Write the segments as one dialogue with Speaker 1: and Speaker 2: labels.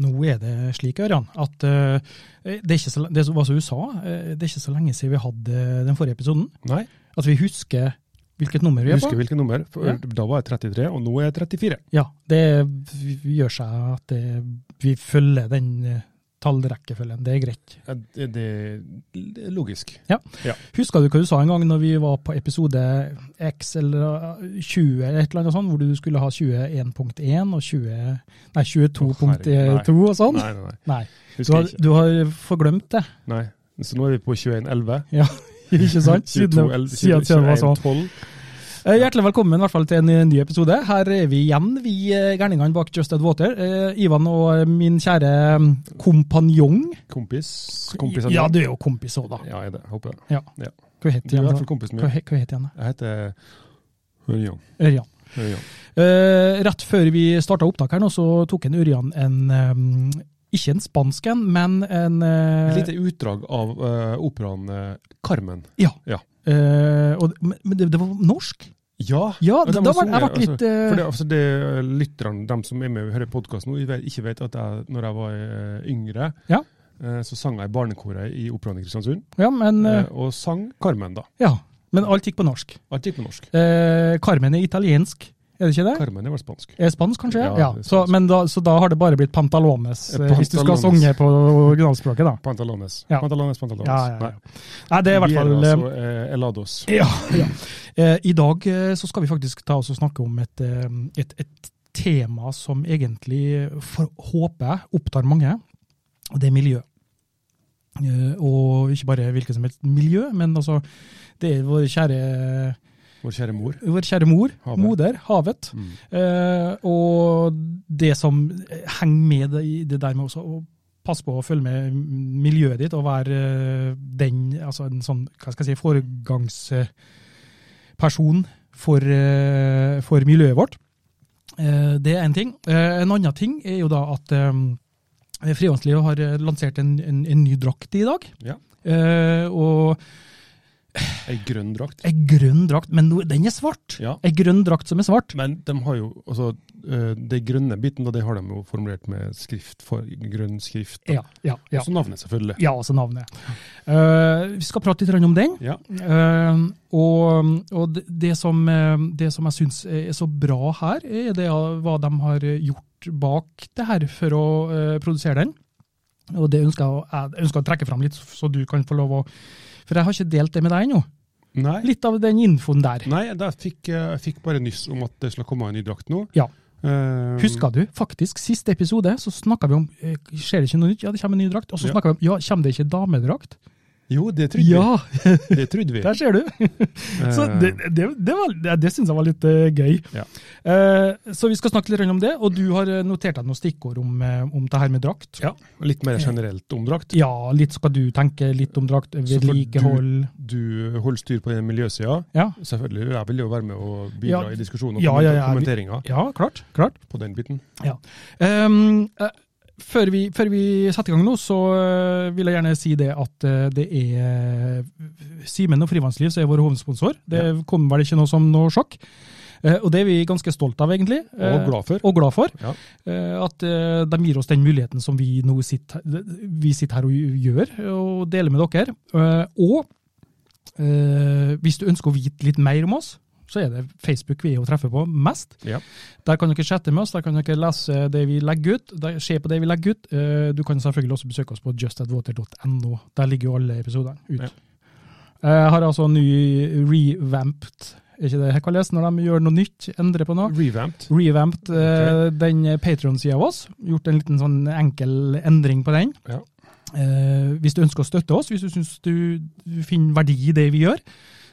Speaker 1: nå er det slik, Ørjan, at eh, det, er ikke så, det som var som du sa, eh, det er ikke så lenge siden vi hadde eh, den forrige episoden.
Speaker 2: Nei,
Speaker 1: At vi husker hvilket nummer vi
Speaker 2: jeg
Speaker 1: er på.
Speaker 2: husker hvilket nummer. For
Speaker 1: Ja.
Speaker 2: Da var jeg 33, og nå er jeg 34.
Speaker 1: Ja, det v- gjør seg at det, vi følger den eh, tallrekkefølgen. Det er greit.
Speaker 2: Ja, Det, det, det er logisk.
Speaker 1: Husker du hva du sa en gang når vi var på episode X eller eh, 20 eller et eller annet sånt, hvor du skulle ha 21.1 og 20, nei, 22.2 og sånn?
Speaker 2: Nei, nei, nei.
Speaker 1: Nei. Du
Speaker 2: Husker
Speaker 1: har,
Speaker 2: jeg ikke.
Speaker 1: du har forglemt det,
Speaker 2: Nei. Så nå er vi på 2111.
Speaker 1: ikke sant? Siden, siden, siden det var sånn. Eh, Hjertelig velkommen i hvert fall til en eh, ny episode. Her er vi igjen, vi eh, gærningene bak Just Dead Water. Eh, Ivan og eh, min kjære eh, kompanjong.
Speaker 2: Kompis. Kompis
Speaker 1: Ja, du er jo kompis òg, da.
Speaker 2: Ja, jeg er det. Håper det.
Speaker 1: Hva heter
Speaker 2: Du er i
Speaker 1: igjen,
Speaker 2: hvert
Speaker 1: da?
Speaker 2: fall kompisen
Speaker 1: Hva,
Speaker 2: min.
Speaker 1: he- hva heter igjen, da?
Speaker 2: Jeg heter Ørjan.
Speaker 1: Ørjan.
Speaker 2: Ørjan.
Speaker 1: Eh, rett før vi starta opptak her nå, så tok en Ørjan en eh, Ikke en spansk en, men en
Speaker 2: Et
Speaker 1: eh,
Speaker 2: lite utdrag av eh, operaen eh, Carmen.
Speaker 1: Ja.
Speaker 2: Ja.
Speaker 1: Eh, og, men men det, det var norsk?
Speaker 2: Ja!
Speaker 1: Ja,
Speaker 2: de
Speaker 1: da
Speaker 2: har
Speaker 1: var, jeg
Speaker 2: sunget,
Speaker 1: ble litt eh,
Speaker 2: For det, altså det eh, lytterne, de som er med og hører podkast nå, de vet- ikke vet at jeg, når jeg var eh, yngre,
Speaker 1: Ja.
Speaker 2: eh, så sang jeg i barnekoret i Operaen i Kristiansund,
Speaker 1: Ja, men eh,
Speaker 2: eh, og sang Carmen, da.
Speaker 1: Ja, men alt gikk på norsk.
Speaker 2: Alt gikk på norsk.
Speaker 1: Eh, Carmen er italiensk, er det ikke det?
Speaker 2: Carmen er vel spansk.
Speaker 1: Er spansk, kanskje?
Speaker 2: Ja,
Speaker 1: Ja,
Speaker 2: det
Speaker 1: så,
Speaker 2: er spansk.
Speaker 1: men da, så da har det bare blitt pantalones, eh,
Speaker 2: Pantalones.
Speaker 1: hvis du skal synge på originalspråket, da.
Speaker 2: Pantalones.
Speaker 1: Ja.
Speaker 2: Pantalones, pantalones.
Speaker 1: Ja, ja, ja. Nei, det er i hvert fall
Speaker 2: Vi
Speaker 1: eh,
Speaker 2: er altså eh, Elados.
Speaker 1: ja, ja. Eh, I dag eh, så skal vi faktisk ta oss og snakke om et, eh, et, et tema som egentlig, eh, for, håper jeg, opptar mange. Og det er miljø. Eh, og ikke bare hvilket som helst miljø, men altså, det er vår kjære,
Speaker 2: Vår kjære mor.
Speaker 1: vår kjære mor,
Speaker 2: Havet.
Speaker 1: moder, havet.
Speaker 2: Mm.
Speaker 1: Eh, og det som henger med det, i det der med også å passe på å følge med miljøet ditt, og være eh, den, altså en sånn, hva skal jeg si, foregangsperson for, eh, for miljøet vårt. Eh, det er en ting. Eh, en annen ting er jo da at eh, Frihåndslivet har eh, lansert en, en, en ny drakt i dag.
Speaker 2: Ja.
Speaker 1: Eh, og
Speaker 2: Ei grønn drakt.
Speaker 1: ei grønn drakt, men nå- den er svart!
Speaker 2: Ja.
Speaker 1: Ei grønn drakt som er svart.
Speaker 2: Men de har jo altså eh, Det grønne biten, da, det har de jo formulert med skrift for grønn skrift. da.
Speaker 1: Ja, ja, ja.
Speaker 2: Også navnet, selvfølgelig.
Speaker 1: Ja, altså navnet. Eh, vi skal prate litt grann om den.
Speaker 2: Ja.
Speaker 1: Eh, og og det, det, som, eh, det som jeg syns er så bra her, er det av hva de har gjort bak det her for å eh, produsere den. Og det ønsker jeg, å- jeg ønsker å trekke fram litt, så du kan få lov å For jeg har ikke delt det med deg ennå.
Speaker 2: Nei.
Speaker 1: Litt av den infoen der.
Speaker 2: Nei, da fikk, eh, jeg fikk bare nyss om at det skulle komme en ny drakt nå.
Speaker 1: Ja.
Speaker 2: Eh,
Speaker 1: Husker du faktisk siste episode, så snakka vi om eh, Skjer det ikke noe nytt? Ja, det kommer en ny drakt. Og så
Speaker 2: Ja.
Speaker 1: snakka vi om Ja, kommer det ikke damedrakt?
Speaker 2: Jo, det trodde
Speaker 1: Ja,
Speaker 2: vi. Det trodde vi.
Speaker 1: der ser du! Så
Speaker 2: Eh,
Speaker 1: det, det, det, var, det, det syns jeg var litt eh, gøy.
Speaker 2: Ja.
Speaker 1: Eh, så vi skal snakke litt om det, og du har eh, notert deg noen stikkord om, eh, om det her med drakt.
Speaker 2: ja, Litt mer generelt om drakt.
Speaker 1: Ja, litt skal du tenke litt om drakt,
Speaker 2: Så får
Speaker 1: vedlikehold
Speaker 2: Du holder styr på den miljøsida.
Speaker 1: ja.
Speaker 2: Selvfølgelig, jeg vil jo være med og bidra
Speaker 1: Ja.
Speaker 2: i diskusjonen og
Speaker 1: Ja, ja, ja, vi-
Speaker 2: kommenteringa
Speaker 1: ja, klart. klart.
Speaker 2: på den biten.
Speaker 1: Ehm, eh, før, vi, før vi setter i gang nå, så eh, vil jeg gjerne si det at eh, det er eh, Simen og Frivannsliv som er vår hovedsponsor. Det kommer vel ikke noe som noe sjokk. Eh, og det er vi ganske stolt av, egentlig. Eh,
Speaker 2: Og glad for.
Speaker 1: og glad for.
Speaker 2: Ja.
Speaker 1: Eh, At eh, de gir oss den muligheten som vi nå sitter, vi sitter her og gjør, og deler med dere. Eh, Og eh, hvis du ønsker å vite litt mer om oss, så er det Facebook vi er å treffe på mest.
Speaker 2: Ja.
Speaker 1: Der kan dere chatte med oss, der kan dere lese det vi legger ut, der, se på det vi legger ut. Eh, Du kan selvfølgelig også besøke oss på justadwater.no. Der ligger jo alle episodene ut.
Speaker 2: Ja.
Speaker 1: Jeg har altså en ny revamped, er ikke det det kalles, når de gjør noe nytt, endrer på noe?
Speaker 2: Revamped.
Speaker 1: revamped eh,
Speaker 2: Ok.
Speaker 1: den Patreon-sida av oss. Gjort en liten sånn enkel endring på den.
Speaker 2: Ja.
Speaker 1: Eh, hvis du ønsker å støtte oss, hvis du syns du du finner verdi i det vi gjør,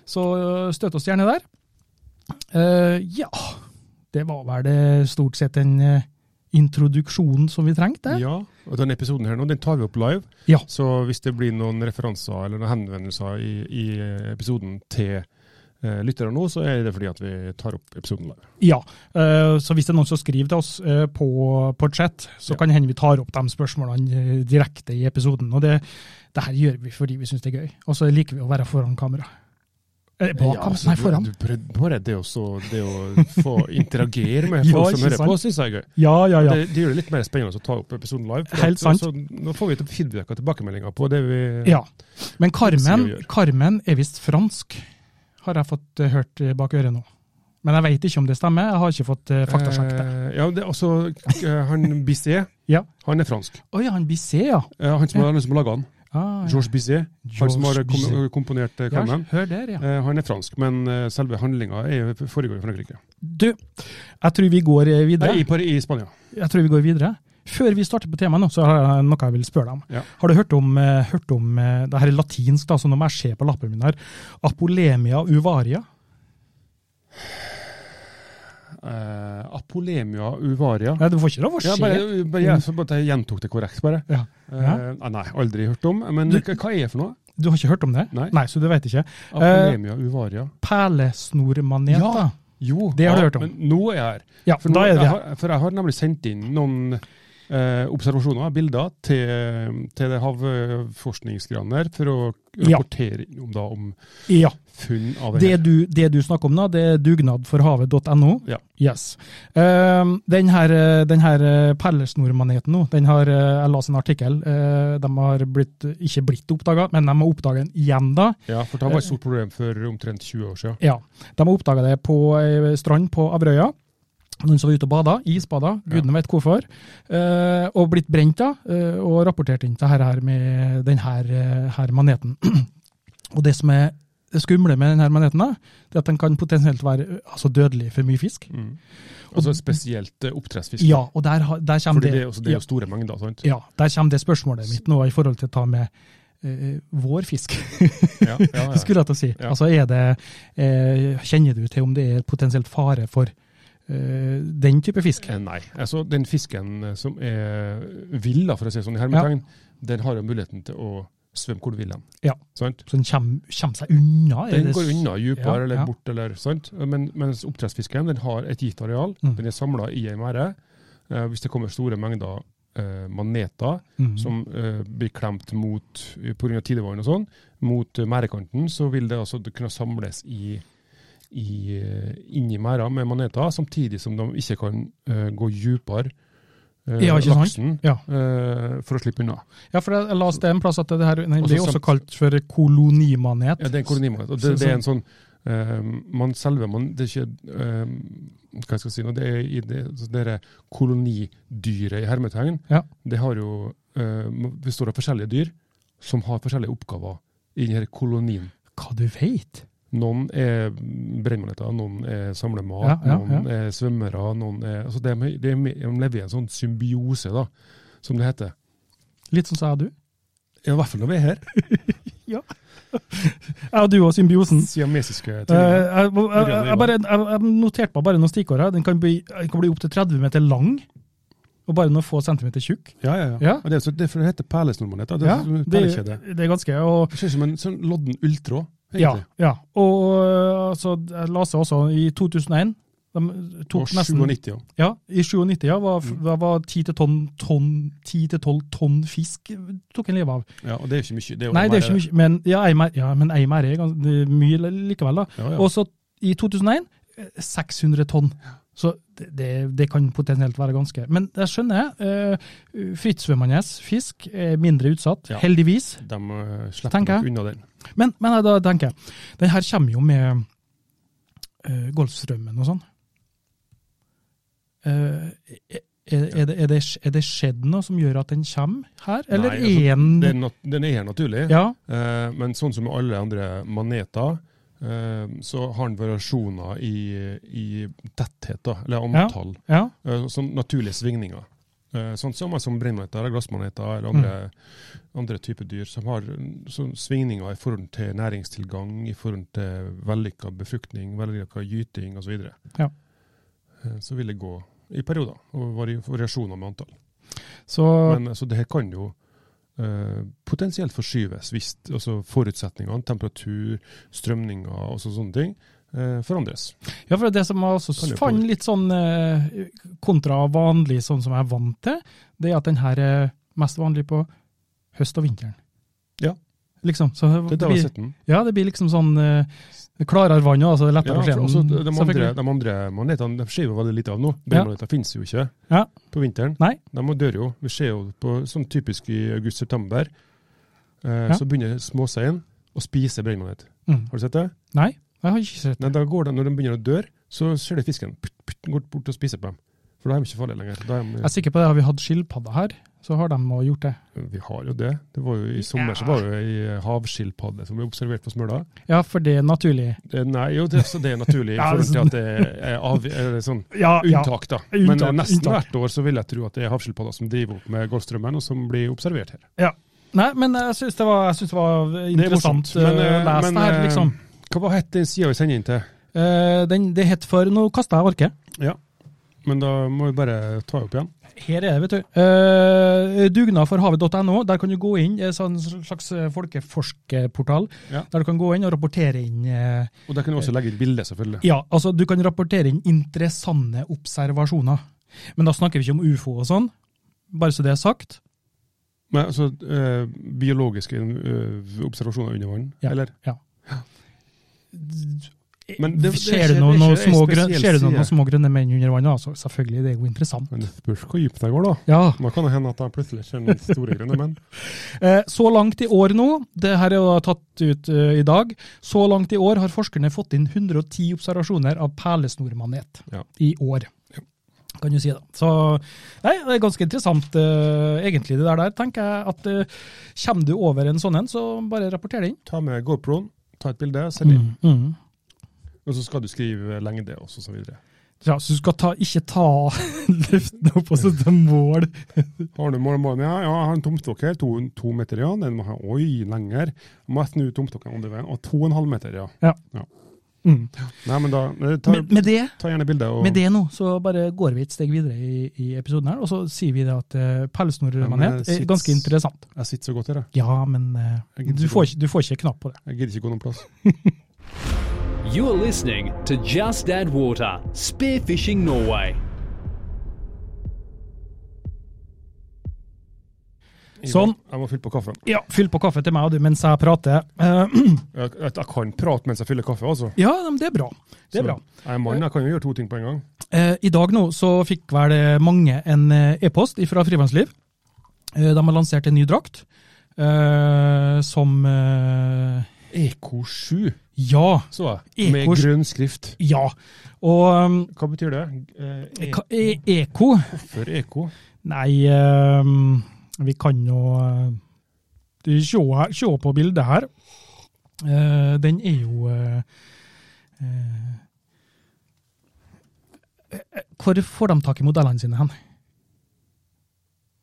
Speaker 1: så eh, støtt oss gjerne der. Eh, ja, det var vel det stort sett en eh, introduksjonen som vi trengte.
Speaker 2: Ja, og den episoden her nå, den tar vi opp live.
Speaker 1: Ja.
Speaker 2: Så hvis det blir noen referanser eller noen henvendelser i, i episoden til eh, lyttere nå, så er det fordi at vi tar opp episoden live.
Speaker 1: Ja, eh, så hvis det er noen som skriver til oss eh, på, på chat, så
Speaker 2: Ja.
Speaker 1: kan hende vi tar opp de spørsmålene eh, direkte i episoden. Og det, det her gjør vi fordi vi syns det er gøy. Og så liker vi å være foran kamera. Eh, bak
Speaker 2: Ja,
Speaker 1: kamera,
Speaker 2: altså,
Speaker 1: nei, foran.
Speaker 2: Du, du prøv- bare det, også, det å få interagere med
Speaker 1: Ja,
Speaker 2: folk som
Speaker 1: ikke
Speaker 2: hører på, syns jeg er gøy.
Speaker 1: Ja, ja, ja.
Speaker 2: Det, det gjør det litt mer spennende å ta opp episoden live. for
Speaker 1: Helt
Speaker 2: at-
Speaker 1: sant.
Speaker 2: Så, nå får vi til feedback og tilbakemeldinger på det vi
Speaker 1: ja. Men Carmen,
Speaker 2: Skal vi gjøre.
Speaker 1: Carmen er visst fransk, har jeg fått eh, hørt eh, bak øret nå. Men jeg veit ikke om det stemmer, jeg har ikke fått eh, faktasjekket det.
Speaker 2: Eh, ja, det er altså, eh, han Bisset,
Speaker 1: Ja.
Speaker 2: han er fransk.
Speaker 1: Å ja, han Bisset, ja.
Speaker 2: Eh, han som har han som har laget han.
Speaker 1: Ah, ja.
Speaker 2: Georges Bisset. Han som har
Speaker 1: Georges
Speaker 2: kom
Speaker 1: Bizet.
Speaker 2: komponert eh,
Speaker 1: Ja,
Speaker 2: Carmen.
Speaker 1: hør der, ja.
Speaker 2: Eh, han er fransk, men eh, selve handlinga er- foregår i Frankrike.
Speaker 1: Du, jeg tror vi går eh, videre.
Speaker 2: Nei, i, Par- i Spania.
Speaker 1: Jeg tror vi går videre. Før vi starter på temaet, nå, så har jeg noe jeg vil spørre deg om.
Speaker 2: Ja.
Speaker 1: Har du hørt om, eh, hørt om eh, det her er latinsk, da, så nå må jeg se på lappen min her. Apolemia uvaria.
Speaker 2: Eh, apolemia uvaria.
Speaker 1: Nei, du får ikke lov å se.
Speaker 2: Ja, bare, bare,
Speaker 1: Mm.
Speaker 2: jeg, så bare jeg gjentok det korrekt, bare.
Speaker 1: Ja.
Speaker 2: Eh, ah, nei, aldri hørt om. Men
Speaker 1: Du- Eh,
Speaker 2: hva hva er det for noe?
Speaker 1: Du har ikke hørt om det?
Speaker 2: Nei.
Speaker 1: så du vet ikke.
Speaker 2: Apolemia uvaria.
Speaker 1: Perlesnormanet.
Speaker 2: Ja.
Speaker 1: da.
Speaker 2: Jo,
Speaker 1: det har du
Speaker 2: ja,
Speaker 1: hørt om.
Speaker 2: Men nå er jeg her.
Speaker 1: Ja,
Speaker 2: For, nå,
Speaker 1: da er det
Speaker 2: jeg
Speaker 1: det.
Speaker 2: har, for jeg har nemlig sendt inn noen eh, observasjoner, bilder, til, til det havforskningsgreiene der, for å
Speaker 1: Ja.
Speaker 2: rapportere om, da, om
Speaker 1: Ja.
Speaker 2: funn
Speaker 1: Det
Speaker 2: av det. her.
Speaker 1: du, det du snakker om nå, det er dugnadforhavet.no.
Speaker 2: Ja.
Speaker 1: Yes. Um, den her, eh, den her eh, perlesnormaneten nå, den har, eh, jeg leste en artikkel, eh, de har blitt, ikke blitt oppdaga, men de har oppdaga den igjen da.
Speaker 2: Ja, for det var et stort problem for omtrent 20 år siden.
Speaker 1: Ja, De har oppdaga det på ei strand på Averøya. Noen som var ute og bada, isbada, gudene vet hvorfor. eh, og blitt brent da, eh, og rapportert inn til her, her med denne her maneten. og det som er det skumle med denne maneten, da, det er at den kan potensielt være eh, altså, dødelig for mye fisk.
Speaker 2: Mm. Altså spesielt eh, oppdrettsfisk.
Speaker 1: Ja, og der, har- der kommer
Speaker 2: Fordi
Speaker 1: det,
Speaker 2: det, er også, det er jo store mengder, sant?
Speaker 1: ja, der kommer det spørsmålet mitt nå i forhold til å ta med eh, vår fisk.
Speaker 2: Ja, ja, ja.
Speaker 1: skulle jeg til å si.
Speaker 2: Ja.
Speaker 1: Altså er det, eh, kjenner du til om det er potensielt fare for eh, den type fisk?
Speaker 2: Eh, Nei. Altså, den fisken eh, som er vill, da, for å si det sånn i
Speaker 1: Ja.
Speaker 2: hermetegn, den har jo muligheten til å svømme hvor du vil den.
Speaker 1: Ja.
Speaker 2: Sant?
Speaker 1: Så den kommer, seg unna? er
Speaker 2: Den
Speaker 1: det s-
Speaker 2: går unna dypere
Speaker 1: ja,
Speaker 2: eller
Speaker 1: ja.
Speaker 2: bort, eller, sant? Men, mens oppdrettsfisken den har et gitt areal.
Speaker 1: Mm.
Speaker 2: Den er samla i ei merde. Eh, hvis det kommer store mengder eh, maneter
Speaker 1: Mm.
Speaker 2: som eh, blir klemt mot pga. tidevann og sånn, mot eh, merdekanten, så vil det altså kunne samles i, i, eh, inni merda med maneter, samtidig som de ikke kan eh, gå dypere eh,
Speaker 1: Ja, ikke sant?
Speaker 2: laksen
Speaker 1: Ja.
Speaker 2: eh, for å slippe unna.
Speaker 1: ja, for jeg la oss det en plass at det her nei,
Speaker 2: Også
Speaker 1: blir også
Speaker 2: samt-
Speaker 1: kalt for kolonimanet.
Speaker 2: Altså Ja, det er en kolonimanet. Og
Speaker 1: Så-
Speaker 2: det, det
Speaker 1: så-
Speaker 2: er en sånn eh, man selve man, Det er ikke eh, Hva skal jeg si nå? Det er i det, så det der kolonidyret i hermetegn.
Speaker 1: Ja.
Speaker 2: Det har jo eh, består av forskjellige dyr som har forskjellige oppgaver i denne kolonien.
Speaker 1: Hva du veit?
Speaker 2: Noen er brennmaneter, noen er samler mat,
Speaker 1: Ja, ja,
Speaker 2: noen er svømmere noen er, altså det er, mye- det er, mye- De lever i en sånn symbiose, da, som det heter.
Speaker 1: Litt sånn sa du.
Speaker 2: Ja, I hvert fall når vi er her.
Speaker 1: Jeg og du og symbiosen.
Speaker 2: Siamesiske
Speaker 1: Eh,
Speaker 2: tvillinger.
Speaker 1: jeg, jeg, jeg, jeg, bare, jeg, jeg noterte meg bare noen stikkord her. Den kan bli, den kan bli opptil 30 meter lang, og bare noen få centimeter tjukk.
Speaker 2: Ja, ja, ja.
Speaker 1: Ja.
Speaker 2: Og Det, er så, det er for det heter perlesnormanet. da. Det,
Speaker 1: Ja,
Speaker 2: er sånn
Speaker 1: det,
Speaker 2: perlekjede.
Speaker 1: det er ganske og,
Speaker 2: Det ser ut som en sånn lodden ulltråd.
Speaker 1: Ja,
Speaker 2: egentlig.
Speaker 1: ja. Og øh, altså, jeg leste også i 2001 de tok
Speaker 2: Og
Speaker 1: nesten,
Speaker 2: 97, ja.
Speaker 1: ja, I 97 ja, var,
Speaker 2: Mm.
Speaker 1: da var 10-12 tonn, 10 tonn fisk eh, tok en liv av.
Speaker 2: ja. Og det er jo ikke mye. Det er jo
Speaker 1: Nei, det er ikke
Speaker 2: mer-
Speaker 1: mye, men ja, ei mer, ja, men ei mer er gans- det er mye li- likevel. da.
Speaker 2: Ja, ja.
Speaker 1: Og så i 2001 eh, 600 tonn. Så det, det, det kan potensielt være ganske Men jeg skjønner, eh, frittsvømmende fisk er mindre utsatt,
Speaker 2: Ja.
Speaker 1: heldigvis.
Speaker 2: De eh, slipper
Speaker 1: Tenker jeg.
Speaker 2: nok unna den.
Speaker 1: Men, men jeg da tenker jeg, den her kommer jo med eh, Golfstrømmen og sånn. Eh, er, er, det, er, det, er det skjedd noe som gjør at den kommer her, eller
Speaker 2: Nei, altså,
Speaker 1: er den
Speaker 2: Den, nat den er her naturlig,
Speaker 1: Ja,
Speaker 2: eh, men sånn som med alle andre maneter, eh, så har den variasjoner i, i tetthet, da, eller
Speaker 1: Ja.
Speaker 2: antall,
Speaker 1: ja,
Speaker 2: eh, som naturlige svingninger. Eh, sånn samme som brennmaneter, eller glassmaneter eller andre, andre typer dyr som har mm, sånn svingninger i forhold til næringstilgang, i forhold til vellykka befruktning, vellykka gyting osv. Så, videre.
Speaker 1: Ja.
Speaker 2: Eh, så vil det gå i perioder, og vari- variasjoner med antall.
Speaker 1: Så
Speaker 2: Men altså, det her kan jo eh, potensielt forskyves hvis altså, forutsetningene, temperatur, strømninger og så- sånne ting eh, forandres.
Speaker 1: Ja, for det som jeg
Speaker 2: Kan
Speaker 1: også
Speaker 2: jo
Speaker 1: fant
Speaker 2: påvirke.
Speaker 1: litt sånn eh, kontra vanlig, sånn som jeg er vant til, det er at den her er mest vanlig på høst og vinteren.
Speaker 2: Ja.
Speaker 1: Liksom. Så det,
Speaker 2: Det er der jeg har
Speaker 1: blir,
Speaker 2: sett den.
Speaker 1: ja, det blir liksom sånn eh, klarere vann, og altså det er
Speaker 2: Ja,
Speaker 1: lettere
Speaker 2: for
Speaker 1: å
Speaker 2: også
Speaker 1: se
Speaker 2: de,
Speaker 1: den.
Speaker 2: andre,
Speaker 1: selvfølgelig.
Speaker 2: de andre manetene de ser jo veldig lite av nå.
Speaker 1: Ja.
Speaker 2: Brennmaneter finnes jo ikke
Speaker 1: Ja.
Speaker 2: på vinteren.
Speaker 1: Nei.
Speaker 2: De må dør jo. Vi ser jo på sånn typisk i august-september, eh,
Speaker 1: Ja.
Speaker 2: så begynner småseien å spise brennmanet.
Speaker 1: Mm.
Speaker 2: Har du sett det?
Speaker 1: Nei, jeg har ikke sett
Speaker 2: Nei, da går det, Når de begynner å dø, så ser du fisken putt, putt, den går bort og spiser på dem. For da er de ikke farlige lenger. Da er
Speaker 1: Jeg er
Speaker 2: de,
Speaker 1: sikker på det, har vi hatt skilpadder her, så har de også gjort det.
Speaker 2: vi har jo det. det var jo, I sommer så var det ei havskilpadde som ble observert på Smøla.
Speaker 1: Ja, for det er naturlig.
Speaker 2: Eh, Nei, jo, det, så det er naturlig i
Speaker 1: Ja, det er
Speaker 2: forhold til at det er, er, av, er sånn
Speaker 1: Ja,
Speaker 2: Unntak, da. Men
Speaker 1: Unntak,
Speaker 2: eh, nesten
Speaker 1: unntak.
Speaker 2: hvert år så vil jeg tro at det er havskilpadder som driver opp med Golfstrømmen, og som blir observert her.
Speaker 1: Nei, men jeg syns det, var- jeg synes det var interessant
Speaker 2: morsomt, men,
Speaker 1: eh, å
Speaker 2: eh,
Speaker 1: lese
Speaker 2: men,
Speaker 1: det her,
Speaker 2: eh,
Speaker 1: liksom.
Speaker 2: Hva var het den sida vi sender inn til?
Speaker 1: Eh, den, det het for Nå kasta jeg arket.
Speaker 2: Men da må vi bare ta opp igjen.
Speaker 1: Her er det, vet du. Eh, Dugnadforhavet.no. Der kan du gå inn. Det er sånn slags eh, folkeforskerportal.
Speaker 2: Ja.
Speaker 1: Der du kan gå inn og rapportere inn eh,
Speaker 2: Og der kan du også legge ut bilde, selvfølgelig.
Speaker 1: Ja, altså du kan rapportere inn interessante observasjoner. Men da snakker vi ikke om ufo og sånn. Bare så det er sagt.
Speaker 2: Men altså eh, biologiske eh, observasjoner under vann,
Speaker 1: Ja.
Speaker 2: eller? Men det- det er
Speaker 1: Eh, Ser du noen
Speaker 2: ikke- det er
Speaker 1: noen
Speaker 2: ikke en
Speaker 1: små
Speaker 2: spesiell
Speaker 1: grøn- ser du noen
Speaker 2: side.
Speaker 1: noen små grønne menn under vannet? Altså, selvfølgelig, det er jo interessant.
Speaker 2: Men det spørs hvor dypt det går, da.
Speaker 1: Ja,
Speaker 2: Da kan det hende at jeg plutselig ser noen store grønne menn.
Speaker 1: Eh, Så langt i år nå, det her er jo da tatt ut eh, i dag, så langt i år har forskerne fått inn 110 observasjoner av perlesnormanet
Speaker 2: Ja.
Speaker 1: i år. Kan du si da. Så nei, det er ganske interessant eh, egentlig det der der, tenker jeg. at eh, Kommer du over en sånn en, så bare rapporter det inn.
Speaker 2: Ta med GoPro-en, ta et bilde, send inn.
Speaker 1: Mm.
Speaker 2: Og så skal du skrive lengde og så så videre.
Speaker 1: Ja, så du skal ta, ikke ta luften opp og sette mål.
Speaker 2: Har du mål, mål? Ja, ja, jeg har en tomstokk her, to, to meter, ja. Den må ha, oi, lenger. Må jeg snu tomstokken andre veien. Og to og en halv meter, ja.
Speaker 1: Mm.
Speaker 2: Nei, men da, eh, ta,
Speaker 1: Med, med det
Speaker 2: ta gjerne bilde. Og,
Speaker 1: Med det nå, så bare går vi et steg videre i, i episoden her, og så sier vi det at uh,
Speaker 2: Ja, men
Speaker 1: pelsnormanet
Speaker 2: jeg
Speaker 1: er Eh, ganske
Speaker 2: syns-
Speaker 1: interessant.
Speaker 2: Jeg sitter så godt her, jeg.
Speaker 1: Ja, men eh,
Speaker 2: Jeg gidder
Speaker 1: du,
Speaker 2: ikke
Speaker 1: får ikke, du får ikke knapp på det.
Speaker 2: Jeg gidder ikke gå noen plass.
Speaker 3: You're listening to Just Add Water Spearfishing Norway.
Speaker 2: Jeg
Speaker 1: Sånn.
Speaker 2: må- Jeg må fylle på kaffen.
Speaker 1: Ja, fyll på kaffe til meg og du mens jeg prater. Eh,
Speaker 2: Jeg, jeg, jeg kan prate mens jeg fyller kaffe, altså.
Speaker 1: ja, men det er bra. Det er
Speaker 2: Så,
Speaker 1: bra.
Speaker 2: Jeg er mann, jeg kan jo gjøre to ting på en gang.
Speaker 1: Eh, I dag nå så fikk vel eh, mange en eh, e-post fra Frivannsliv. Eh, de har lansert en ny drakt eh, som eh,
Speaker 2: E- EK7,
Speaker 1: Ja.
Speaker 2: så jeg.
Speaker 1: EK7.
Speaker 2: Med grønn skrift.
Speaker 1: Ja. Og um,
Speaker 2: Hva betyr det? Eh,
Speaker 1: ka- e Eko
Speaker 2: for EK?
Speaker 1: Nei, ehm, vi kan jo eh, du, se, her, se på bildet her. Eh, den er jo eh, eh, eh, Hvor får de tak i modellene sine hen?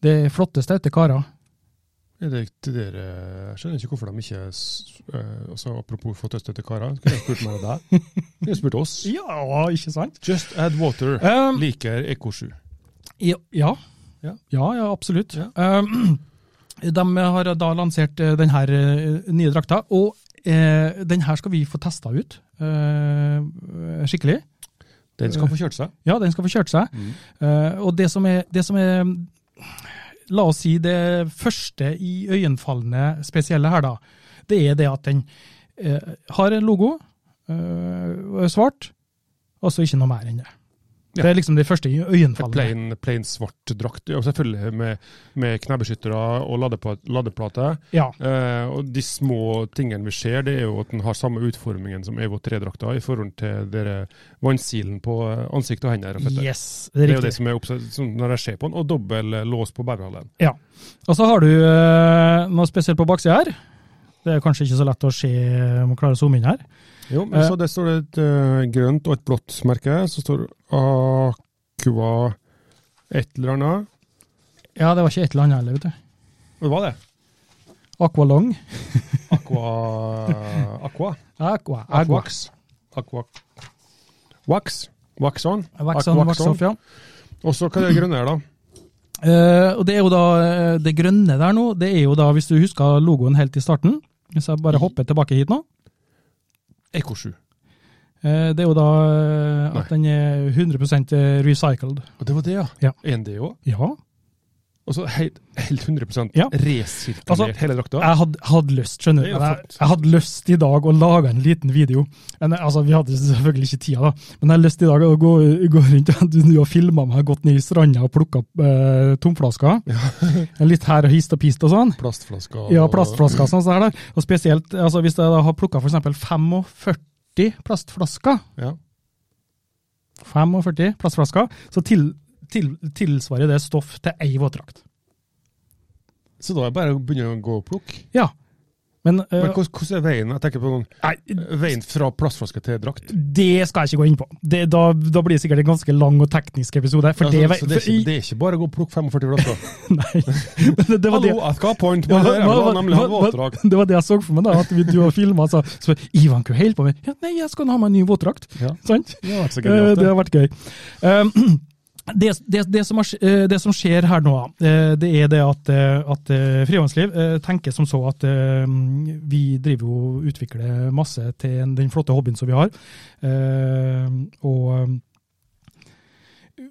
Speaker 1: Det er flotte, staute karer.
Speaker 2: Er det ikke det der, eh, Jeg skjønner ikke hvorfor de ikke s- eh, altså, Apropos få tøste til karer, kunne jeg spurt meg og deg. Kunne jeg spurt oss.
Speaker 1: Ja, ikke sant?
Speaker 2: Just add water.
Speaker 1: Um,
Speaker 2: Liker EK7.
Speaker 1: Ja, ja,
Speaker 2: Ja.
Speaker 1: ja, ja absolutt.
Speaker 2: Ja.
Speaker 1: Um, de har da lansert eh, denne nye drakta, og eh, den her skal vi få testa ut eh, skikkelig.
Speaker 2: Den skal få kjørt seg.
Speaker 1: Ja, den skal få kjørt seg.
Speaker 2: Mm.
Speaker 1: Eh, og det som, er, det som er La oss si det første i øyenfallende spesielle her, da. Det er det at den eh, har en logo, eh, svart, og så ikke noe mer enn det.
Speaker 2: Ja.
Speaker 1: Det er liksom det første i
Speaker 2: For
Speaker 1: øyenfallende.
Speaker 2: Plain, plain svart drakt, og selvfølgelig med, med knebbeskyttere og ladepa- ladeplate.
Speaker 1: Ja.
Speaker 2: Eh, og de små tingene vi ser, det er jo at den har samme utformingen som Evo 3-drakta i forhold til dere vannsilen på eh, ansikt og hender. og føtter.
Speaker 1: Yes, det
Speaker 2: det er
Speaker 1: er
Speaker 2: jo det
Speaker 1: riktig.
Speaker 2: som er oppsatt som når jeg ser på den, og dobbel eh, lås på bærhallen.
Speaker 1: Og så har du eh, noe spesielt på baksida her. Det er kanskje ikke så lett å se eh, om man klarer å zoome inn her.
Speaker 2: Jo, men
Speaker 1: Eh.
Speaker 2: så det står et eh, grønt og et blått merke, så står Aqua et eller annet.
Speaker 1: Ja, det var ikke et eller annet heller, vet du.
Speaker 2: Hva var det?
Speaker 1: Aqualong.
Speaker 2: Aqua Aqua?
Speaker 1: Aqua. Aqua.
Speaker 2: Aquax. Aqua Wax. Wax on.
Speaker 1: sånn. Wax on, wax off, ja.
Speaker 2: Også hva er det grønne her, da?
Speaker 1: Eh, og det er jo da eh, det grønne der nå, det er jo da, hvis du husker logoen helt i starten Hvis jeg bare hopper tilbake hit nå.
Speaker 2: Eco 7.
Speaker 1: eh, det er jo da eh, at den er 100 recycled.
Speaker 2: Og det var det, ja.
Speaker 1: Ja.
Speaker 2: Er den det òg?
Speaker 1: Ja.
Speaker 2: Altså helt, helt 100
Speaker 1: Ja.
Speaker 2: resirkulert
Speaker 1: Altså,
Speaker 2: hele drakta?
Speaker 1: Jeg hadde, hadde lyst, skjønner du.
Speaker 2: Det er jo
Speaker 1: Jeg,
Speaker 2: flott.
Speaker 1: jeg hadde lyst i dag å lage en liten video. Men, eh, altså, vi hadde selvfølgelig ikke tida, da. Men jeg hadde lyst i dag å gå, gå rundt og, og filme meg gått ned i stranda og plukka opp eh, tomflasker. Litt her og hist og pist og sånn.
Speaker 2: Plastflasker
Speaker 1: Ja, plastflasker og sånn der. da. Og spesielt altså, hvis jeg da har plukka f.eks. 45 plastflasker,
Speaker 2: Ja.
Speaker 1: 45 plastflasker, så til, til, tilsvarer det stoff til ei våtdrakt.
Speaker 2: Så da er det bare å begynne å gå og plukke.
Speaker 1: Ja. Men, eh,
Speaker 2: Men hvordan, hvordan er veien? Jeg tenker på noen, veien fra plastflaske til drakt.
Speaker 1: det skal jeg ikke gå inn på. Det, da, da blir det sikkert en ganske lang og teknisk episode. For
Speaker 2: Altså,
Speaker 1: det, var-
Speaker 2: så det, er ikke, det er ikke bare å gå og plukke 45 flasker.
Speaker 1: Nei, men det var det.
Speaker 2: Hallo, jeg skal ha point på
Speaker 1: Ja,
Speaker 2: det!
Speaker 1: hva-
Speaker 2: Jeg vil ha
Speaker 1: hva-
Speaker 2: nemlig ha en
Speaker 1: hva-
Speaker 2: våtdrakt.
Speaker 1: Det var det jeg så for meg, da, at vi- du har filma. Så, så Ivan, hva holder du på med? Ja, nei, jeg skal ha meg en ny våtdrakt.
Speaker 2: Ja.
Speaker 1: Sant?
Speaker 2: Det har vært så
Speaker 1: Eh,
Speaker 2: genialt,
Speaker 1: Det
Speaker 2: det.
Speaker 1: har vært gøy. Um, Det, det, det, som har, sk- eh, det som skjer her nå, eh, det er det at, eh, at eh, Frivannsliv eh, tenker som så at eh, vi driver jo og utvikler masse til en- den flotte hobbyen som vi har. Eh, Og eh,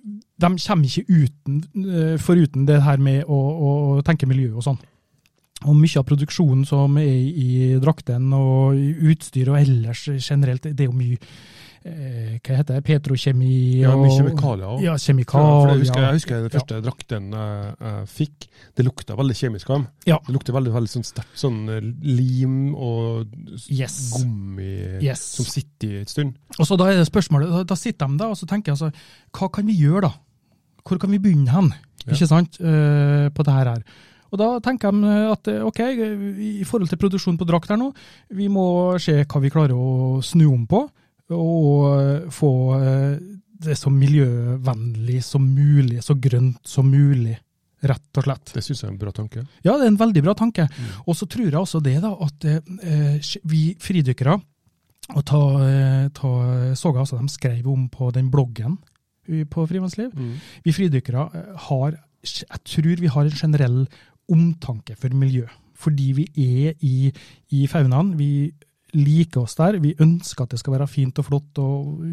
Speaker 1: de kommer ikke uten, eh, foruten det her med å, å tenke miljø og sånn. Og mye av produksjonen som er i draktene og i utstyr og ellers generelt, det er jo mye eh, hva heter det, petrokjemi
Speaker 2: Ja, mye
Speaker 1: og-
Speaker 2: kjemikalier også.
Speaker 1: Ja,
Speaker 2: For jeg,
Speaker 1: kjemikalier.
Speaker 2: husker, jeg husker den første drakten jeg, jeg fikk. Det lukta veldig kjemisk av dem.
Speaker 1: Ja.
Speaker 2: Det lukta veldig, veldig sånn sterkt sånn eh, lim og s-
Speaker 1: Yes.
Speaker 2: gummi
Speaker 1: Yes.
Speaker 2: som sitter i et stund.
Speaker 1: Og så da er det spørsmålet, da, da sitter de da, og så tenker jeg altså, hva kan vi gjøre da? Hvor kan vi begynne hen?
Speaker 2: Ja.
Speaker 1: Ikke sant? eh, på det her her. Og da tenker de at eh, ok, i- i forhold til produksjon på drakt her nå, vi må se hva vi klarer å snu om på, og eh, få eh, det så miljøvennlig som mulig, så grønt som mulig, rett og slett.
Speaker 2: Det syns jeg er en bra tanke.
Speaker 1: Ja, det er en veldig bra tanke. Og så tror jeg også det, da, at eh, vi fridykkere og ta, eh, ta Såga, altså, de skrev om på den bloggen i- på Frivannsliv. Vi fridykkere eh, har Jeg tror vi har en generell omtanke for miljø. Fordi vi er i, i faunaen. Vi liker oss der. Vi ønsker at det skal være fint og flott og,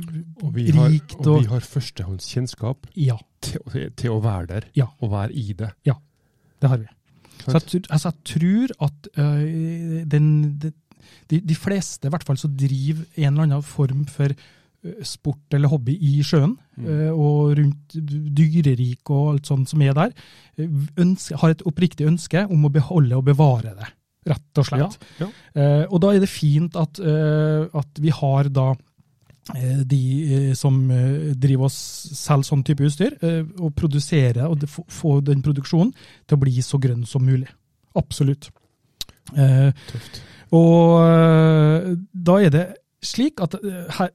Speaker 2: Og vi har,
Speaker 1: rikt.
Speaker 2: og vi har førstehåndskjennskap
Speaker 1: ja,
Speaker 2: til, å- til å være der,
Speaker 1: Ja.
Speaker 2: og være i det.
Speaker 1: det har vi. Så jeg,
Speaker 2: Sant?
Speaker 1: tror- altså, jeg tror at øh, den, de, de- de fleste, i hvert fall, som driver en eller annen form for øh, sport eller hobby i sjøen,
Speaker 2: Mm.
Speaker 1: øh, og rundt dyrerik og alt sånt som er der, øh, ønsker, har et oppriktig ønske om å beholde og bevare det, rett og slett.
Speaker 2: Ja, ja.
Speaker 1: Eh, og da er det fint at, eh, at vi har da eh, de eh, som eh, driver oss selv sånn type utstyr, eh, og produserer og det- få- få den produksjonen til å bli så grønn som mulig. Absolutt. Eh,
Speaker 2: Tøft.
Speaker 1: og eh, da er det slik at eh, her,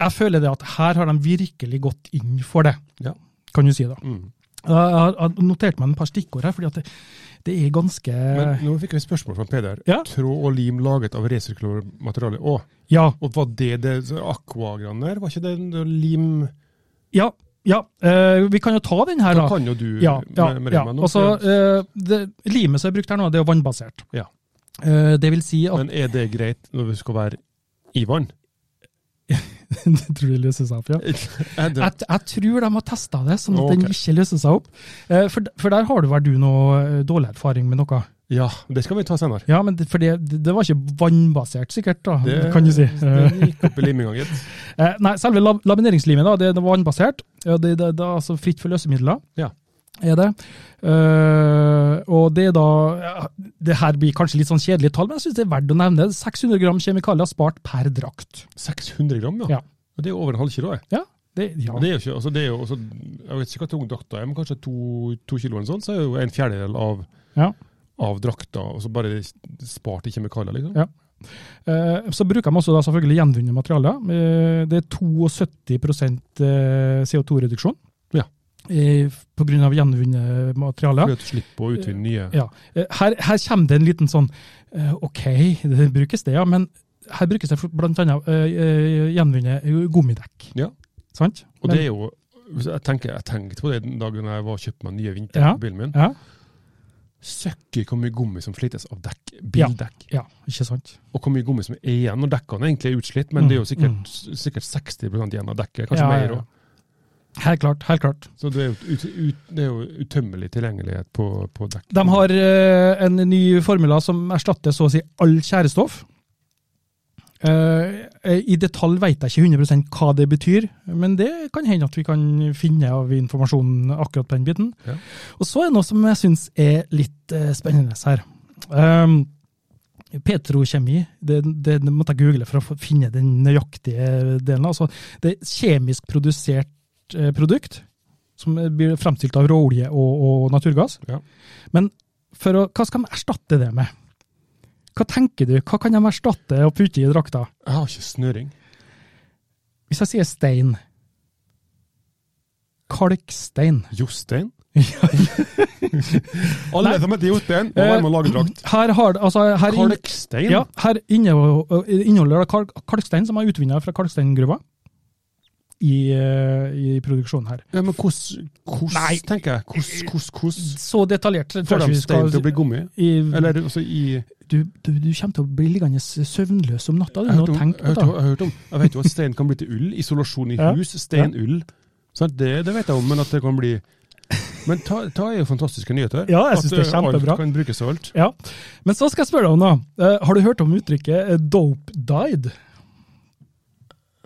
Speaker 1: jeg føler det at her har de virkelig gått inn for det,
Speaker 2: Ja.
Speaker 1: kan du si da.
Speaker 2: Mm.
Speaker 1: Jeg har jeg har notert meg en par stikkord her, fordi at det, det er ganske
Speaker 2: Men nå fikk jeg et spørsmål fra Peder.
Speaker 1: Eh. Ja.
Speaker 2: Tråd og lim laget av resirkulert materiale. Å,
Speaker 1: Ja,
Speaker 2: og var det det så aqua-greiene der? Var ikke det en lim
Speaker 1: ja, ja. eh, vi kan jo ta den her
Speaker 2: Da
Speaker 1: da.
Speaker 2: kan jo du
Speaker 1: Ja, ja,
Speaker 2: mer- mer
Speaker 1: ja.
Speaker 2: enn meg nå,
Speaker 1: Og så,
Speaker 2: for-
Speaker 1: eh, det, limet som er brukt her nå, det er jo vannbasert.
Speaker 2: Ja.
Speaker 1: Eh, det vil si at
Speaker 2: Men er det greit når vi skal være i vann?
Speaker 1: Det tror jeg løser seg opp, ja.
Speaker 2: Er det,
Speaker 1: Jeg, jeg tror de har testa det, sånn at
Speaker 2: Ok.
Speaker 1: den ikke løser seg opp. Eh, for, for der har du vel du noe eh, dårlig erfaring med noe?
Speaker 2: ja, det skal vi ta senere.
Speaker 1: Ja, men det, for det, det var ikke vannbasert, sikkert, da,
Speaker 2: Det-
Speaker 1: kan du si.
Speaker 2: Det gikk opp i liminga, gitt.
Speaker 1: Eh, nei, selve lab lamineringslimet da, det er vannbasert. Ja, det, det, det er altså fritt for løsemidler.
Speaker 2: Ja.
Speaker 1: Er det. Eh, og det er da ja, Det her blir kanskje litt sånn kjedelige tall, men jeg syns det er verdt å nevne. 600 gram kjemikalier spart per drakt.
Speaker 2: 600 gram,
Speaker 1: Ja.
Speaker 2: ja. Og Det er over en halv kilo. jeg.
Speaker 1: Ja, det, ja.
Speaker 2: Og Det er jo ikke, altså det er jo også, jeg vet ikke hva tung drakta er, men kanskje to, to kilo eller sånn, så er jo en fjerdedel av,
Speaker 1: Ja.
Speaker 2: av drakta, og så bare spart i kjemikalier, liksom.
Speaker 1: Ja. Eh, så bruker de også da selvfølgelig gjenvunne materialer. Eh, det er 72 eh, CO2-reduksjon.
Speaker 2: Ja.
Speaker 1: Eh, på grunn av gjenvunne materialer.
Speaker 2: For at du slipper å utvinne nye.
Speaker 1: Ja, eh, her, her kommer det en liten sånn eh, Ok, det brukes det, ja, men her brukes det for- blant annet eh, eh, gjenvunnet gummidekk.
Speaker 2: Ja.
Speaker 1: Sant?
Speaker 2: Og det er jo hvis jeg, tenker, jeg tenkte på det den dagen jeg var og kjøpte meg nye vinter
Speaker 1: Ja.
Speaker 2: på bilen min.
Speaker 1: Ja,
Speaker 2: Søkker hvor mye gummi som slites av dekk,
Speaker 1: Ja.
Speaker 2: bildekk.
Speaker 1: ja ikke sant?
Speaker 2: Og hvor mye gummi som er igjen når dekkene egentlig er utslitt. Men det er jo sikkert, sikkert 60 igjen av dekket, kanskje
Speaker 1: Mm. Ja, ja,
Speaker 2: mer
Speaker 1: ja.
Speaker 2: òg.
Speaker 1: Helt klart. helt klart.
Speaker 2: Så det er jo, ut, ut, det er jo utømmelig tilgjengelighet på, på dekk.
Speaker 1: De har eh, en ny formula som erstatter så å si all tjærestoff. Eh, I detalj vet jeg ikke 100 hva det betyr, men det kan hende at vi kan finne av informasjonen akkurat på den biten.
Speaker 2: Ja.
Speaker 1: Og så er det noe som jeg syns er litt eh, spennende her. Um, Petrokjemi, det, det, det måtte jeg google for å få- finne den nøyaktige delen. Altså, det er kjemisk produsert eh, produkt, som blir fremstilt av råolje og, og naturgass.
Speaker 2: Ja.
Speaker 1: Men for å, hva skal de erstatte det med? Hva tenker du? Hva kan de erstatte og putte i drakta?
Speaker 2: Jeg har ikke snøring.
Speaker 1: Hvis jeg sier stein Kalkstein.
Speaker 2: Jostein? Alle
Speaker 1: Nei.
Speaker 2: som heter Jostein, må være med og lage drakt.
Speaker 1: Her har det- altså, her inn-
Speaker 2: Kalkstein?
Speaker 1: Ja, her inneho- inneholder det kalk, kalkstein som er utvinnet fra kalksteingruva i, eh, i produksjonen her.
Speaker 2: Ja, men hvordan,
Speaker 1: Nei.
Speaker 2: hvordan tenker jeg? Hvordan, hvordan, hvordan
Speaker 1: Så detaljert tror jeg
Speaker 2: får
Speaker 1: ikke
Speaker 2: de
Speaker 1: vi skal
Speaker 2: stein til å bli gummi?
Speaker 1: i,
Speaker 2: Eller altså i
Speaker 1: du, du, du kommer til å bli liggende søvnløs om natta, du,
Speaker 2: Jeg
Speaker 1: nå
Speaker 2: hørte om-
Speaker 1: tenk på
Speaker 2: jeg hørte-
Speaker 1: det.
Speaker 2: jeg hørte om- jeg vet jo at stein kan bli til ull. Isolasjon i
Speaker 1: Ja.
Speaker 2: hus, stein, ull. Sant? det, det vet jeg om, men at det kan bli Men ta, ta er jo fantastiske nyheter.
Speaker 1: Ja, jeg
Speaker 2: At,
Speaker 1: synes det er
Speaker 2: eh,
Speaker 1: kjempebra.
Speaker 2: Alt kan brukes til alt.
Speaker 1: Ja. Men så skal jeg spørre deg om noe. Eh, har du hørt om uttrykket eh, 'dope died'?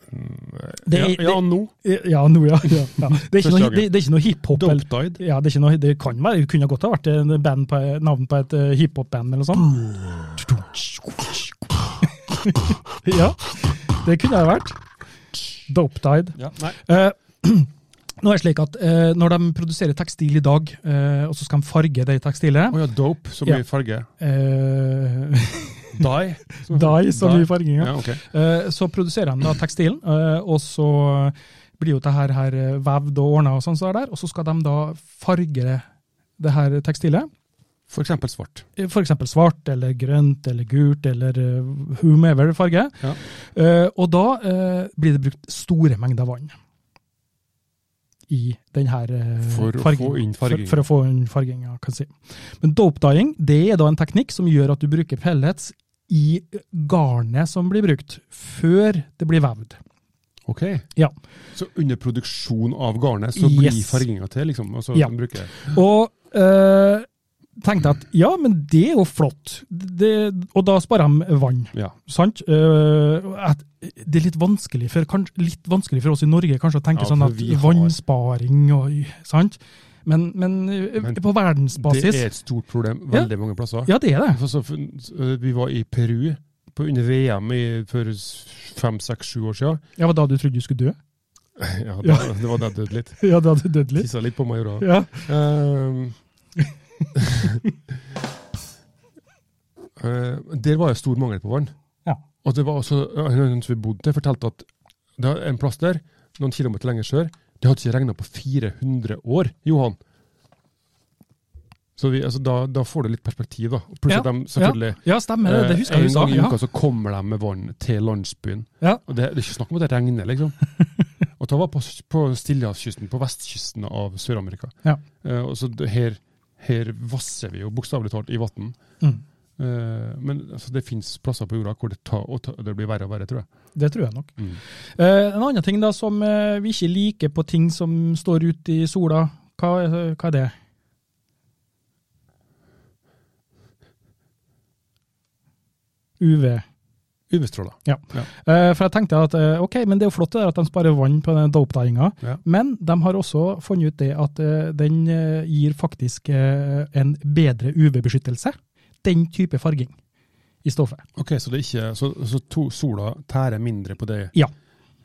Speaker 1: Det,
Speaker 2: Mm, ja,
Speaker 1: er-
Speaker 2: ja, nå.
Speaker 1: det, ja, nå, ja. ja, ja. Det, er ikke
Speaker 2: Første
Speaker 1: noe,
Speaker 2: dagen.
Speaker 1: det, det er ikke noe hiphop. eller-
Speaker 2: Dope died.
Speaker 1: Ja, det, er ikke noe, det kan være, det kunne godt ha vært en band på, navn på et eh, hiphop-band eller sånn. noe sånt. ja, det kunne det ha vært. Dope died.
Speaker 2: Ja, nei.
Speaker 1: Eh, nå er det slik at eh, når de produserer tekstil i dag, eh, og så skal de farge det tekstilet
Speaker 2: Å ja, dope, som
Speaker 1: Ja.
Speaker 2: i farge.
Speaker 1: eh,
Speaker 2: Die.
Speaker 1: Dye, som i farginga.
Speaker 2: Ja, ok.
Speaker 1: Eh, Så produserer de da tekstilen, eh, og så blir jo det her, her eh, vevd og ordna, og sånn som det er der, og så skal de da farge det her tekstilet.
Speaker 2: For eksempel svart.
Speaker 1: F.eks. svart eller grønt eller gult eller eh, whomever farge.
Speaker 2: Ja.
Speaker 1: Eh, Og da eh, blir det brukt store mengder vann i den her eh,
Speaker 2: For å
Speaker 1: fargingen.
Speaker 2: få inn
Speaker 1: For,
Speaker 2: fargingen.
Speaker 1: for å få inn farginga, kan jeg si. Men dope dyeing det er da en teknikk som gjør at du bruker pellets i garnet som blir brukt, før det blir vevd.
Speaker 2: Ok.
Speaker 1: Ja.
Speaker 2: Så under produksjon av garnet, så blir
Speaker 1: Yes.
Speaker 2: farginga til, liksom? Og så
Speaker 1: Ja.
Speaker 2: bruker jeg.
Speaker 1: Og eh, tenkte at ja, men det er jo flott. Det, og da sparer de vann.
Speaker 2: Ja.
Speaker 1: Sant? Eh, at det er litt vanskelig, for, kanskje, litt vanskelig for oss i Norge kanskje å tenke
Speaker 2: Ja,
Speaker 1: sånn
Speaker 2: for
Speaker 1: at
Speaker 2: vi har-
Speaker 1: vannsparing og sant? Men, men, eh,
Speaker 2: Men
Speaker 1: på
Speaker 2: Det
Speaker 1: verdensbasis
Speaker 2: er et stort problem
Speaker 1: Ja.
Speaker 2: veldig mange plasser.
Speaker 1: Ja, det er det.
Speaker 2: For Altså, så, for, vi var i Peru på, under VM i, for fem, seks, sju år siden.
Speaker 1: Ja, var da du trodde du skulle dø?
Speaker 2: Ja, det,
Speaker 1: Ja.
Speaker 2: det var det jeg døde litt.
Speaker 1: Ja, da du døde litt.
Speaker 2: Tissa litt på meg i rad.
Speaker 1: Ja.
Speaker 2: Ehm. Eh, der var det stor mangel på vann.
Speaker 1: Ja.
Speaker 2: Og det var også, eh, hun som vi bodde til, fortalte at det var en plass der, noen kilometer lenger sør, det hadde ikke regna på 400 år, Johan. Så vi, altså, da, da får du litt perspektiv, da. Pluss
Speaker 1: Ja,
Speaker 2: at de selvfølgelig
Speaker 1: Ja, stemmer det. Det
Speaker 2: Eh,
Speaker 1: husker jeg
Speaker 2: en
Speaker 1: du sa.
Speaker 2: gang i
Speaker 1: Ja.
Speaker 2: uka så kommer de med vann til landsbyen.
Speaker 1: Ja.
Speaker 2: Og det, det er ikke snakk om at det regner, liksom. og det var på, på Stillehavskysten, på vestkysten av Sør-Amerika.
Speaker 1: Ja.
Speaker 2: Eh, og så det, her, her vasser vi jo bokstavelig talt i vann.
Speaker 1: Mm.
Speaker 2: Eh, men altså, det fins plasser på jorda hvor det, tar, og tar, det blir verre og verre, tror jeg.
Speaker 1: Det tror jeg nok.
Speaker 2: Mm.
Speaker 1: Eh, en annen ting da som eh, vi ikke liker på ting som står ute i sola, hva, er- hva er det? UV.
Speaker 2: UV-stråler.
Speaker 1: Eh, for jeg tenkte at eh, ok, men det er jo flott det der at de sparer vann på den dope-dyinga,
Speaker 2: Ja.
Speaker 1: men de har også funnet ut det at eh, den eh, gir faktisk eh, en bedre UV-beskyttelse. Den type farging i stoffet.
Speaker 2: Ok, Så, det er ikke, så, så to, sola tærer mindre på det
Speaker 1: Ja.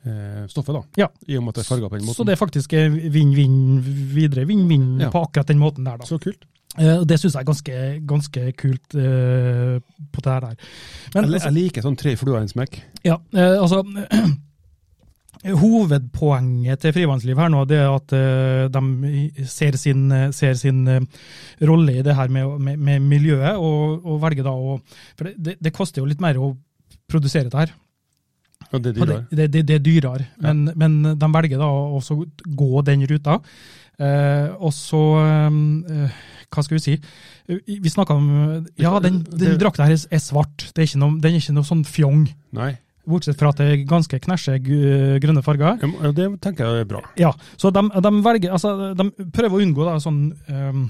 Speaker 2: eh, stoffet, da?
Speaker 1: Ja.
Speaker 2: I og med at det er farga på den måten?
Speaker 1: Så det er faktisk eh, vinn-vinn videre. Vinn-vinn
Speaker 2: Ja.
Speaker 1: på akkurat den måten der, da.
Speaker 2: Så kult.
Speaker 1: Eh, og Det syns jeg er ganske, ganske kult eh, på det her der. Men
Speaker 2: Jeg, li-
Speaker 1: altså,
Speaker 2: jeg liker sånn tre fluer i en smekk.
Speaker 1: ja, eh, altså Hovedpoenget til Frivannsliv her nå, det er at eh, de ser sin, ser sin eh, rolle i det her med, med, med miljøet, og, og velger da å For det, det, det koster jo litt mer å produsere det her.
Speaker 2: Ja, det er
Speaker 1: Og
Speaker 2: dyrere.
Speaker 1: Det, det, det, det er dyrere, men, men de velger da å også gå den ruta. Eh, og så eh, Hva skal vi si? Vi vi snakka om Ja, den, den
Speaker 2: Det-
Speaker 1: drakta her er, er svart. Det er ikke noe, den er ikke noe sånn fjong.
Speaker 2: Nei.
Speaker 1: Bortsett fra at det er ganske knæsje gu- grønne farger.
Speaker 2: Ja, men Det tenker jeg er bra.
Speaker 1: Ja, så de, de, velger, altså, de prøver å unngå da, sånn ehm,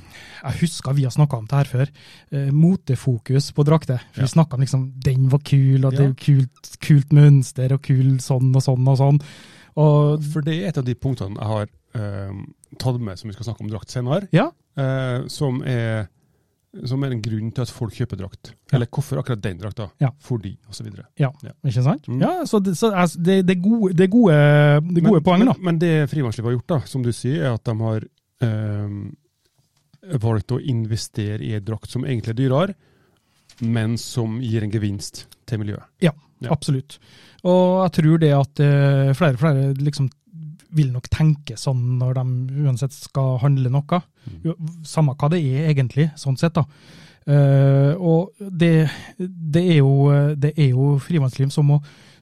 Speaker 1: Jeg husker vi har snakka om det her før. eh, motefokus på drakter. For
Speaker 2: Ja.
Speaker 1: Vi snakka om liksom, den var kul, og det
Speaker 2: Ja.
Speaker 1: er jo kult, kult mønster, og kul sånn og sånn og sånn. Og
Speaker 2: For det er et av de punktene jeg har eh, tatt med som vi skal snakke om drakt senere,
Speaker 1: ja,
Speaker 2: eh, som, er, som er en grunn til at folk kjøper drakt.
Speaker 1: Ja.
Speaker 2: Eller hvorfor akkurat den drakta.
Speaker 1: Ja.
Speaker 2: Fordi, osv.
Speaker 1: ja,
Speaker 2: Ja.
Speaker 1: ikke sant?
Speaker 2: Mm.
Speaker 1: Ja, Så, det, så altså, det, det, er gode, det er gode, det er gode poeng, da.
Speaker 2: Men, men det frivannslivet har gjort, da, som du sier, er at de har eh, valgt å investere i en drakt som egentlig er dyrere, men som gir en gevinst til miljøet.
Speaker 1: Ja,
Speaker 2: Ja.
Speaker 1: absolutt. Og jeg tror det at eh, flere og flere liksom vil nok tenke sånn når de uansett skal handle noe.
Speaker 2: Mm.
Speaker 1: Jo, Samme hva det er egentlig, sånn sett. da. Eh, og det, det er jo, det er jo frivannslim som, må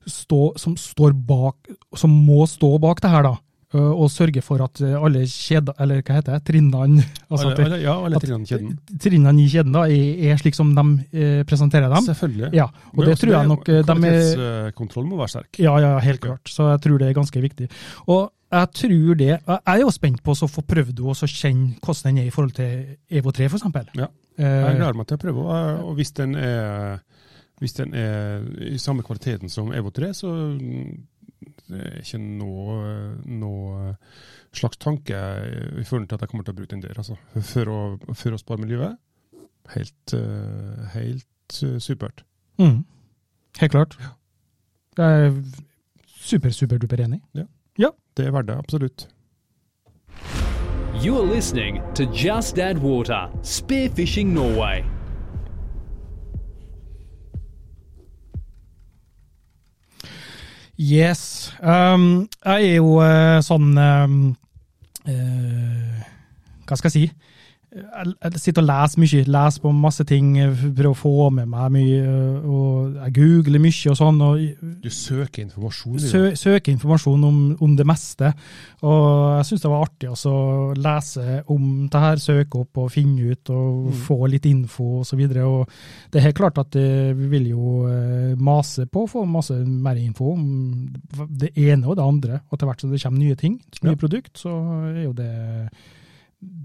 Speaker 1: stå, som, står bak, som må stå bak det her, da. Eh, og sørge for at alle kjeder, eller hva heter det, trinnene altså at
Speaker 2: alle, alle, ja, alle
Speaker 1: at-
Speaker 2: trinnene i kjeden.
Speaker 1: trinnene i kjeden da, er, er slik som de eh, presenterer dem.
Speaker 2: Selvfølgelig.
Speaker 1: Ja, og
Speaker 2: Men
Speaker 1: det
Speaker 2: også
Speaker 1: tror jeg nok eh, de er
Speaker 2: Kvalitetskontroll må være sterk.
Speaker 1: ja, ja, helt klart. Så jeg tror det er ganske viktig. Og jeg tror det, jeg er jo spent på å så få prøvd å så kjenne hvordan den er i forhold til EVO 3, f.eks.
Speaker 2: Ja. Jeg
Speaker 1: Eh,
Speaker 2: gleder meg til å prøve, og- og hvis den er, hvis den er i samme kvaliteten som Evo 3, så mm, det er ikke noe, noe slags tanke i forhold til at jeg kommer til å bruke den der, altså. For å, for å spare miljøet. Helt, eh, helt eh, supert.
Speaker 1: mm, helt klart. Jeg er super, super duper enig.
Speaker 2: Det er verdt det, absolutt.
Speaker 3: You're listening to Just Add Water, Spearfishing Norway.
Speaker 1: Yes. Um, jeg er jo eh, sånn um, eh, Hva skal jeg si? Jeg jeg sitter og leser mye, leser på masse ting, eh, prøver å få med meg mye. og Jeg googler mye og sånn. og
Speaker 2: Du søker informasjon. i det.
Speaker 1: sø, søke informasjon om, om det meste. Og jeg syns det var artig også å lese om det her, søke opp og finne ut og
Speaker 2: Mm.
Speaker 1: få litt info osv. Og det er helt klart at eh, vi vil jo eh, mase på å få masse mer info om det ene og det andre. Og etter hvert som det kommer nye ting, nye
Speaker 2: Ja.
Speaker 1: produkt, så er jo det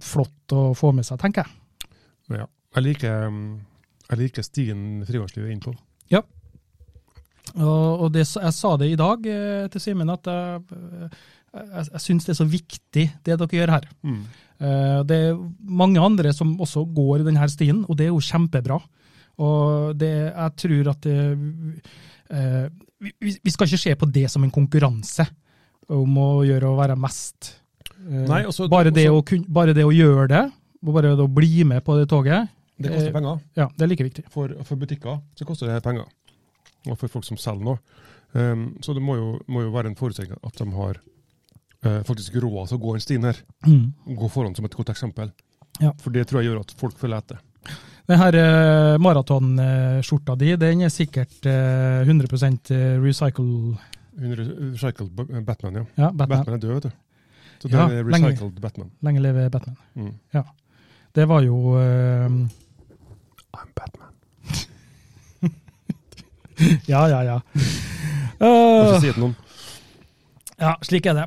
Speaker 1: flott å få med seg, tenker jeg.
Speaker 2: Ja. Jeg liker, mm, jeg liker stigen frivannslivet er inne på.
Speaker 1: Ja. Og, og det, jeg sa det i dag eh, til Simen, at jeg, eh, jeg, jeg syns det er så viktig, det dere gjør her.
Speaker 2: Mm.
Speaker 1: Eh, Det er mange andre som også går i denne stien, og det er jo kjempebra. Og det, jeg tror at det, eh, vi, vi- vi skal ikke se på det som en konkurranse om å gjøre å være mest. Eh,
Speaker 2: Nei, også-
Speaker 1: bare, det å, kun- bare det å gjøre det, og bare det å bli med på det toget,
Speaker 2: Det koster
Speaker 1: Eh,
Speaker 2: penger.
Speaker 1: ja, det er like viktig.
Speaker 2: for, for butikker så koster det her penger, og for folk som selger noe. Ehm, så det må jo, må jo være en forutsetning at de har eh, faktisk råd til å gå en stien her.
Speaker 1: Mm.
Speaker 2: Gå foran som et godt eksempel.
Speaker 1: Ja.
Speaker 2: For det tror jeg gjør at folk følger etter.
Speaker 1: Den her eh, maratonskjorta di, den er sikkert eh, 100 recycle...
Speaker 2: Hun re- Recycled B- Batman, ja.
Speaker 1: Ja, Batman.
Speaker 2: Batman er død, vet du. Så
Speaker 1: Ja,
Speaker 2: det er
Speaker 1: lenge.
Speaker 2: recycled Batman.
Speaker 1: Lenge leve Batman.
Speaker 2: Mm.
Speaker 1: Ja. Det var jo eh,
Speaker 2: I'm Batman.
Speaker 1: Ja, ja, ja.
Speaker 2: Må ikke
Speaker 1: Eh,
Speaker 2: si det til noen.
Speaker 1: ja, slik er det.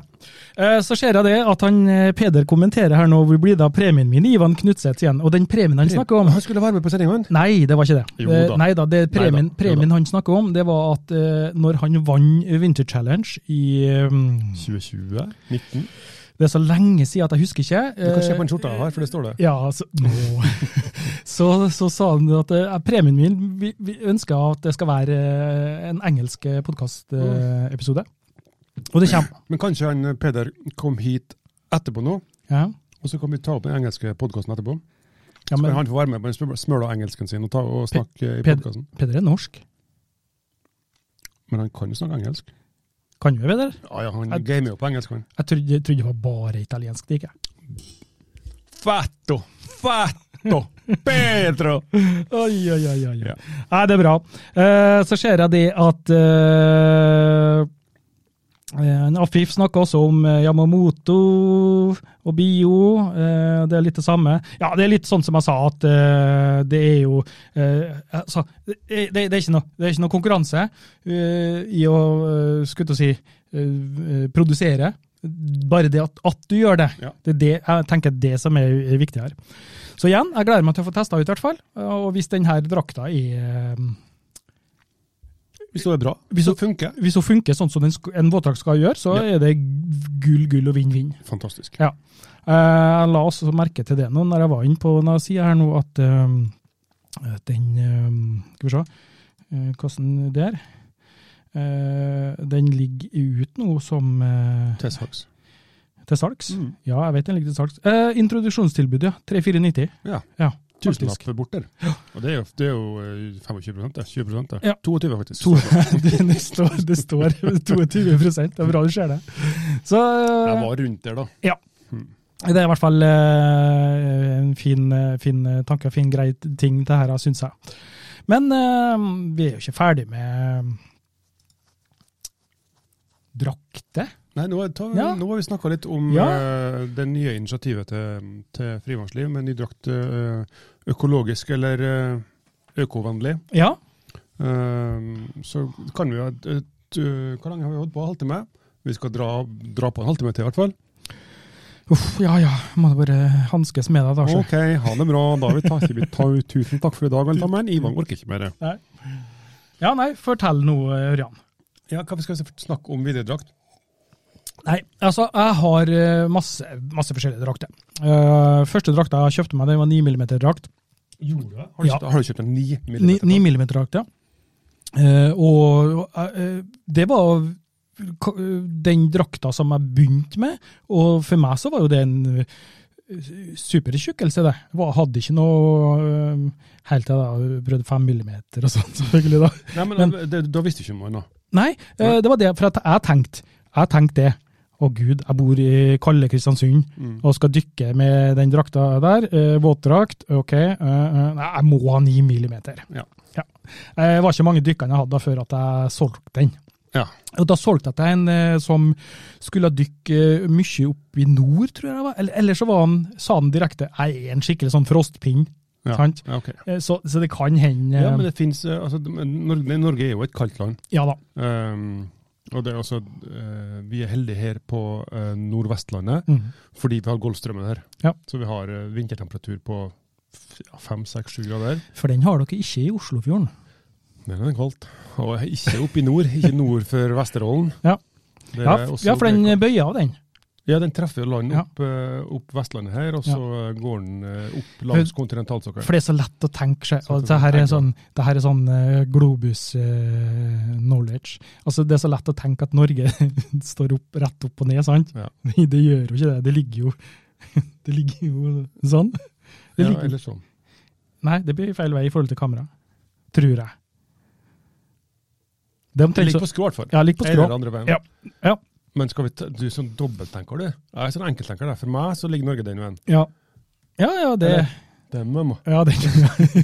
Speaker 1: Eh, så ser jeg det at han eh, Peder kommenterer her nå hvor blir det av premien min, Ivan Knutseth igjen. Og den premien han snakker om
Speaker 2: Han skulle være med på sendinga, han.
Speaker 1: Nei, det var ikke det.
Speaker 2: Jo da.
Speaker 1: Eh, Nei da, det
Speaker 2: Nei da,
Speaker 1: premien,
Speaker 2: jo da.
Speaker 1: premien han snakker om, det var at eh, når han vant Winter Challenge i eh,
Speaker 2: 2020? 19?
Speaker 1: Det er så lenge siden at jeg husker ikke.
Speaker 2: Du kan se
Speaker 1: Eh,
Speaker 2: på den skjorta her, for det står det.
Speaker 1: Ja, så, Åh. så, så sa han at eh, premien min vi, vi ønsker at det skal være eh, en engelsk podkastepisode. Og det kommer.
Speaker 2: Men kanskje han eh, Peder kom hit etterpå nå,
Speaker 1: Ja.
Speaker 2: og så kan vi ta opp den engelske podkasten etterpå.
Speaker 1: Ja,
Speaker 2: Men
Speaker 1: men
Speaker 2: han får være med på den smør- smøla engelsken sin og, ta, og snakke i
Speaker 1: Ped-
Speaker 2: podkasten.
Speaker 1: Peder er norsk.
Speaker 2: Men han kan jo snakke engelsk.
Speaker 1: Kan jo det?
Speaker 2: Ja, ja, han
Speaker 1: Jeg-
Speaker 2: gamer jo på engelsk, han.
Speaker 1: Jeg trodde, jeg trodde det var bare italiensk. det gikk jeg.
Speaker 2: Fatto! Fatto! Otto Petro!
Speaker 1: Oi, oi, oi, oi.
Speaker 2: Ja.
Speaker 1: Nei, det er bra. Eh, så ser jeg det at eh, eh, Afif snakker også om eh, Yamamoto og bio. eh, det er litt det samme. Ja, det er litt sånn som jeg sa, at eh, det er jo eh, altså, det, det, det, er ikke noe, det er ikke noe konkurranse eh, i å eh, skulle til å si, eh, produsere. Bare det at, at du gjør det.
Speaker 2: Ja.
Speaker 1: Det er det jeg tenker det som er, er viktig her. Så igjen, jeg gleder meg til å få testa ut, i hvert fall. Og hvis denne drakta er eh,
Speaker 2: Hvis det er bra,
Speaker 1: Hvis
Speaker 2: så
Speaker 1: det-
Speaker 2: funker
Speaker 1: Hvis hun funker sånn som en, sk- en våtdrakt skal gjøre, så
Speaker 2: Ja.
Speaker 1: er det gull, gull og vinn-vinn.
Speaker 2: Fantastisk.
Speaker 1: Ja. Eh, Jeg la også merke til det nå, når jeg var inne på når jeg sier her nå at eh, den eh, Skal vi se eh, hvordan det er. Eh, den ligger ut nå som eh,
Speaker 2: Testhags.
Speaker 1: til salgs.
Speaker 2: Mm.
Speaker 1: Ja, jeg vet den ligger til salgs. Eh, introduksjonstilbud, ja. 3490.
Speaker 2: Ja.
Speaker 1: Ja, faktisk.
Speaker 2: Tusenlapp bort der. Og det er jo, det er jo eh, 25 det. 20 det.
Speaker 1: Ja.
Speaker 2: 22 faktisk.
Speaker 1: To, det, det står, det står 22 det er bra du ser det. Så
Speaker 2: Jeg var rundt der, da.
Speaker 1: det er i hvert fall eh, en fin, eh, fin tanke, fin grei ting det her, syns jeg. Men eh, vi er jo ikke ferdig med drakter.
Speaker 2: Nei, nå, er- ta,
Speaker 1: Ja.
Speaker 2: nå har vi snakka litt om
Speaker 1: Ja.
Speaker 2: eh, det nye initiativet til, til frivannsliv med ny drakt. eh, økologisk eller eh, økovennlig.
Speaker 1: Ja,
Speaker 2: Eh, så kan vi jo et, et, eh, Hvor lenge har vi holdt på? Halvtime? Vi skal dra, dra på en halvtime til, i hvert fall.
Speaker 1: uff, ja ja. Må det bare hanskes med deg, da. så.
Speaker 2: Ok, ha det bra. Da vil ta, vi ta, tusen takk for i dag, alle sammen. Ivan orker ikke mer.
Speaker 1: Ja, nei, fortell nå, eh, Ørjan.
Speaker 2: Ja, hva skal vi snakke om videre drakt?
Speaker 1: Nei, altså, jeg har eh, masse, masse forskjellige drakter. Eh, første drakta jeg kjøpte meg, den var 9 mm-drakt.
Speaker 2: Jorda? Har du,
Speaker 1: Ja.
Speaker 2: kjøpt- har du kjøpt en 9
Speaker 1: Ni-
Speaker 2: millimeter?
Speaker 1: 9 mm-drakt, ja. Eh, og eh, det var ka- den drakta som jeg begynte med, og for meg så var jo det en eh, supertjukkelse, det. Jeg var- hadde ikke noe eh, helt til jeg da prøvde 5 mm og sånn, selvfølgelig, da.
Speaker 2: Nei, men, det, Da visste du ikke om noe annet.
Speaker 1: Nei, eh, det var det. For at jeg tenkte jeg tenkte det. Å gud, jeg bor i kalde Kristiansund og skal dykke med den drakta der. Eh, våtdrakt, ok. eh, eh, nei, jeg må ha ni millimeter.
Speaker 2: Ja.
Speaker 1: Eh, Det var ikke mange dykkene jeg hadde da før at jeg solgte den.
Speaker 2: Ja.
Speaker 1: Og da solgte jeg til en eh, som skulle dykke eh, mye opp i nord, tror jeg det var. Eller, eller så var han, sa han direkte jeg er en skikkelig sånn frostpinn.
Speaker 2: Ja.
Speaker 1: Sant?
Speaker 2: Ja, ok.
Speaker 1: Eh, Så, så det kan hende
Speaker 2: ja, men
Speaker 1: eh,
Speaker 2: det finnes, eh, altså, det- men Norge, Norge er jo et kaldt land.
Speaker 1: ja da.
Speaker 2: Um, og det er altså, eh, Vi er heldige her på eh, Nordvestlandet
Speaker 1: Mm.
Speaker 2: fordi vi har Golfstrømmen her.
Speaker 1: Ja.
Speaker 2: Så vi har eh, vintertemperatur på f- ja, fem, seks, sju grader.
Speaker 1: For den har dere ikke i Oslofjorden.
Speaker 2: Men det er kaldt. Og ikke oppe i nord. Ikke nord for Vesterålen.
Speaker 1: Ja.
Speaker 2: Det er
Speaker 1: Ja, f-
Speaker 2: også-
Speaker 1: ja, for den bøyer av den.
Speaker 2: ja, den treffer land
Speaker 1: Ja.
Speaker 2: opp, eh, opp Vestlandet her, og så eh, går den eh, opp langs kontinentalsokkelen.
Speaker 1: For det er så lett å tenke seg.
Speaker 2: Så
Speaker 1: Og
Speaker 2: det
Speaker 1: det her er
Speaker 2: tenker
Speaker 1: sånn, det her er sånn globus-knowledge. altså, det er så lett å tenke at Norge står opp, rett opp og ned, sant?
Speaker 2: Ja.
Speaker 1: Nei, Det gjør jo ikke det. Det ligger jo, det ligger jo sånn. Det
Speaker 2: Ja,
Speaker 1: ligger,
Speaker 2: eller sånn.
Speaker 1: Nei, det blir feil vei i forhold til kamera. Tror jeg. Det er
Speaker 2: Det
Speaker 1: omtrent
Speaker 2: ligger
Speaker 1: så-
Speaker 2: på skrå, i hvert fall.
Speaker 1: Ja, ligger på skrå.
Speaker 2: Eller andre veien.
Speaker 1: Ja. Ja.
Speaker 2: Men skal vi ta, du er sånn dobbelttenker, du. Jeg er sånn enkelttenker. Der. For meg så ligger Norge den veien.
Speaker 1: Ja, ja, ja det
Speaker 2: Eller- Det er mamma.
Speaker 1: Ja, det kan jeg.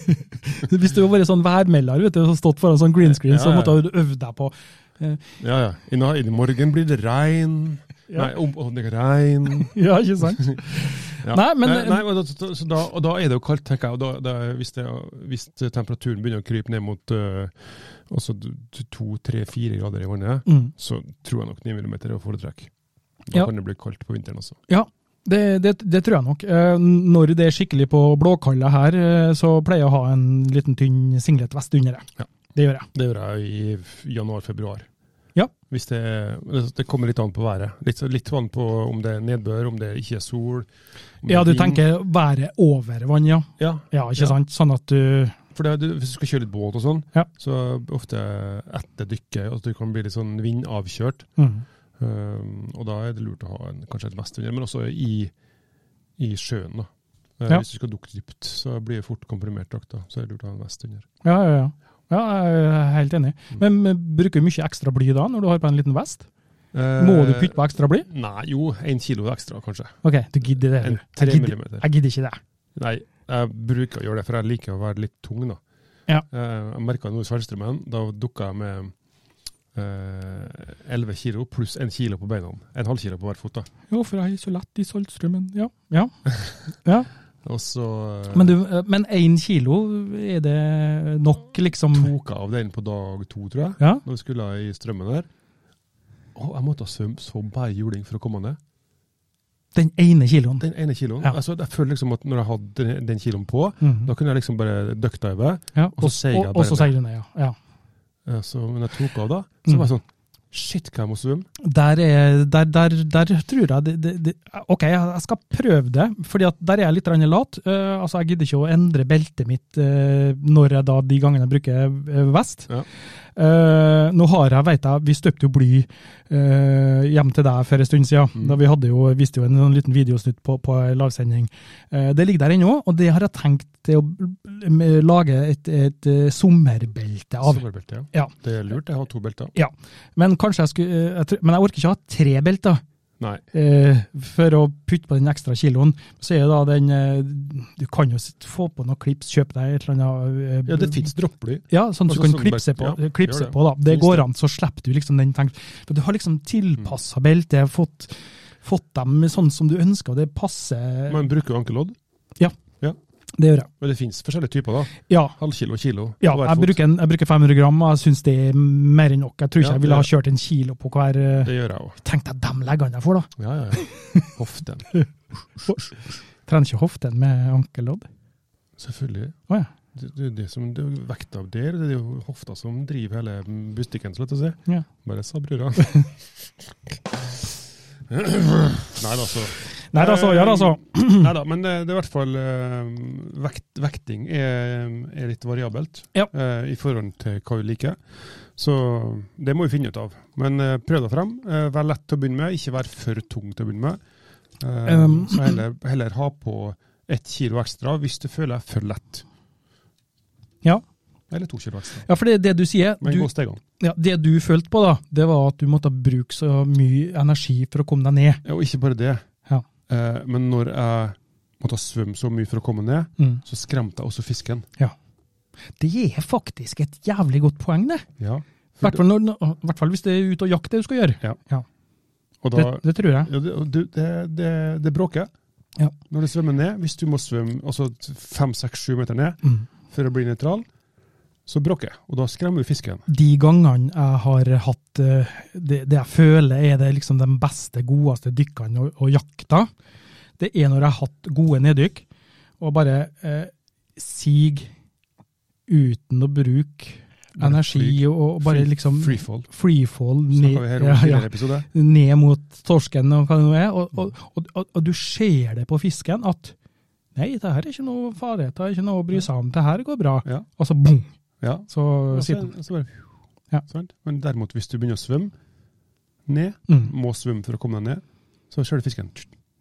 Speaker 1: Hvis du var bare sånn værmelder, vet du, og stått foran sånn green screen, så
Speaker 2: Ja, ja.
Speaker 1: måtte du øve deg på
Speaker 2: Ja, ja. I, na- I morgen blir det regn.
Speaker 1: Ja.
Speaker 2: Nei, om, om det er regn.
Speaker 1: Ja, ikke sant?
Speaker 2: Ja.
Speaker 1: Nei, men- eh,
Speaker 2: nei, nei, og, da, så- så da, og da er det jo kaldt, tenker jeg. Og da, da, hvis, det, hvis temperaturen begynner å krype ned mot øh, altså to, tre, fire grader i vannet,
Speaker 1: Mm.
Speaker 2: så tror jeg nok 9 mm er å foretrekke. Da
Speaker 1: Ja.
Speaker 2: kan det bli kaldt på vinteren også.
Speaker 1: Ja, det, det, det tror jeg nok. Eh, Når det er skikkelig på blåkalla her, eh, så pleier jeg å ha en liten tynn singlet vest under det.
Speaker 2: Ja.
Speaker 1: Det gjør jeg.
Speaker 2: Det gjør jeg i f- januar-februar.
Speaker 1: Ja.
Speaker 2: Hvis det, altså, det kommer litt an på været. Litt, litt an på om det er nedbør, om det ikke er sol. om det
Speaker 1: Ja,
Speaker 2: er
Speaker 1: du
Speaker 2: vind.
Speaker 1: tenker været over vann, ja.
Speaker 2: Ja,
Speaker 1: Ja, ikke
Speaker 2: Ja.
Speaker 1: sant? Sånn at du
Speaker 2: for det, er- du, hvis du skal kjøre litt båt og sånn,
Speaker 1: Ja.
Speaker 2: så ofte etter dykket at du kan bli litt sånn vindavkjørt.
Speaker 1: mm.
Speaker 2: Um, og da er det lurt å ha en, kanskje et vest under, men også i, i sjøen. da. Eh,
Speaker 1: Ja.
Speaker 2: Hvis du skal dukke dypt, så blir det fort komprimert drakt. da, Så er det lurt å ha en vest under.
Speaker 1: Ja, ja, ja. Ja, jeg er helt enig. Men eh, bruker du mye ekstra bly da, når du har på en liten vest?
Speaker 2: Eh,
Speaker 1: Må du putte på ekstra bly?
Speaker 2: Nei, jo, én kilo ekstra, kanskje.
Speaker 1: Ok, du gidder det.
Speaker 2: En
Speaker 1: du.
Speaker 2: tre
Speaker 1: Jeg gidder,
Speaker 2: millimeter.
Speaker 1: jeg gidder ikke det.
Speaker 2: Nei, Jeg bruker å gjøre det, for jeg liker å være litt tung, da.
Speaker 1: Ja.
Speaker 2: Eh, Jeg merka nå i Svelgstrømmen, da dukka jeg med eh, 11 kilo pluss 1 kilo på beina. En halv kilo på hver fot. da.
Speaker 1: Jo, for jeg er så lett i saltstrømmen. Ja.
Speaker 2: Og så eh,
Speaker 1: Men, du, eh, men én kilo, er det nok, liksom?
Speaker 2: tok eh, jeg av den på dag to, tror jeg,
Speaker 1: Ja?
Speaker 2: når vi skulle i strømmen der. Og jeg måtte ha svømt så bare juling for å komme ned.
Speaker 1: Den ene kiloen.
Speaker 2: Den ene kiloen.
Speaker 1: Ja.
Speaker 2: Altså, jeg føler liksom at når jeg hadde den- den kiloen på,
Speaker 1: Mhm.
Speaker 2: da kunne jeg liksom bare duckdive.
Speaker 1: Ja,
Speaker 2: og så sier jeg
Speaker 1: og-
Speaker 2: bare
Speaker 1: Og så
Speaker 2: det.
Speaker 1: sier du nei, ja. ja.
Speaker 2: Eh, så- Men jeg tok av da, så
Speaker 1: Mm.
Speaker 2: var jeg sånn Shit, hva jeg må svømme?
Speaker 1: Der, er, der, der, der tror jeg det, det, det, Ok, jeg jeg skal prøve det, fordi at der er jeg litt grann lat. Eh, altså, Jeg gidder ikke å endre beltet mitt eh, når jeg da de gangene jeg bruker eh, vest.
Speaker 2: Ja.
Speaker 1: Eh, nå har jeg, vet jeg, Vi støpte jo bly eh, hjem til deg for en stund siden.
Speaker 2: Mm.
Speaker 1: Da vi hadde jo, viste jo en, sånn liten videosnutt på, på en lavsending. Eh, det ligger der ennå, og det har jeg tenkt til å eh, lage et, et eh, sommerbelte av.
Speaker 2: Sommerbelte, ja.
Speaker 1: Ja.
Speaker 2: Det er lurt, jeg har to belter.
Speaker 1: Men kanskje jeg skulle, eh, jeg, tror- men jeg orker ikke å ha tre belter
Speaker 2: Nei.
Speaker 1: eh, for å putte på den ekstra kiloen, så er det da den eh, Du kan jo sitt- få på noen klips, kjøpe deg et eller annet eh,
Speaker 2: Ja, det fins dropply.
Speaker 1: Ja, sånn at du
Speaker 2: Altså
Speaker 1: kan
Speaker 2: sånn
Speaker 1: klipse på,
Speaker 2: belt- ja,
Speaker 1: klipse
Speaker 2: gjør det.
Speaker 1: på da. Det
Speaker 2: Finnes
Speaker 1: går
Speaker 2: det. Mm.
Speaker 1: an, så slipper du liksom den tenkt. For du har liksom tilpassa beltet, fått, fått dem sånn som du ønsker, og det passer.
Speaker 2: Man bruker jo ankelodd.
Speaker 1: det gjør jeg.
Speaker 2: Men det fins forskjellige typer, da.
Speaker 1: Ja.
Speaker 2: Halv kilo, kilo.
Speaker 1: Ja,
Speaker 2: på hver
Speaker 1: jeg
Speaker 2: fot.
Speaker 1: bruker, en, jeg bruker 500 gram, og jeg syns det er mer enn nok. Jeg tror ikke
Speaker 2: Ja,
Speaker 1: jeg ville
Speaker 2: det-
Speaker 1: ha kjørt en kilo på hver eh,
Speaker 2: Det gjør jeg òg.
Speaker 1: Tenk deg de leggene jeg får, da!
Speaker 2: Ja, ja, ja. Hoften.
Speaker 1: Trener ikke hoften med ankellodd.
Speaker 2: Selvfølgelig.
Speaker 1: Å, ja.
Speaker 2: Det, det, er det, som, det er jo vekta der, det er jo hofta som driver hele butikken, så lett å si.
Speaker 1: Ja.
Speaker 2: Bare sa brura. Nei da, så. Eh,
Speaker 1: Nei da, så. Ja da, så.
Speaker 2: Nei da, men det, det er i hvert fall eh, vekt, Vekting er, er litt variabelt
Speaker 1: Ja.
Speaker 2: eh, i forhold til hva du liker. Så det må vi finne ut av. Men eh, prøv deg frem. Eh, vær lett til å begynne med, ikke vær for tung til å begynne med. Eh,
Speaker 1: Um.
Speaker 2: så heller, heller ha på ett kilo ekstra hvis du føler deg for lett.
Speaker 1: Ja.
Speaker 2: Eller to kilo ekstra.
Speaker 1: Ja, for det, det du sier,
Speaker 2: Men
Speaker 1: du,
Speaker 2: gå stegene.
Speaker 1: ja, det du følte på da, det var at du måtte bruke så mye energi for å komme deg ned.
Speaker 2: Ja, Og ikke bare det.
Speaker 1: Ja.
Speaker 2: Eh, men når jeg måtte svømme så mye for å komme ned,
Speaker 1: Mm.
Speaker 2: så skremte jeg også fisken.
Speaker 1: Det er faktisk et jævlig godt poeng, det.
Speaker 2: Ja.
Speaker 1: I hvert fall når- når- i hvert fall hvis det er ute og jakte du skal gjøre.
Speaker 2: Og da,
Speaker 1: Det, det tror jeg.
Speaker 2: Ja, det, og du- det, det, det bråker
Speaker 1: Ja.
Speaker 2: når du svømmer ned. Hvis du må svømme altså fem, seks, sju meter ned
Speaker 1: Mm.
Speaker 2: for å bli nøytral, så bråker jeg. Og da skremmer du fisken.
Speaker 1: De gangene jeg har hatt eh, det, det jeg føler er det liksom de beste, godeste dykkene og, og jakta, det er når jeg har hatt gode neddykk, og bare eh, sig uten å bruke
Speaker 2: Bare
Speaker 1: energi
Speaker 2: flyg.
Speaker 1: og, og bare
Speaker 2: Free-
Speaker 1: liksom
Speaker 2: Freefall.
Speaker 1: freefall ned,
Speaker 2: Snakka vi her om
Speaker 1: ja,
Speaker 2: i
Speaker 1: ja,
Speaker 2: denne episode.
Speaker 1: ned mot torsken og hva det nå er. Og, og,
Speaker 2: Mm.
Speaker 1: og, og, og du ser det på fisken at nei, det her er ikke noe fare, det er ikke noe å bry seg om, det her går bra.
Speaker 2: Ja.
Speaker 1: Og så bong,
Speaker 2: Ja.
Speaker 1: så
Speaker 2: Og Så,
Speaker 1: sitter den.
Speaker 2: så bare,
Speaker 1: Ja.
Speaker 2: Sant? Men derimot, hvis du begynner å svømme ned,
Speaker 1: Mm.
Speaker 2: må svømme for å komme deg ned, så ser du fisken.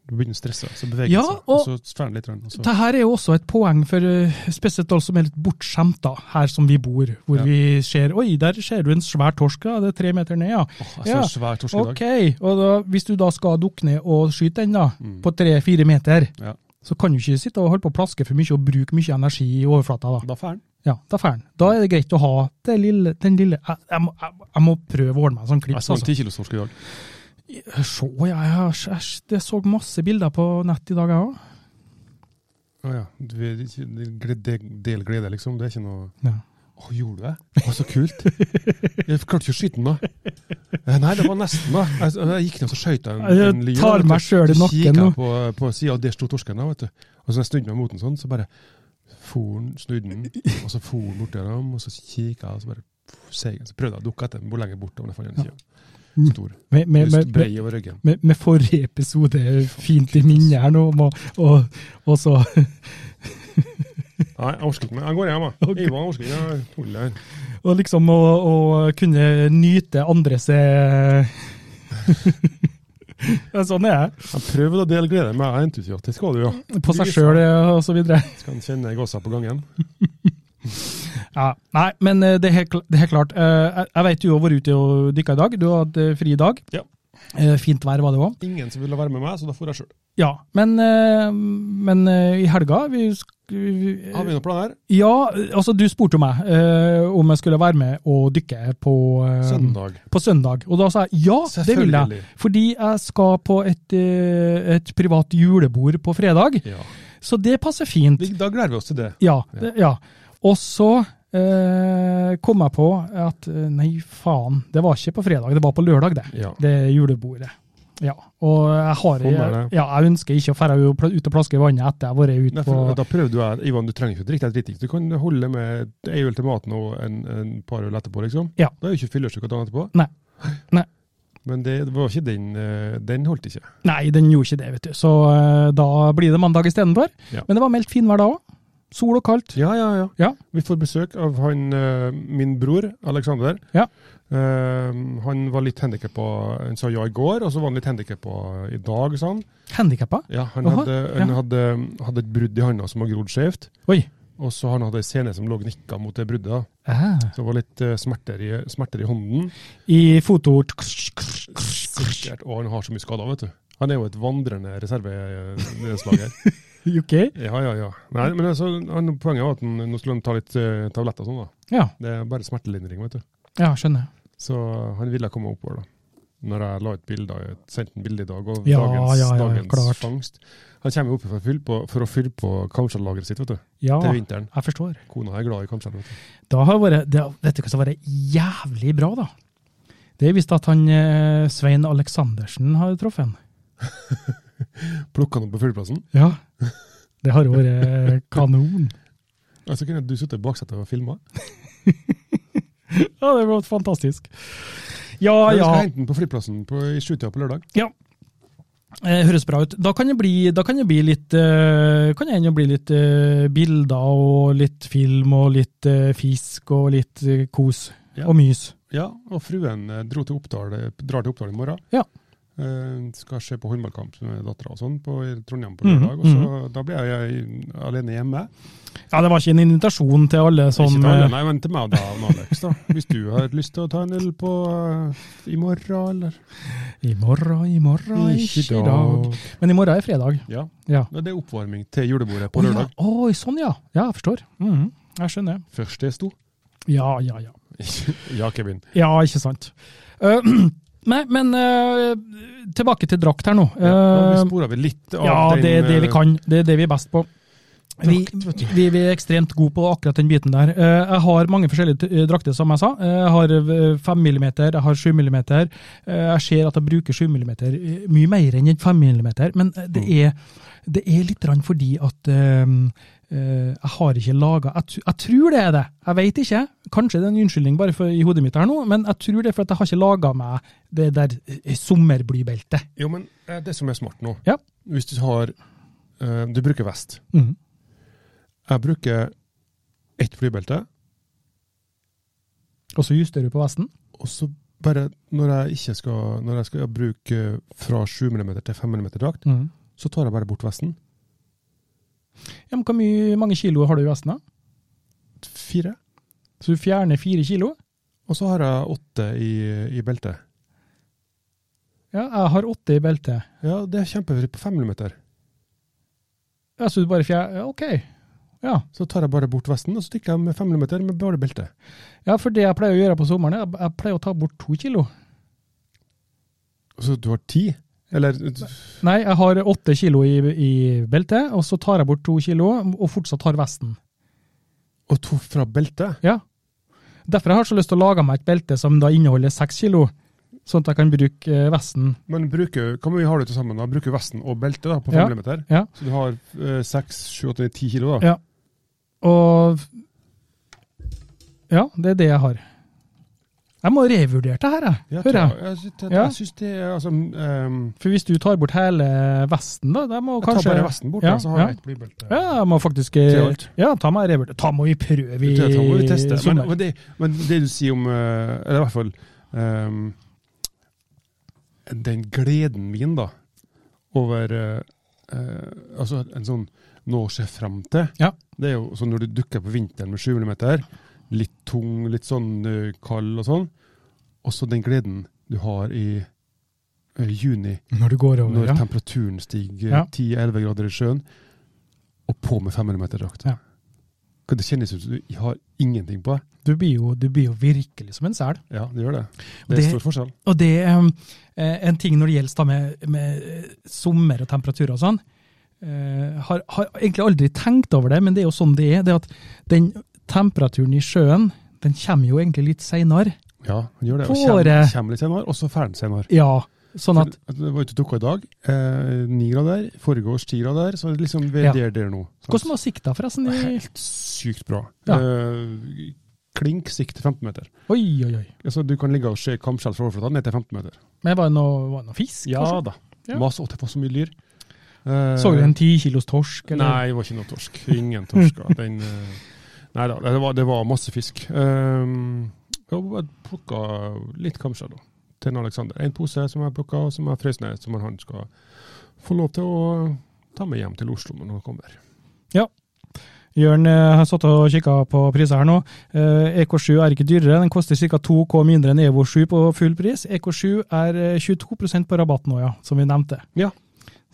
Speaker 2: Du begynner å stresse, så beveger
Speaker 1: Ja,
Speaker 2: den seg.
Speaker 1: og-
Speaker 2: Og, så fer den litt. grann, Og så,
Speaker 1: Det her er jo også et poeng for eh, spesielt alle som er litt bortskjemt, da, her som vi bor, hvor
Speaker 2: Ja.
Speaker 1: vi ser Oi, der ser du en svær torsk, ja, det er tre meter ned, ja.
Speaker 2: Åh, jeg
Speaker 1: Ja,
Speaker 2: så en svær torsk i dag.
Speaker 1: Ok, og da, hvis du da skal dukke ned og skyte den, da,
Speaker 2: Mm.
Speaker 1: på tre-fire meter,
Speaker 2: Ja.
Speaker 1: så kan du ikke sitte og holde på å plaske for mye og bruke mye energi i overflata, da.
Speaker 2: Da fer den.
Speaker 1: Ja, da fer den. Da er det greit å ha det lille, den lille jeg, jeg, må, jeg, jeg må prøve å ordne meg en sånn klips.
Speaker 2: Jeg så en
Speaker 1: Altså.
Speaker 2: tikilostorsk i dag.
Speaker 1: Se, ja, jeg, jeg, jeg så masse bilder på nett i dag, jeg òg.
Speaker 2: Å ja. Du er ikke- det- det- Del glede, liksom. Det er ikke noe
Speaker 1: Ja.
Speaker 2: Å, gjorde du det? Det var så kult. Jeg klarte ikke å skyte den, da. Eh, Nei, det var nesten, da. Jeg, jeg gikk ned og så skjøt jeg en,
Speaker 1: Jeg
Speaker 2: en lyr.
Speaker 1: tar
Speaker 2: vet du.
Speaker 1: meg selv i
Speaker 2: Så
Speaker 1: nakken
Speaker 2: gikk
Speaker 1: nå.
Speaker 2: jeg på, på sida, og der sto torsken, da, vet du. Og så når jeg snudde meg mot den sånn, så bare for den, snudde den, og så for den borti dem, og så kikka jeg, og så bare pff, seig. Så prøvde jeg å dukke etter den, hvor lenge bort den fant jeg den
Speaker 1: Ja.
Speaker 2: ikke. Stor.
Speaker 1: Med, med,
Speaker 2: Lyst
Speaker 1: med,
Speaker 2: brei over ryggen.
Speaker 1: med, med forrige episode fint i minnet her nå, om å- og, og så
Speaker 2: Nei, jeg orker ikke mer. Jeg går hjem, jeg. Ivan orker ikke jeg tuller her.
Speaker 1: og liksom å, å kunne nyte andres eh, Ja, Sånn er jeg.
Speaker 2: Jeg prøvde å dele glede med deg, entusiastisk var du, ja.
Speaker 1: På seg sjøl og så videre.
Speaker 2: Skal han kjenne gåsa på gangen?
Speaker 1: Ja, nei, men eh, det er helt, kl- det er helt klart. Eh, Jeg, jeg vet du har vært ute og dykka i dag. Du har hatt eh, fri dag.
Speaker 2: Ja.
Speaker 1: Eh, Fint vær var det òg.
Speaker 2: Ingen som ville være med meg, så da for jeg sjøl.
Speaker 1: Ja, men, eh, men eh, i helga vi, sk- vi,
Speaker 2: Har vi noen planer?
Speaker 1: Ja, altså du spurte meg eh, om jeg skulle være med og dykke på, eh,
Speaker 2: Søndag.
Speaker 1: på søndag. Og da sa jeg ja, det vil jeg.
Speaker 2: Selvfølgelig.
Speaker 1: Fordi jeg skal på et, eh, et privat julebord på fredag,
Speaker 2: Ja.
Speaker 1: så det passer fint.
Speaker 2: Vi- Da gleder vi oss til det.
Speaker 1: Ja. det- ja. Og så eh, kom jeg på at eh, nei, faen, det var ikke på fredag, det var på lørdag, det.
Speaker 2: Ja.
Speaker 1: Det julebordet. Ja, og jeg har
Speaker 2: Sånn er
Speaker 1: jeg,
Speaker 2: det.
Speaker 1: ja, jeg ønsker ikke å dra ut og plaske i vannet etter jeg har vært
Speaker 2: Nei,
Speaker 1: ute på
Speaker 2: for, da prøvde du her, Ivan, du trenger ikke å drikke deg dritings. Du kan holde med ei øl til maten og en, en par øl etterpå, liksom.
Speaker 1: Ja.
Speaker 2: Da er jo ikke fyllesyk dagen etterpå.
Speaker 1: Nei. Nei.
Speaker 2: Men det var ikke den eh, Den holdt ikke.
Speaker 1: Nei, den gjorde ikke det, vet du. Så eh, da blir det mandag istedenfor.
Speaker 2: Ja.
Speaker 1: Men det var meldt finvær da òg. Sol og kaldt.
Speaker 2: Ja, ja, ja.
Speaker 1: Ja.
Speaker 2: Vi får besøk av han, eh, min bror, Alexander.
Speaker 1: Ja.
Speaker 2: Eh, han var litt handikappa, han sa ja i går, og så var han litt handikappa i dag, sa han.
Speaker 1: Handikappa.
Speaker 2: Ja, han
Speaker 1: Jaha,
Speaker 2: hadde, han
Speaker 1: ja.
Speaker 2: hadde, hadde et brudd i handa som har grodd skjevt,
Speaker 1: Oi.
Speaker 2: og så har han hatt ei sene som lå og nikka mot det bruddet. da.
Speaker 1: Ah.
Speaker 2: Så det var litt eh, smerter, i, smerter i hånden.
Speaker 1: I foto...
Speaker 2: Sikkert, og han har så mye skader, vet du. Han er jo et vandrende reserveslager.
Speaker 1: Ok.
Speaker 2: ja, ja, ja. Nei, men altså, han, poenget var at han, nå skulle han ta litt eh, tabletter og sånn, da.
Speaker 1: Ja,
Speaker 2: Det er bare smertelindring, vet du.
Speaker 1: ja, skjønner.
Speaker 2: Så han ville komme oppover, da. Når jeg la ut bilder, jeg sendte en bilde i dag av
Speaker 1: Ja,
Speaker 2: dagens,
Speaker 1: ja, ja,
Speaker 2: dagens
Speaker 1: klart.
Speaker 2: fangst. Han kommer jo opp for å fylle på, for å fylle på kamskjellageret sitt, vet du.
Speaker 1: Ja,
Speaker 2: Til vinteren.
Speaker 1: jeg forstår.
Speaker 2: Kona er glad i kamskjell, vet du.
Speaker 1: Da har vært, det, dette kan være jævlig bra, da. Det er visst at han eh, Svein Aleksandersen har truffet han.
Speaker 2: Plukka han opp på fugleplassen.
Speaker 1: Ja. Det har jo vært eh, kanon.
Speaker 2: Og så kunne du sittet i baksetet og filma.
Speaker 1: Ja, det var fantastisk. Ja,
Speaker 2: Ah,
Speaker 1: ja.
Speaker 2: skal hente den på flyplassen på, i sjutida på lørdag.
Speaker 1: Eh, høres bra ut. Da kan det bli, da kan det bli litt eh, kan det ennå bli litt eh, bilder og litt film og litt eh, fisk og litt eh, kos
Speaker 2: Ja.
Speaker 1: og mys.
Speaker 2: Ja, og fruen eh, dro til Oppdal, eh, drar til Oppdal i morgen.
Speaker 1: Ja.
Speaker 2: Eh, skal se på håndballkamp med dattera og sånn på i Trondheim på
Speaker 1: Mhm,
Speaker 2: lørdag. Og så, Da ble jeg alene hjemme.
Speaker 1: Ja, det var ikke en invitasjon til alle som
Speaker 2: Ikke til alle,
Speaker 1: eh,
Speaker 2: nei, men til meg og deg, Anna Alex. da. Hvis du har lyst til å ta en øl på eh, i morgen, eller?
Speaker 1: I morgen, i morgen, ikke i dag. Men i morgen er fredag.
Speaker 2: Ja.
Speaker 1: Ja.
Speaker 2: Det er oppvarming til julebordet på
Speaker 1: Å, ja.
Speaker 2: lørdag.
Speaker 1: Oi, sånn ja. Ja, jeg forstår. Mhm. Jeg skjønner.
Speaker 2: Først det sto.
Speaker 1: Ja, ja, ja.
Speaker 2: ja, Kevin.
Speaker 1: Ja, ikke sant. Eh, nei, men eh, tilbake til drakt her nå.
Speaker 2: Ja,
Speaker 1: Eh,
Speaker 2: nå sporer vi litt av
Speaker 1: Ja,
Speaker 2: den
Speaker 1: det er det vi
Speaker 2: eh,
Speaker 1: kan. Det er det vi er best på. Vi, vi, vi er ekstremt gode på akkurat den biten der. Eh, Jeg har mange forskjellige t- eh, drakter, som jeg sa. Eh, Jeg har eh, 5 mm, jeg har 7 mm. Eh, Jeg ser at jeg bruker 7 mm eh, mye mer enn en 5 mm, men eh, det er, det er litt grann fordi at eh, eh, jeg har ikke laga jeg, tr- jeg tror det er det, jeg veit ikke. Kanskje det er en unnskyldning bare for, i hodet mitt her nå, men jeg tror det er for at jeg har ikke laga meg det der eh, sommerblybeltet.
Speaker 2: Jo, men eh, det som er smart nå
Speaker 1: Ja.
Speaker 2: Hvis du har eh, Du bruker vest.
Speaker 1: Mhm.
Speaker 2: Jeg bruker ett flybelte,
Speaker 1: Og så justerer du på vesten.
Speaker 2: og så bare når jeg ikke skal Når jeg skal bruke fra 7 mm til 5 mm drakt,
Speaker 1: Mhm.
Speaker 2: så tar jeg bare bort vesten.
Speaker 1: Ja, men hvor mye, mange kilo har du i vesten da?
Speaker 2: Fire.
Speaker 1: Så du fjerner fire kilo?
Speaker 2: Og så har jeg åtte i, i beltet.
Speaker 1: Ja, jeg har åtte i beltet.
Speaker 2: Ja, det er kjempefritt på 5 mm.
Speaker 1: Ja, så du bare fjerner, ja, ok. Ja.
Speaker 2: Så tar jeg bare bort vesten, og så stikker jeg med 5 mm med bare belte.
Speaker 1: ja, for det jeg pleier å gjøre på sommeren, jeg, jeg pleier å ta bort to kilo.
Speaker 2: Så du har ti? Eller
Speaker 1: Nei, jeg har åtte kilo i, i beltet, og så tar jeg bort to kilo, og fortsatt har vesten.
Speaker 2: Og to fra beltet?
Speaker 1: Ja. Derfor har jeg så lyst til å lage meg et belte som da inneholder seks kilo, sånn at jeg kan bruke eh, vesten.
Speaker 2: Men bruker, hva mye har du til sammen? da? Bruker vesten og beltet da, på
Speaker 1: Ja,
Speaker 2: 5 mm?
Speaker 1: ja.
Speaker 2: Så du har eh, 6, 7, 8, 9, 10 kilo da?
Speaker 1: Ja. Og ja, det er det jeg har. Jeg må revurdere det her, jeg.
Speaker 2: Jeg,
Speaker 1: Hører jeg?
Speaker 2: tror- jeg, syns det-
Speaker 1: Ja.
Speaker 2: jeg syns det er altså ehm,
Speaker 1: For hvis du tar bort hele vesten, da, da må
Speaker 2: Jeg
Speaker 1: kanskje
Speaker 2: tar bare vesten bort,
Speaker 1: Ja,
Speaker 2: da, så har
Speaker 1: ja.
Speaker 2: jeg ett blybelte.
Speaker 1: Ja, jeg må faktisk eh,
Speaker 2: Til alt.
Speaker 1: Ja, ta meg revert. Ta må vi prøve i
Speaker 2: Det må vi teste. Men,
Speaker 1: sommer.
Speaker 2: men, det, men det du sier om eh, Eller i hvert fall ehm, Den gleden min, da, over eh, eh, Altså en sånn nå å se fram til.
Speaker 1: Ja.
Speaker 2: Det er jo sånn når du dukker på vinteren med 7 mm, litt tung, litt sånn eh, kald og sånn. Og så den gleden du har i eh, juni,
Speaker 1: Når du går over,
Speaker 2: når
Speaker 1: ja.
Speaker 2: temperaturen stiger
Speaker 1: Ja.
Speaker 2: 10-11 grader i sjøen, og på med 5 mm-drakt.
Speaker 1: Ja.
Speaker 2: Det kjennes ut som du har ingenting på deg.
Speaker 1: Du blir, jo, du blir jo virkelig som en sel.
Speaker 2: Ja, det gjør det.
Speaker 1: Og
Speaker 2: Det er
Speaker 1: det-
Speaker 2: stor forskjell.
Speaker 1: Og det er en ting når det gjelder da med, med eh, sommer og temperaturer og sånn. eh, har, har egentlig aldri tenkt over det, men det er jo sånn det er. det at Den temperaturen i sjøen den kommer jo egentlig litt seinere.
Speaker 2: Ja, den gjør det. Og
Speaker 1: Håret.
Speaker 2: kommer, kommer litt senere, og så ferden senere.
Speaker 1: Ja, sånn at
Speaker 2: For Det var ute og dukka i dag. Eh, ni grader. Forrige års ti grader. Så er det liksom vi
Speaker 1: Ja.
Speaker 2: er der, der nå. sant?
Speaker 1: Hvordan var sikta, forresten? I,
Speaker 2: Helt sykt bra.
Speaker 1: Ja.
Speaker 2: Eh, klink sikt til 15 meter.
Speaker 1: oi, oi, oi.
Speaker 2: Altså, du kan ligge og se kamskjell fra overflata ned til 15 meter.
Speaker 1: Men var det noe, var det noe fisk?
Speaker 2: Ja
Speaker 1: kanskje?
Speaker 2: da.
Speaker 1: Ja.
Speaker 2: Masse, å, det var så mye lyr. Eh,
Speaker 1: Så du en ti kilos torsk? Eller?
Speaker 2: Nei, det var ikke noe torsk. Ingen torsker. Den, eh, nei da, det var, det var masse fisk. Um, jeg plukka litt kamskjell da, til en Alexander. En pose som jeg plukka, og som jeg frøs ned, som han skal få lov til å ta med hjem til Oslo når han kommer.
Speaker 1: Jørn eh, har satt og kikka på priser her nå. Eh, EK7 er ikke dyrere, den koster ca. 2K mindre enn EVO 7 på full pris. EK7 er eh, 22 på rabatt nå, ja, som vi nevnte.
Speaker 2: Ja.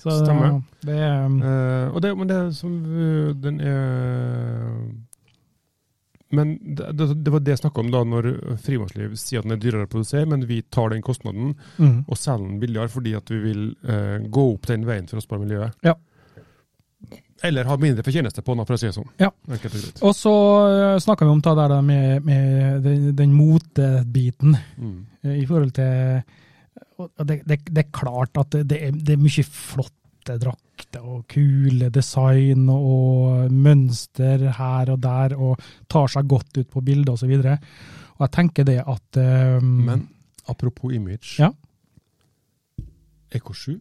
Speaker 1: Så, eh,
Speaker 2: Stemmer.
Speaker 1: Det, er, eh,
Speaker 2: Eh, og det, men det som eh, den er Men det, det, det var det jeg snakka om da når Frimannsliv sier at den er dyrere å produsere, men vi tar den kostnaden
Speaker 1: mm.
Speaker 2: og selge den billigere fordi at vi vil eh, gå opp den veien for å spare miljøet.
Speaker 1: Ja.
Speaker 2: Eller ha mindre fortjeneste på den, for å si det sånn.
Speaker 1: Ja.
Speaker 2: Enkelt og greit.
Speaker 1: Og så eh, snakka vi om det der da med, med den, den motebiten
Speaker 2: Mm.
Speaker 1: eh, i forhold til og og det, det, det er klart at det, det, er, det er mye flotte drakter og kule design og mønster her og der, og tar seg godt ut på bildet osv. Og, så og jeg tenker det at eh,
Speaker 2: Men apropos image.
Speaker 1: Ja.
Speaker 2: EK7.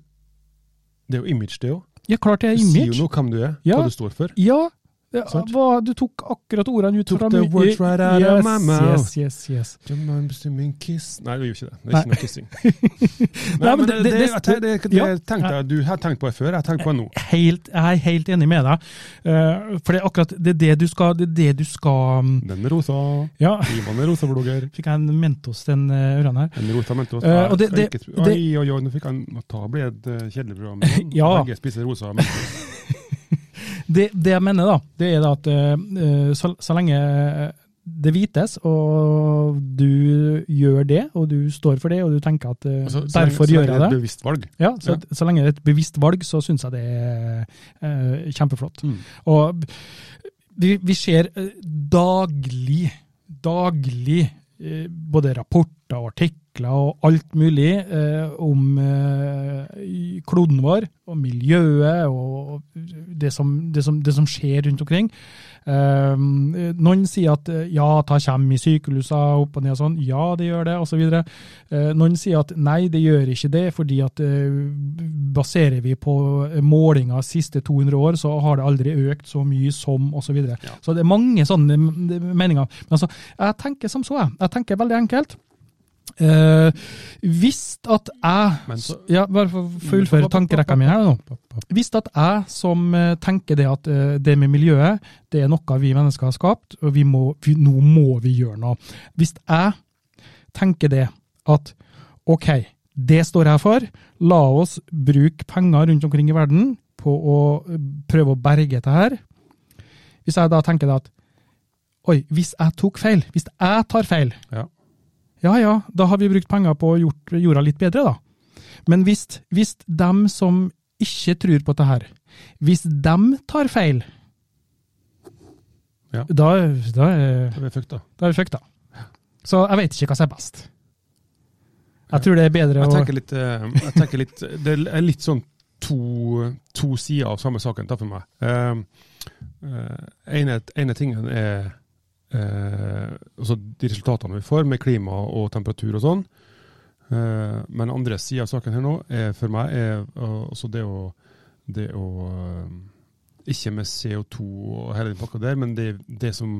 Speaker 2: Det er jo image, det òg.
Speaker 1: Ja, klart det
Speaker 2: Det
Speaker 1: er
Speaker 2: sier jo
Speaker 1: image.
Speaker 2: noe hvem du er,
Speaker 1: Ja.
Speaker 2: hva du står for.
Speaker 1: Ja, det,
Speaker 2: Sant?
Speaker 1: hva, du tok akkurat ordene ut
Speaker 2: Took
Speaker 1: fra
Speaker 2: the
Speaker 1: min-
Speaker 2: words right out of my mouth.
Speaker 1: Yes, yes, yes.
Speaker 2: Don't mind presuming kiss Nei, vi gjør ikke det. Det er
Speaker 1: Nei.
Speaker 2: ikke noe kissing.
Speaker 1: Nei, men det- det-
Speaker 2: jeg tenker- det, det,
Speaker 1: ja.
Speaker 2: tenkte jeg, Du har tenkt på det før, jeg har tenkt på det nå.
Speaker 1: Helt, jeg er helt enig med deg. Eh, for det er akkurat det, er det du skal Det er det du skal um,
Speaker 2: Den er rosa.
Speaker 1: Ja,
Speaker 2: Ivan er rosa-blogger.
Speaker 1: fikk jeg en Mentos den eh, ørene her?
Speaker 2: En rota mente oss.
Speaker 1: Eh, og det-
Speaker 2: Jeg skal
Speaker 1: det-
Speaker 2: ikke tro- Oi, oi, oi, nå fikk han nå ta ble et eh, kjedelig program. men
Speaker 1: Ja.
Speaker 2: Begge spiser rosa. Men,
Speaker 1: det, det jeg mener, da, det er da at eh, så, så lenge eh, det vites, og du gjør det, og du står for det, og du tenker at eh,
Speaker 2: Altså, så lenge-
Speaker 1: derfor
Speaker 2: så lenge
Speaker 1: gjør jeg
Speaker 2: er et
Speaker 1: det.
Speaker 2: Bevisst valg.
Speaker 1: Ja, så,
Speaker 2: Ja.
Speaker 1: så lenge det er et bevisst valg, så syns jeg det er eh, kjempeflott.
Speaker 2: Mm.
Speaker 1: Og vi, vi ser eh, daglig, daglig, eh, både rapporter og artikler og alt mulig eh, om eh, i kloden vår, og miljøet og det som, det som, det som skjer rundt omkring. Eh, noen sier at eh, ja, ta kommer i sykluser opp og ned og sånn. Ja, det gjør det, osv. Eh, noen sier at nei, det gjør ikke det, fordi at eh, baserer vi på eh, målinger siste 200 år, så har det aldri økt så mye som, osv. Så, videre.
Speaker 2: Ja.
Speaker 1: så det er mange sånne mm, meninger. Men altså, jeg tenker som så, jeg. Jeg tenker veldig enkelt. Eh, hvis at jeg
Speaker 2: Men så-
Speaker 1: Ja, bare for å fullføre tankerekka mi her nå. Hvis at jeg som eh, tenker det at eh, det med miljøet, det er noe vi mennesker har skapt, og vi må, vi, nå må vi gjøre noe. Hvis jeg tenker det at ok, det står jeg for, la oss bruke penger rundt omkring i verden på å eh, prøve å berge dette her. Hvis jeg da tenker det at oi, hvis jeg tok feil, hvis jeg tar feil,
Speaker 2: Ja.
Speaker 1: ja ja, da har vi brukt penger på å gjort jorda litt bedre, da. Men hvis, hvis dem som ikke tror på det her, hvis dem tar feil,
Speaker 2: Ja.
Speaker 1: da, da, er-
Speaker 2: Det er fucked, da.
Speaker 1: da er vi fucked, da. Så jeg vet ikke hva som er best. Jeg tror det er bedre
Speaker 2: Jeg
Speaker 1: å
Speaker 2: tenker litt, eh, jeg tenker litt Det er litt sånn to, to sider av samme saken, da, for meg. Um, ene, ene tingen er eh, altså de resultatene vi får med klima og temperatur og sånn. Eh, men andre sida av saken her nå er for meg er eh, altså det å, det å eh, Ikke med CO2 og hele den pakka der, men det, det som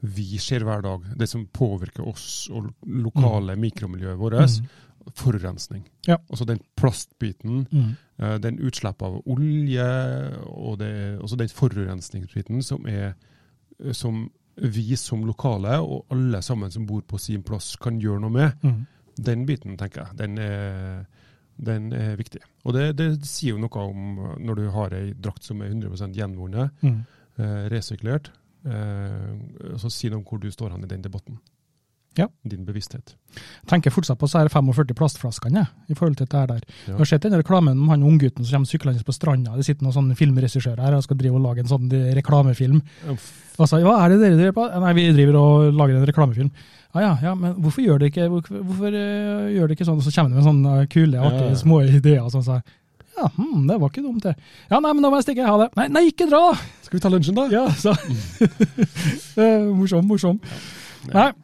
Speaker 2: vi ser hver dag. Det som påvirker oss og lo- lokale mikromiljøet vårt.
Speaker 1: Mm.
Speaker 2: Forurensning.
Speaker 1: Ja.
Speaker 2: Altså den plastbiten,
Speaker 1: Mm.
Speaker 2: eh, den utslipp av olje, og det, altså den forurensningsbiten som er eh, som vi som lokale, og alle sammen som bor på sin plass, kan gjøre noe med.
Speaker 1: Mm.
Speaker 2: Den biten, tenker jeg. Den er, den er viktig. Og det, det sier jo noe om eh, når du har ei drakt som er 100 gjenvunnet,
Speaker 1: Mm.
Speaker 2: eh, resirkulert, eh, så si noe om hvor du står hen i den debatten.
Speaker 1: Ja.
Speaker 2: Din bevissthet.
Speaker 1: Tenker fortsatt på så her 45 plastflaskene, jeg, i forhold til dette her der.
Speaker 2: Ja.
Speaker 1: Jeg har sett den reklamen om han unggutten som kommer syklende på stranda. Det sitter noen sånne filmregissører her og skal drive og lage en sånn eh, reklamefilm. Altså, hva er det dere driver på? Nei, vi driver og lager en reklamefilm. Ja, ja, ja, men hvorfor gjør dere ikke, hvorfor, hvorfor eh, gjør dere ikke sånn? Og så kommer det med sånne eh, kule, artige,
Speaker 2: Ja.
Speaker 1: små ideer. og Sånn, så. jeg, Ja, hm, det var ikke dumt, det. Ja, nei, men da må jeg stikke. Ha det. Nei, nei ikke dra!
Speaker 2: Skal vi ta lunsjen, da? Mm.
Speaker 1: Ja, så. Eh, morsom, morsom. Nei. eh,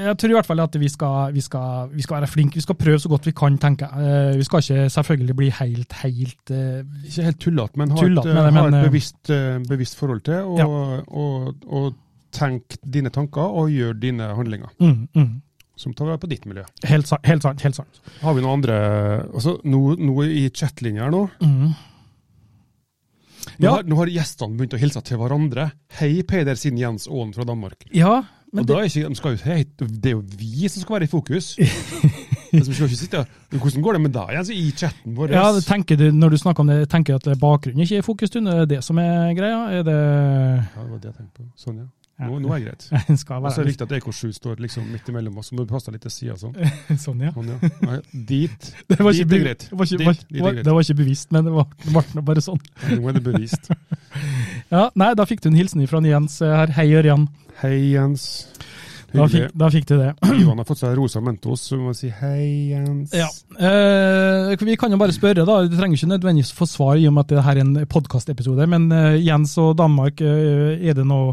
Speaker 1: Jeg tror i hvert fall at vi skal, vi, skal, vi skal være flinke. Vi skal prøve så godt vi kan, tenker jeg. Eh, Vi skal ikke selvfølgelig bli helt, helt eh,
Speaker 2: Ikke helt tullete, men ha et,
Speaker 1: Tullete, men-
Speaker 2: eh, ha
Speaker 1: men,
Speaker 2: et
Speaker 1: eh,
Speaker 2: bevisst, eh, bevisst forhold til, og,
Speaker 1: Ja.
Speaker 2: og, og tenk dine tanker, og gjør dine handlinger,
Speaker 1: mm, mm.
Speaker 2: som tar vare på ditt miljø.
Speaker 1: Helt sant. Helt sant, helt sant.
Speaker 2: Har vi noen andre altså, nå, nå i chatlinja her nå,
Speaker 1: Mm.
Speaker 2: nå,
Speaker 1: Ja.
Speaker 2: har, nå har gjestene begynt å hilse til hverandre. Hei, Peder, sin Jens Aaen fra Danmark.
Speaker 1: Ja, men
Speaker 2: og da er ikke, de skal jo, hei, det er jo vi som skal være i fokus. Altså, vi skal ikke sitte, og- hvordan går det med deg, Jens, i chatten vår?
Speaker 1: Ja, tenker du, Når du snakker om det, tenker du at bakgrunnen ikke er i fokus? du? Er det det som er greia? Er det
Speaker 2: Ja, det var det jeg tenkte på. Sånn, ja.
Speaker 1: Ja.
Speaker 2: Nå, nå er det greit.
Speaker 1: Den skal
Speaker 2: Og så er
Speaker 1: være
Speaker 2: det viktig at EK7 står liksom midt imellom oss, så må du passe deg litt til sida sånn.
Speaker 1: litt sånn, ja.
Speaker 2: Sånn, ja. Nei, dit.
Speaker 1: Det var
Speaker 2: dit
Speaker 1: ikke,
Speaker 2: er
Speaker 1: be-
Speaker 2: greit.
Speaker 1: det var ikke,
Speaker 2: Dit, dit er
Speaker 1: var-
Speaker 2: greit.
Speaker 1: det var ikke bevisst, men det var, det var nå bare sånn.
Speaker 2: Nå er det bevist.
Speaker 1: Ja, Nei, da fikk du en hilsen fra Jens eh, her. Hei, Ørjan.
Speaker 2: Hei, Jens.
Speaker 1: Da
Speaker 2: Hyggelig.
Speaker 1: fikk, da fikk du det.
Speaker 2: Ivan har fått seg rosa Mentos, så vi må si hei, Jens.
Speaker 1: Ja. Eh, vi kan jo bare spørre, da. Du trenger ikke nødvendigvis få svar i og med at det her er en podkastepisode. Men eh, Jens og Danmark, eh, er det noe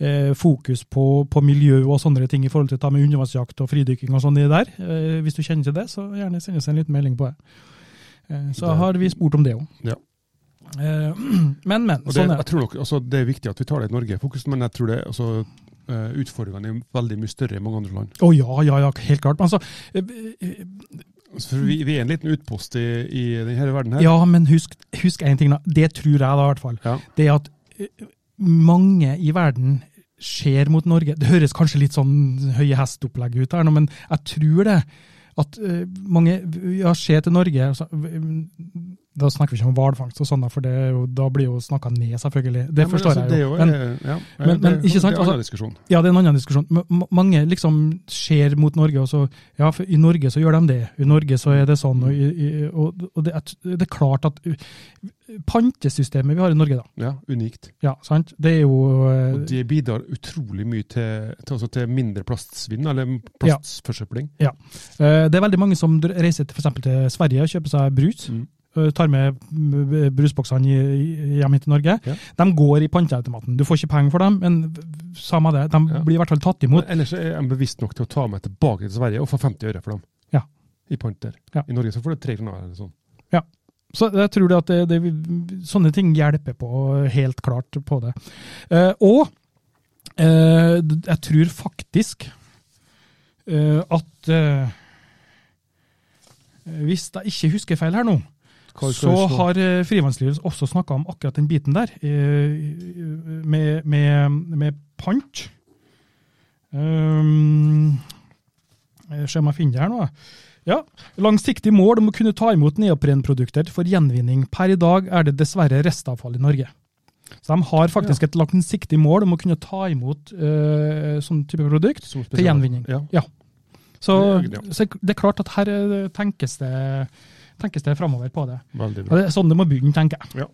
Speaker 1: eh, fokus på, på miljø og sånne ting i forhold til å ta med undervannsjakt og fridykking og sånn i det der? Eh, hvis du kjenner til det, så gjerne send oss en liten melding på det. Eh, så
Speaker 2: Det-
Speaker 1: har vi spurt om det òg.
Speaker 2: Ja.
Speaker 1: men, men.
Speaker 2: Og det,
Speaker 1: Sånn er
Speaker 2: jeg
Speaker 1: det.
Speaker 2: tror nok, altså, det er viktig at vi tar det i Norge i fokus, men jeg tror det altså, eh, utfordringene er veldig mye større i mange andre land.
Speaker 1: Å ja, ja, ja, helt klart. Men altså, eh,
Speaker 2: Altså, for vi, vi er en liten utpost i, i denne verden her.
Speaker 1: ja, men husk, husk en ting, da. Det tror jeg da, i hvert fall.
Speaker 2: Ja.
Speaker 1: det at eh, mange i verden ser mot Norge. Det høres kanskje litt sånn høye hestopplegg ut her nå, men jeg tror det. At eh, mange ja, ser til Norge altså, v- Da snakker vi ikke om hvalfangst og sånn, da, for det, er jo- da blir jo snakka ned, selvfølgelig. Det
Speaker 2: Ja, men
Speaker 1: forstår
Speaker 2: altså,
Speaker 1: jeg jo.
Speaker 2: Det er
Speaker 1: Men,
Speaker 2: jo, eh, ja, ja,
Speaker 1: men- men
Speaker 2: det,
Speaker 1: ikke sant,
Speaker 2: det er en
Speaker 1: altså-
Speaker 2: annen diskusjon.
Speaker 1: ja, det er en annen diskusjon. M- m- Mange liksom ser mot Norge, og så Ja, for i Norge så gjør de det. I Norge så er det sånn. Og, i- i- og, og det, er- det er klart at uh, Pantesystemet vi har i Norge, da.
Speaker 2: Ja, unikt.
Speaker 1: Ja, sant? Det er jo eh,
Speaker 2: Og det bidrar utrolig mye til, til, altså til mindre plastsvinn, eller
Speaker 1: Ja.
Speaker 2: plastforsøpling.
Speaker 1: Eh, Det er veldig mange som dr- reiser til, for eksempel til Sverige og kjøper seg brus.
Speaker 2: Mm.
Speaker 1: eh, Tar med mm, brusboksene i- i- hjem hit til Norge.
Speaker 2: Ja.
Speaker 1: De går i panteautomaten. Du får ikke penger for dem, men v- samme det. De
Speaker 2: Ja.
Speaker 1: blir i hvert fall tatt
Speaker 2: Men
Speaker 1: imot.
Speaker 2: ellers er jeg bevisst nok til å ta meg tilbake til Sverige og få 50 øre for dem.
Speaker 1: Ja.
Speaker 2: I pant der.
Speaker 1: Ja.
Speaker 2: I Norge så får du tre kroner eller sånn.
Speaker 1: Så jeg tror det at det, det, vil- sånne ting hjelper på, helt klart på det. Eh, Og eh, d- jeg tror faktisk eh, at eh, Hvis jeg ikke husker feil her nå,
Speaker 2: Hva skal
Speaker 1: Så
Speaker 2: vi slå?
Speaker 1: har eh, Frivannslivet også snakka om akkurat den biten der, eh, med, med, med pant. Um, jeg ser om jeg finner det her nå. Ja. Langsiktig mål om å kunne ta imot neoprenprodukter for gjenvinning. Per i dag er det dessverre restavfall i Norge. Så de har faktisk et langsiktig mål om å kunne ta imot eh, sånn type produkt.
Speaker 2: Som
Speaker 1: til gjenvinning.
Speaker 2: Ja.
Speaker 1: Så,
Speaker 2: Det er-
Speaker 1: så det er klart at her eh, tenkes det, tenkes det framover på det.
Speaker 2: Veldig
Speaker 1: Ja,
Speaker 2: bra.
Speaker 1: det er sånn det må begynne, tenker jeg.
Speaker 2: Ja.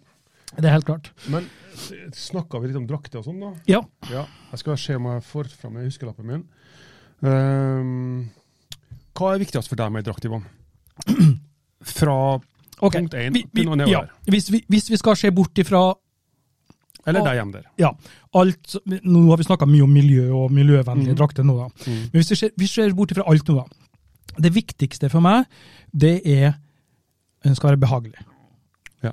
Speaker 1: Det er helt klart.
Speaker 2: Men s- snakka vi litt om drakter og sånn, da?
Speaker 1: Ja.
Speaker 2: Ja. Jeg skal se om jeg får fram huskelappen min. Ehm, hva er viktigst for deg med ei drakt, Ivan? Fra
Speaker 1: Ok.
Speaker 2: punkt én
Speaker 1: Vi, vi,
Speaker 2: til noe nedover.
Speaker 1: ja. hvis, vi, hvis vi skal se bort ifra
Speaker 2: Eller
Speaker 1: Og-
Speaker 2: deg hjemme der.
Speaker 1: ja, alt Nå har vi snakka mye om miljø og miljøvennlige
Speaker 2: Mhm.
Speaker 1: drakter nå, da.
Speaker 2: Mm.
Speaker 1: Men hvis vi ser, vi ser bort ifra alt nå, da. Det viktigste for meg, det er Den skal være behagelig.
Speaker 2: Ja.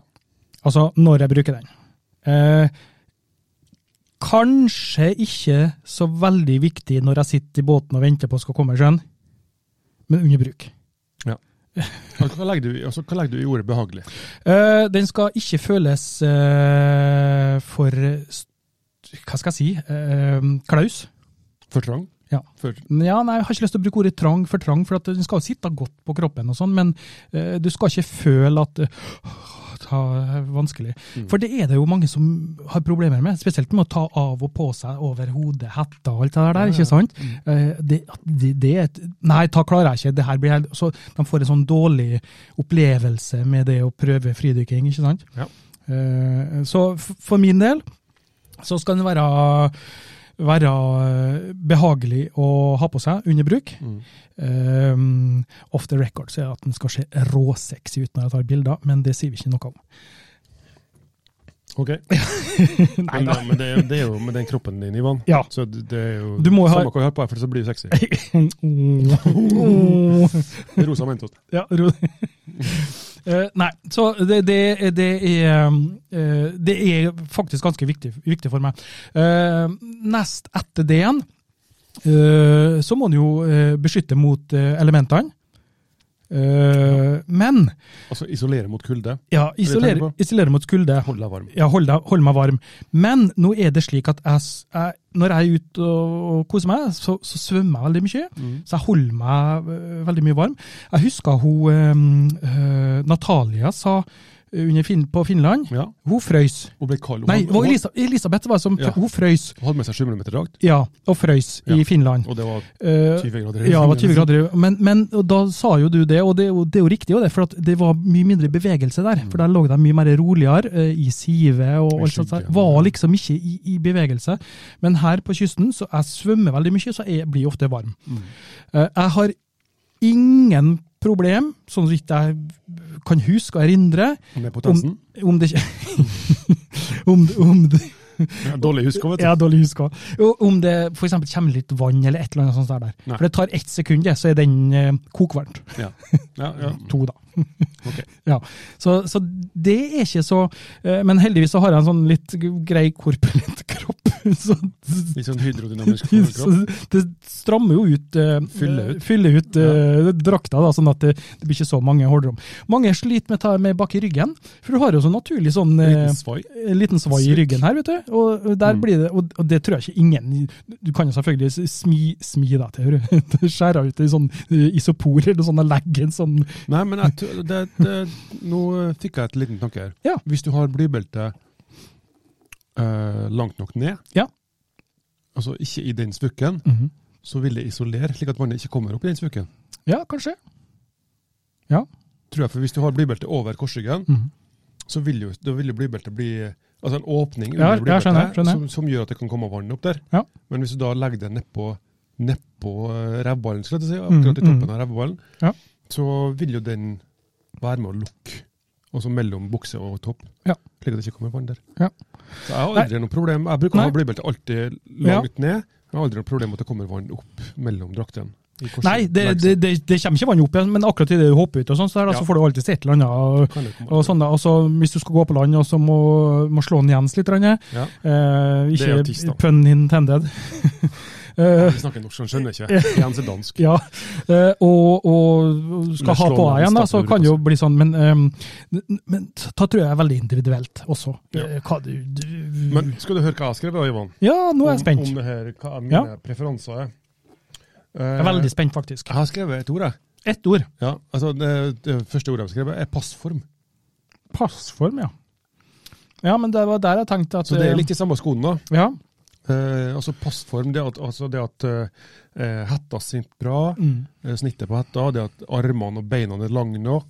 Speaker 1: Altså når jeg bruker den. Eh, kanskje ikke så veldig viktig når jeg sitter i båten og venter på å skal komme i sjøen, men under bruk.
Speaker 2: Altså, hva, legger du, i- altså, hva legger du i ordet behagelig?
Speaker 1: Eh, den skal ikke føles eh, for st- Hva skal jeg si? eh, klaus.
Speaker 2: For trang?
Speaker 1: Ja.
Speaker 2: Før,
Speaker 1: Ja, nei, Jeg har ikke lyst til å bruke ordet trang for trang, for at den skal jo sitte godt på kroppen, og sånn, men eh, du skal ikke føle at eh, det er vanskelig. For det er det jo mange som har problemer med, spesielt med å ta av og på seg over hodet, hetta og alt det der, ikke sant? Eh, Det, at det, det er et Nei, ta klarer jeg ikke, det her blir helt Så de får en sånn dårlig opplevelse med det å prøve fridykking, ikke sant?
Speaker 2: Ja.
Speaker 1: Eh, Så f- for min del så skal den være være eh, behagelig å ha på seg under bruk.
Speaker 2: Mm.
Speaker 1: Ehm, off the record så er det at den skal se råsexy ut når jeg tar bilder, men det sier vi ikke noe om.
Speaker 2: Ok. men, da, men det, er jo- det er jo med den kroppen din, Ivan.
Speaker 1: Ja.
Speaker 2: Så det det er jo
Speaker 1: Du må ha-
Speaker 2: Samme hva du har på, deg, for så blir du sexy.
Speaker 1: Åh.
Speaker 2: Det er rosa mentost.
Speaker 1: Ja, ro. Eh, nei, så det, det, det, er, eh, det er faktisk ganske viktig, viktig for meg. Eh, nest etter det igjen, eh, så må en jo eh, beskytte mot eh, elementene. Eh, men
Speaker 2: Altså isolere mot kulde.
Speaker 1: ja,
Speaker 2: tenker
Speaker 1: isolere,
Speaker 2: på?
Speaker 1: isolere mot skulde.
Speaker 2: Hold deg varm.
Speaker 1: Ja, hold, deg, hold meg varm. Men nå er det slik at jeg, s- jeg, når jeg er ute og, og koser meg, så, så svømmer jeg veldig mye.
Speaker 2: Mm.
Speaker 1: Så jeg holder meg øh, veldig mye varm. Jeg husker hun øhm, øh, Natalia sa øh, under fin, på Finland
Speaker 2: Ja.
Speaker 1: Hun frøys.
Speaker 2: Og ble kald.
Speaker 1: Nei, det var
Speaker 2: hun,
Speaker 1: Elisa, Elisabeth var som
Speaker 2: Ja.
Speaker 1: Hun frøys.
Speaker 2: hun hadde med seg 7 mm drakt,
Speaker 1: Ja, og frøys
Speaker 2: Ja.
Speaker 1: i Finland.
Speaker 2: og det var
Speaker 1: Eh,
Speaker 2: 20 grader.
Speaker 1: ja, det var 20 grader. Men, men og da sa jo du det, og det, er jo- det er jo riktig, jo det, for at det var mye mindre bevegelse
Speaker 2: Mm.
Speaker 1: der. For der lå de mye mer roligere, eh, i sivet og
Speaker 2: I
Speaker 1: alt sånt. der.
Speaker 2: skygge.
Speaker 1: Var liksom ikke i, i bevegelse. Men her på kysten, så jeg svømmer veldig mye, så jeg blir ofte varm.
Speaker 2: Mm.
Speaker 1: Eh, Jeg har ingen problem, sånn vidt jeg kan huske og erindre,
Speaker 2: Med potensen.
Speaker 1: om, om det ikke om, om det
Speaker 2: Ja, dårlig huska, vet du.
Speaker 1: jeg har dårlig husk også. Og Om det for eksempel kommer litt vann eller et eller annet sånt der.
Speaker 2: Nei.
Speaker 1: For det tar ett sekund, det, så er den eh, kokvarmt.
Speaker 2: Ja. Ja, ja.
Speaker 1: To, da.
Speaker 2: Ok.
Speaker 1: Ja. Så, så det er ikke så eh, Men heldigvis så har jeg en sånn litt grei korpulent kropp. Så,
Speaker 2: Litt sånn hydrodynamisk
Speaker 1: så
Speaker 2: kropp.
Speaker 1: det strammer jo ut eh,
Speaker 2: Fyller ut.
Speaker 1: fyller ut eh, drakta, da, sånn at det, det blir ikke så mange hullrom. Mange sliter med, ta- med bak i ryggen, for du har jo sånn naturlig sånn eh,
Speaker 2: Liten svai.
Speaker 1: en liten svai i
Speaker 2: Svikk.
Speaker 1: ryggen her, vet du. Og, og
Speaker 2: Mm.
Speaker 1: der blir det, og, og det tror jeg ikke ingen Du kan jo selvfølgelig s- smi, smi deg til, hører du. Skjære ut en sånn eh, isopor eller sånn og legge en sånn
Speaker 2: Nei, men jeg, tror- det, det, nå eh, fikk jeg et liten tanke her.
Speaker 1: Ja.
Speaker 2: Hvis du har blybelte eh, langt nok ned,
Speaker 1: Ja.
Speaker 2: altså ikke i den svukken,
Speaker 1: Mhm.
Speaker 2: så vil det isolere, slik at vannet ikke kommer opp i den svukken.
Speaker 1: Ja, kanskje. Ja.
Speaker 2: Tror jeg, for Hvis du har blybelte over korsryggen,
Speaker 1: Mhm.
Speaker 2: så vil jo, da vil jo blybeltet bli Altså en åpning
Speaker 1: Ja,
Speaker 2: under
Speaker 1: ja,
Speaker 2: blybeltet
Speaker 1: skjønner, skjønner.
Speaker 2: Som, som gjør at det kan komme vann opp der.
Speaker 1: Ja.
Speaker 2: Men hvis du da legger det nedpå nedpå eh, rævballen, skal jeg si, akkurat i
Speaker 1: Mhm,
Speaker 2: toppen av rævballen,
Speaker 1: Ja.
Speaker 2: så vil jo den være med å lukke. Altså mellom bukse og topp,
Speaker 1: Ja.
Speaker 2: slik at det ikke kommer vann der.
Speaker 1: Ja.
Speaker 2: Så jeg har aldri noe problem. Jeg bruker å ha
Speaker 1: Nei.
Speaker 2: blybelte alltid langt ned. Jeg har aldri noe problem med at det kommer vann opp mellom draktene. i korsryggen.
Speaker 1: Nei, det,
Speaker 2: Legg
Speaker 1: det,
Speaker 2: seg.
Speaker 1: det, det kommer ikke vann opp igjen, men akkurat idet du hopper ut, og sånn, så, der, da,
Speaker 2: Ja.
Speaker 1: så får du alltid et eller annet.
Speaker 2: Kan det komme
Speaker 1: Og, og sånn da, og så Hvis du skal gå på land, og så må, må slå den jens litt. grann,
Speaker 2: Ja.
Speaker 1: Eh,
Speaker 2: Det er jo tiss, da.
Speaker 1: ikke pun intended. eh,
Speaker 2: Vi snakker norsk, han skjønner ikke. Jens er dansk.
Speaker 1: Ja, eh, og, og skal
Speaker 2: Eller
Speaker 1: ha
Speaker 2: slå
Speaker 1: på
Speaker 2: ned
Speaker 1: deg igjen, da, så
Speaker 2: stappur,
Speaker 1: kan det jo bli sånn. Men, eh, men da tror jeg det er veldig individuelt også.
Speaker 2: Ja.
Speaker 1: Eh, Hva du, du
Speaker 2: Men skal du høre hva jeg har skrevet, da, Ivan?
Speaker 1: Ja, nå er jeg
Speaker 2: Om, eh,
Speaker 1: spent.
Speaker 2: om det her, hva mine
Speaker 1: Ja.
Speaker 2: preferanser er. Eh,
Speaker 1: Jeg er veldig spent, faktisk.
Speaker 2: Jeg har skrevet et ord, jeg.
Speaker 1: Ett ord.
Speaker 2: Ja, altså det, det første ordet jeg har skrevet, er passform.
Speaker 1: Passform, ja. Ja, men det var der jeg tenkte at
Speaker 2: Så det
Speaker 1: eh,
Speaker 2: er litt i samme skoen, da.
Speaker 1: Ja.
Speaker 2: Eh, altså passform, det at, altså det at eh, hetta sitter bra,
Speaker 1: Mm.
Speaker 2: eh, snittet på hetta, det at armene og beina er lange nok,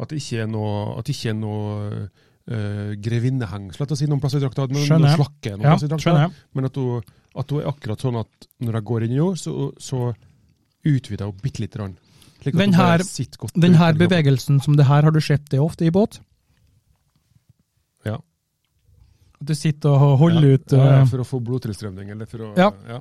Speaker 2: at det ikke er noe, at det ikke er noe eh, grevinnehengsel, at å si noen plasser i drakta, at noen,
Speaker 1: Skjønner.
Speaker 2: noen slakke noen
Speaker 1: ja
Speaker 2: plasser i drakta.
Speaker 1: skjønner jeg.
Speaker 2: Men at hun, at hun er akkurat sånn at når jeg går inn i henne, så, så utvider hun bitte lite grann. Slik at
Speaker 1: Den
Speaker 2: hun bare
Speaker 1: her-
Speaker 2: sitter godt
Speaker 1: Den
Speaker 2: ut
Speaker 1: her
Speaker 2: i kroppen.
Speaker 1: bevegelsen som det her, har du sett det ofte i båt?
Speaker 2: Ja.
Speaker 1: At du sitter og holder
Speaker 2: Ja,
Speaker 1: ut
Speaker 2: ja,
Speaker 1: eh,
Speaker 2: For å få blodtilstrømning, eller for å
Speaker 1: Ja.
Speaker 2: ja,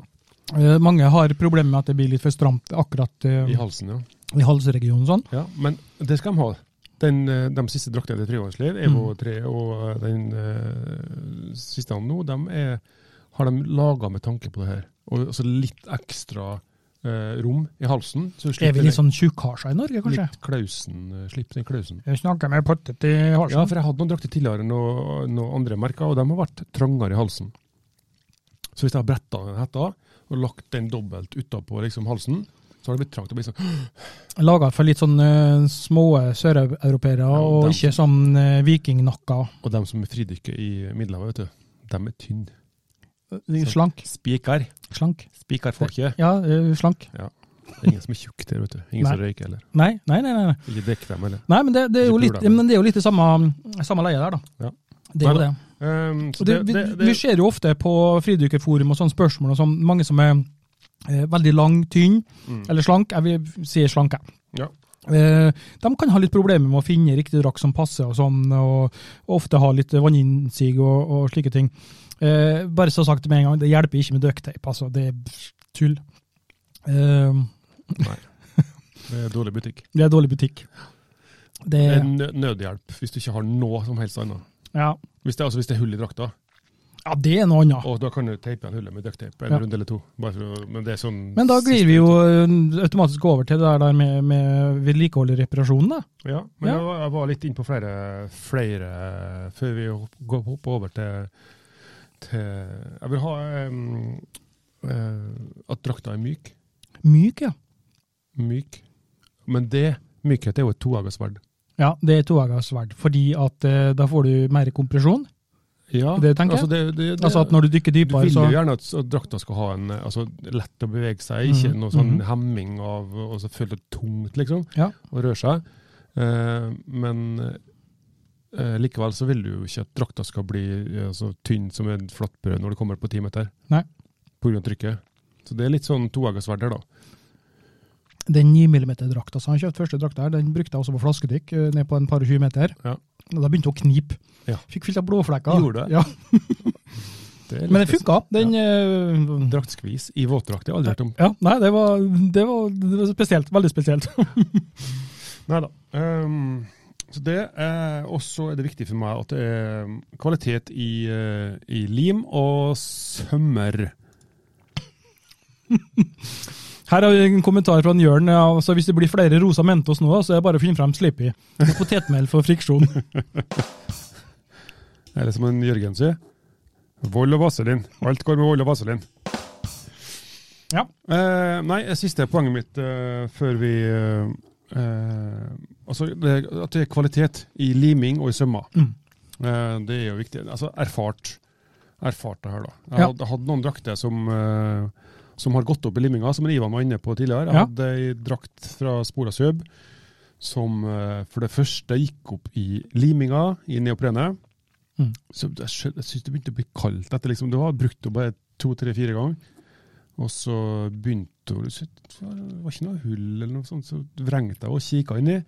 Speaker 1: eh, Mange har problemer med at det blir litt for stramt akkurat eh,
Speaker 2: I halsen, ja.
Speaker 1: i halsregionen. sånn.
Speaker 2: ja. Men det skal de ha. Den, eh, de siste draktene til Trivånsliv,
Speaker 1: Mm.
Speaker 2: EVO3 og eh, den eh, siste nå, de er, har de laga med tanke på det her. Og så litt ekstra eh, rom i halsen. Så du
Speaker 1: Er
Speaker 2: slipper
Speaker 1: vi litt sånn tjukkarser i Norge,
Speaker 2: den,
Speaker 1: kanskje?
Speaker 2: litt klausen, eh, slipp den klausen.
Speaker 1: Jeg snakker med pottet i halsen.
Speaker 2: Ja, for jeg hadde noen drakter tidligere enn noen noe andre merker, og de har vært trangere i halsen. Så Så hvis jeg har bretta den hetta og lagt den dobbelt utapå liksom, halsen, så har det blitt trangt. og blitt sånn,
Speaker 1: Laga for litt sånn eh, små søreuropeere,
Speaker 2: Ja,
Speaker 1: og
Speaker 2: dem.
Speaker 1: ikke sånn eh, vikingnakker.
Speaker 2: Og dem som fridykker i Middelhavet, vet du, dem er tynne.
Speaker 1: Eh, Slank.
Speaker 2: Spiker.
Speaker 1: Slank.
Speaker 2: Spikerfolket.
Speaker 1: Ja, eh, slank.
Speaker 2: Det er ingen som er tjukk der, vet du. Ingen som røyker heller.
Speaker 1: Nei, nei, nei. nei.
Speaker 2: Ikke drikk dem heller.
Speaker 1: nei men, det, det er jo
Speaker 2: Ikke
Speaker 1: litt,
Speaker 2: pula, men-
Speaker 1: men det er jo litt i samme, samme leie der, da.
Speaker 2: Ja.
Speaker 1: Det er jo
Speaker 2: Nei,
Speaker 1: det.
Speaker 2: Um, så
Speaker 1: Og det,
Speaker 2: det,
Speaker 1: vi,
Speaker 2: det,
Speaker 1: vi
Speaker 2: det,
Speaker 1: ser jo ofte på fridykkerforum og sånne spørsmål, og sånn, mange som er eh, veldig lang, tynn,
Speaker 2: Mm.
Speaker 1: eller slank, jeg vil si slank, jeg.
Speaker 2: Ja.
Speaker 1: Eh, de kan ha litt problemer med å finne riktig drakt som passer, og sånn, og, og ofte ha litt vanninnsig og, og slike ting. Eh, bare så sagt med en gang, det hjelper ikke med ducktape, altså, det er tull. Eh,
Speaker 2: det er dårlig butikk.
Speaker 1: det er dårlig butikk. Det,
Speaker 2: Det er nø- nødhjelp hvis du ikke har noe som helst annet.
Speaker 1: ja.
Speaker 2: Hvis det, altså, hvis det er hull i drakta,
Speaker 1: ja, det er noe annet.
Speaker 2: og da kan du teipe igjen hullet med ducktape
Speaker 1: Ah. Ja.
Speaker 2: en runde eller to. Bare for, å- men det er sånn
Speaker 1: Men da glir vi jo eh, automatisk over til det der- der med, med vedlikehold og reparasjon, da.
Speaker 2: Ja, men
Speaker 1: Ja.
Speaker 2: Jeg, var, jeg var litt inn på flere, flere eh, før vi hopp- går- hopper over til, til Jeg vil ha em, eh, at drakta er myk.
Speaker 1: Myk, ja.
Speaker 2: Myk. Men det, mykhet er jo et tohagersverd.
Speaker 1: Ja, det er toegget fordi at eh, da får du mer kompresjon.
Speaker 2: Ja,
Speaker 1: Det tenker jeg.
Speaker 2: altså, det, det, det,
Speaker 1: Altså at når du dykker
Speaker 2: du
Speaker 1: dypere,
Speaker 2: vil
Speaker 1: så
Speaker 2: jo gjerne at s- at drakta skal ha en eh, altså, lett å bevege seg, ikke
Speaker 1: Mhm,
Speaker 2: noe sånn
Speaker 1: mhm.
Speaker 2: hemming av og så føle det tungt, liksom,
Speaker 1: Ja.
Speaker 2: å røre seg. Eh, men eh, likevel så vil du jo ikke at drakta skal bli eh, altså, tynn som en flatbrød når du kommer på ti meter.
Speaker 1: Nei.
Speaker 2: På grunn av trykket. Så det er litt sånn toeggersverd her, da.
Speaker 1: Den 9 mm-drakta som jeg kjøpte første drakta her, den brukte jeg også på flaskedykk eh, ned på en par og 20 meter.
Speaker 2: Ja.
Speaker 1: Og da begynte hun å knipe.
Speaker 2: Ja.
Speaker 1: Fikk fylt av blåflekker.
Speaker 2: Gjorde det?
Speaker 1: Ja.
Speaker 2: Det er litt
Speaker 1: Men det
Speaker 2: spesielt.
Speaker 1: funka. Den eh,
Speaker 2: Draktskvis i våtdrakt, det har jeg aldri hørt om.
Speaker 1: ja, Nei, det var, det, var, det var spesielt. Veldig spesielt.
Speaker 2: Nei da. Ehm, så det er også er det viktig for meg at det er ehm, kvalitet i, eh, i lim og sømmer.
Speaker 1: Her har vi en kommentar fra en Jørn. Ja, altså, hvis det blir flere rosa Mentos nå, så er det bare å finne frem Slippy. Og Potetmel for friksjon.
Speaker 2: Eller som en Jørgen sier, vold og vaselin. Alt går med vold og vaselin.
Speaker 1: Ja.
Speaker 2: Eh, nei, siste poenget mitt eh, før vi eh, eh, Altså det, at det er kvalitet i liming og i sømmer.
Speaker 1: Mm.
Speaker 2: Eh, det er jo viktig. Altså erfart, erfart det her, da. Jeg
Speaker 1: Ja.
Speaker 2: hadde, hadde noen drakter som, eh, som har gått opp i liminga, som Ivan var inne på tidligere. Jeg
Speaker 1: Ja.
Speaker 2: hadde ei drakt fra Spora Søb som eh, for det første gikk opp i liminga i neoprenet.
Speaker 1: Mm.
Speaker 2: Så jeg, skjøn- jeg syns det begynte å bli kaldt etter liksom, det var brukt det bare to-tre-fire ganger. Og så begynte hun så Det var ikke noe hull eller noe sånt, så vrengte jeg og kikka inni.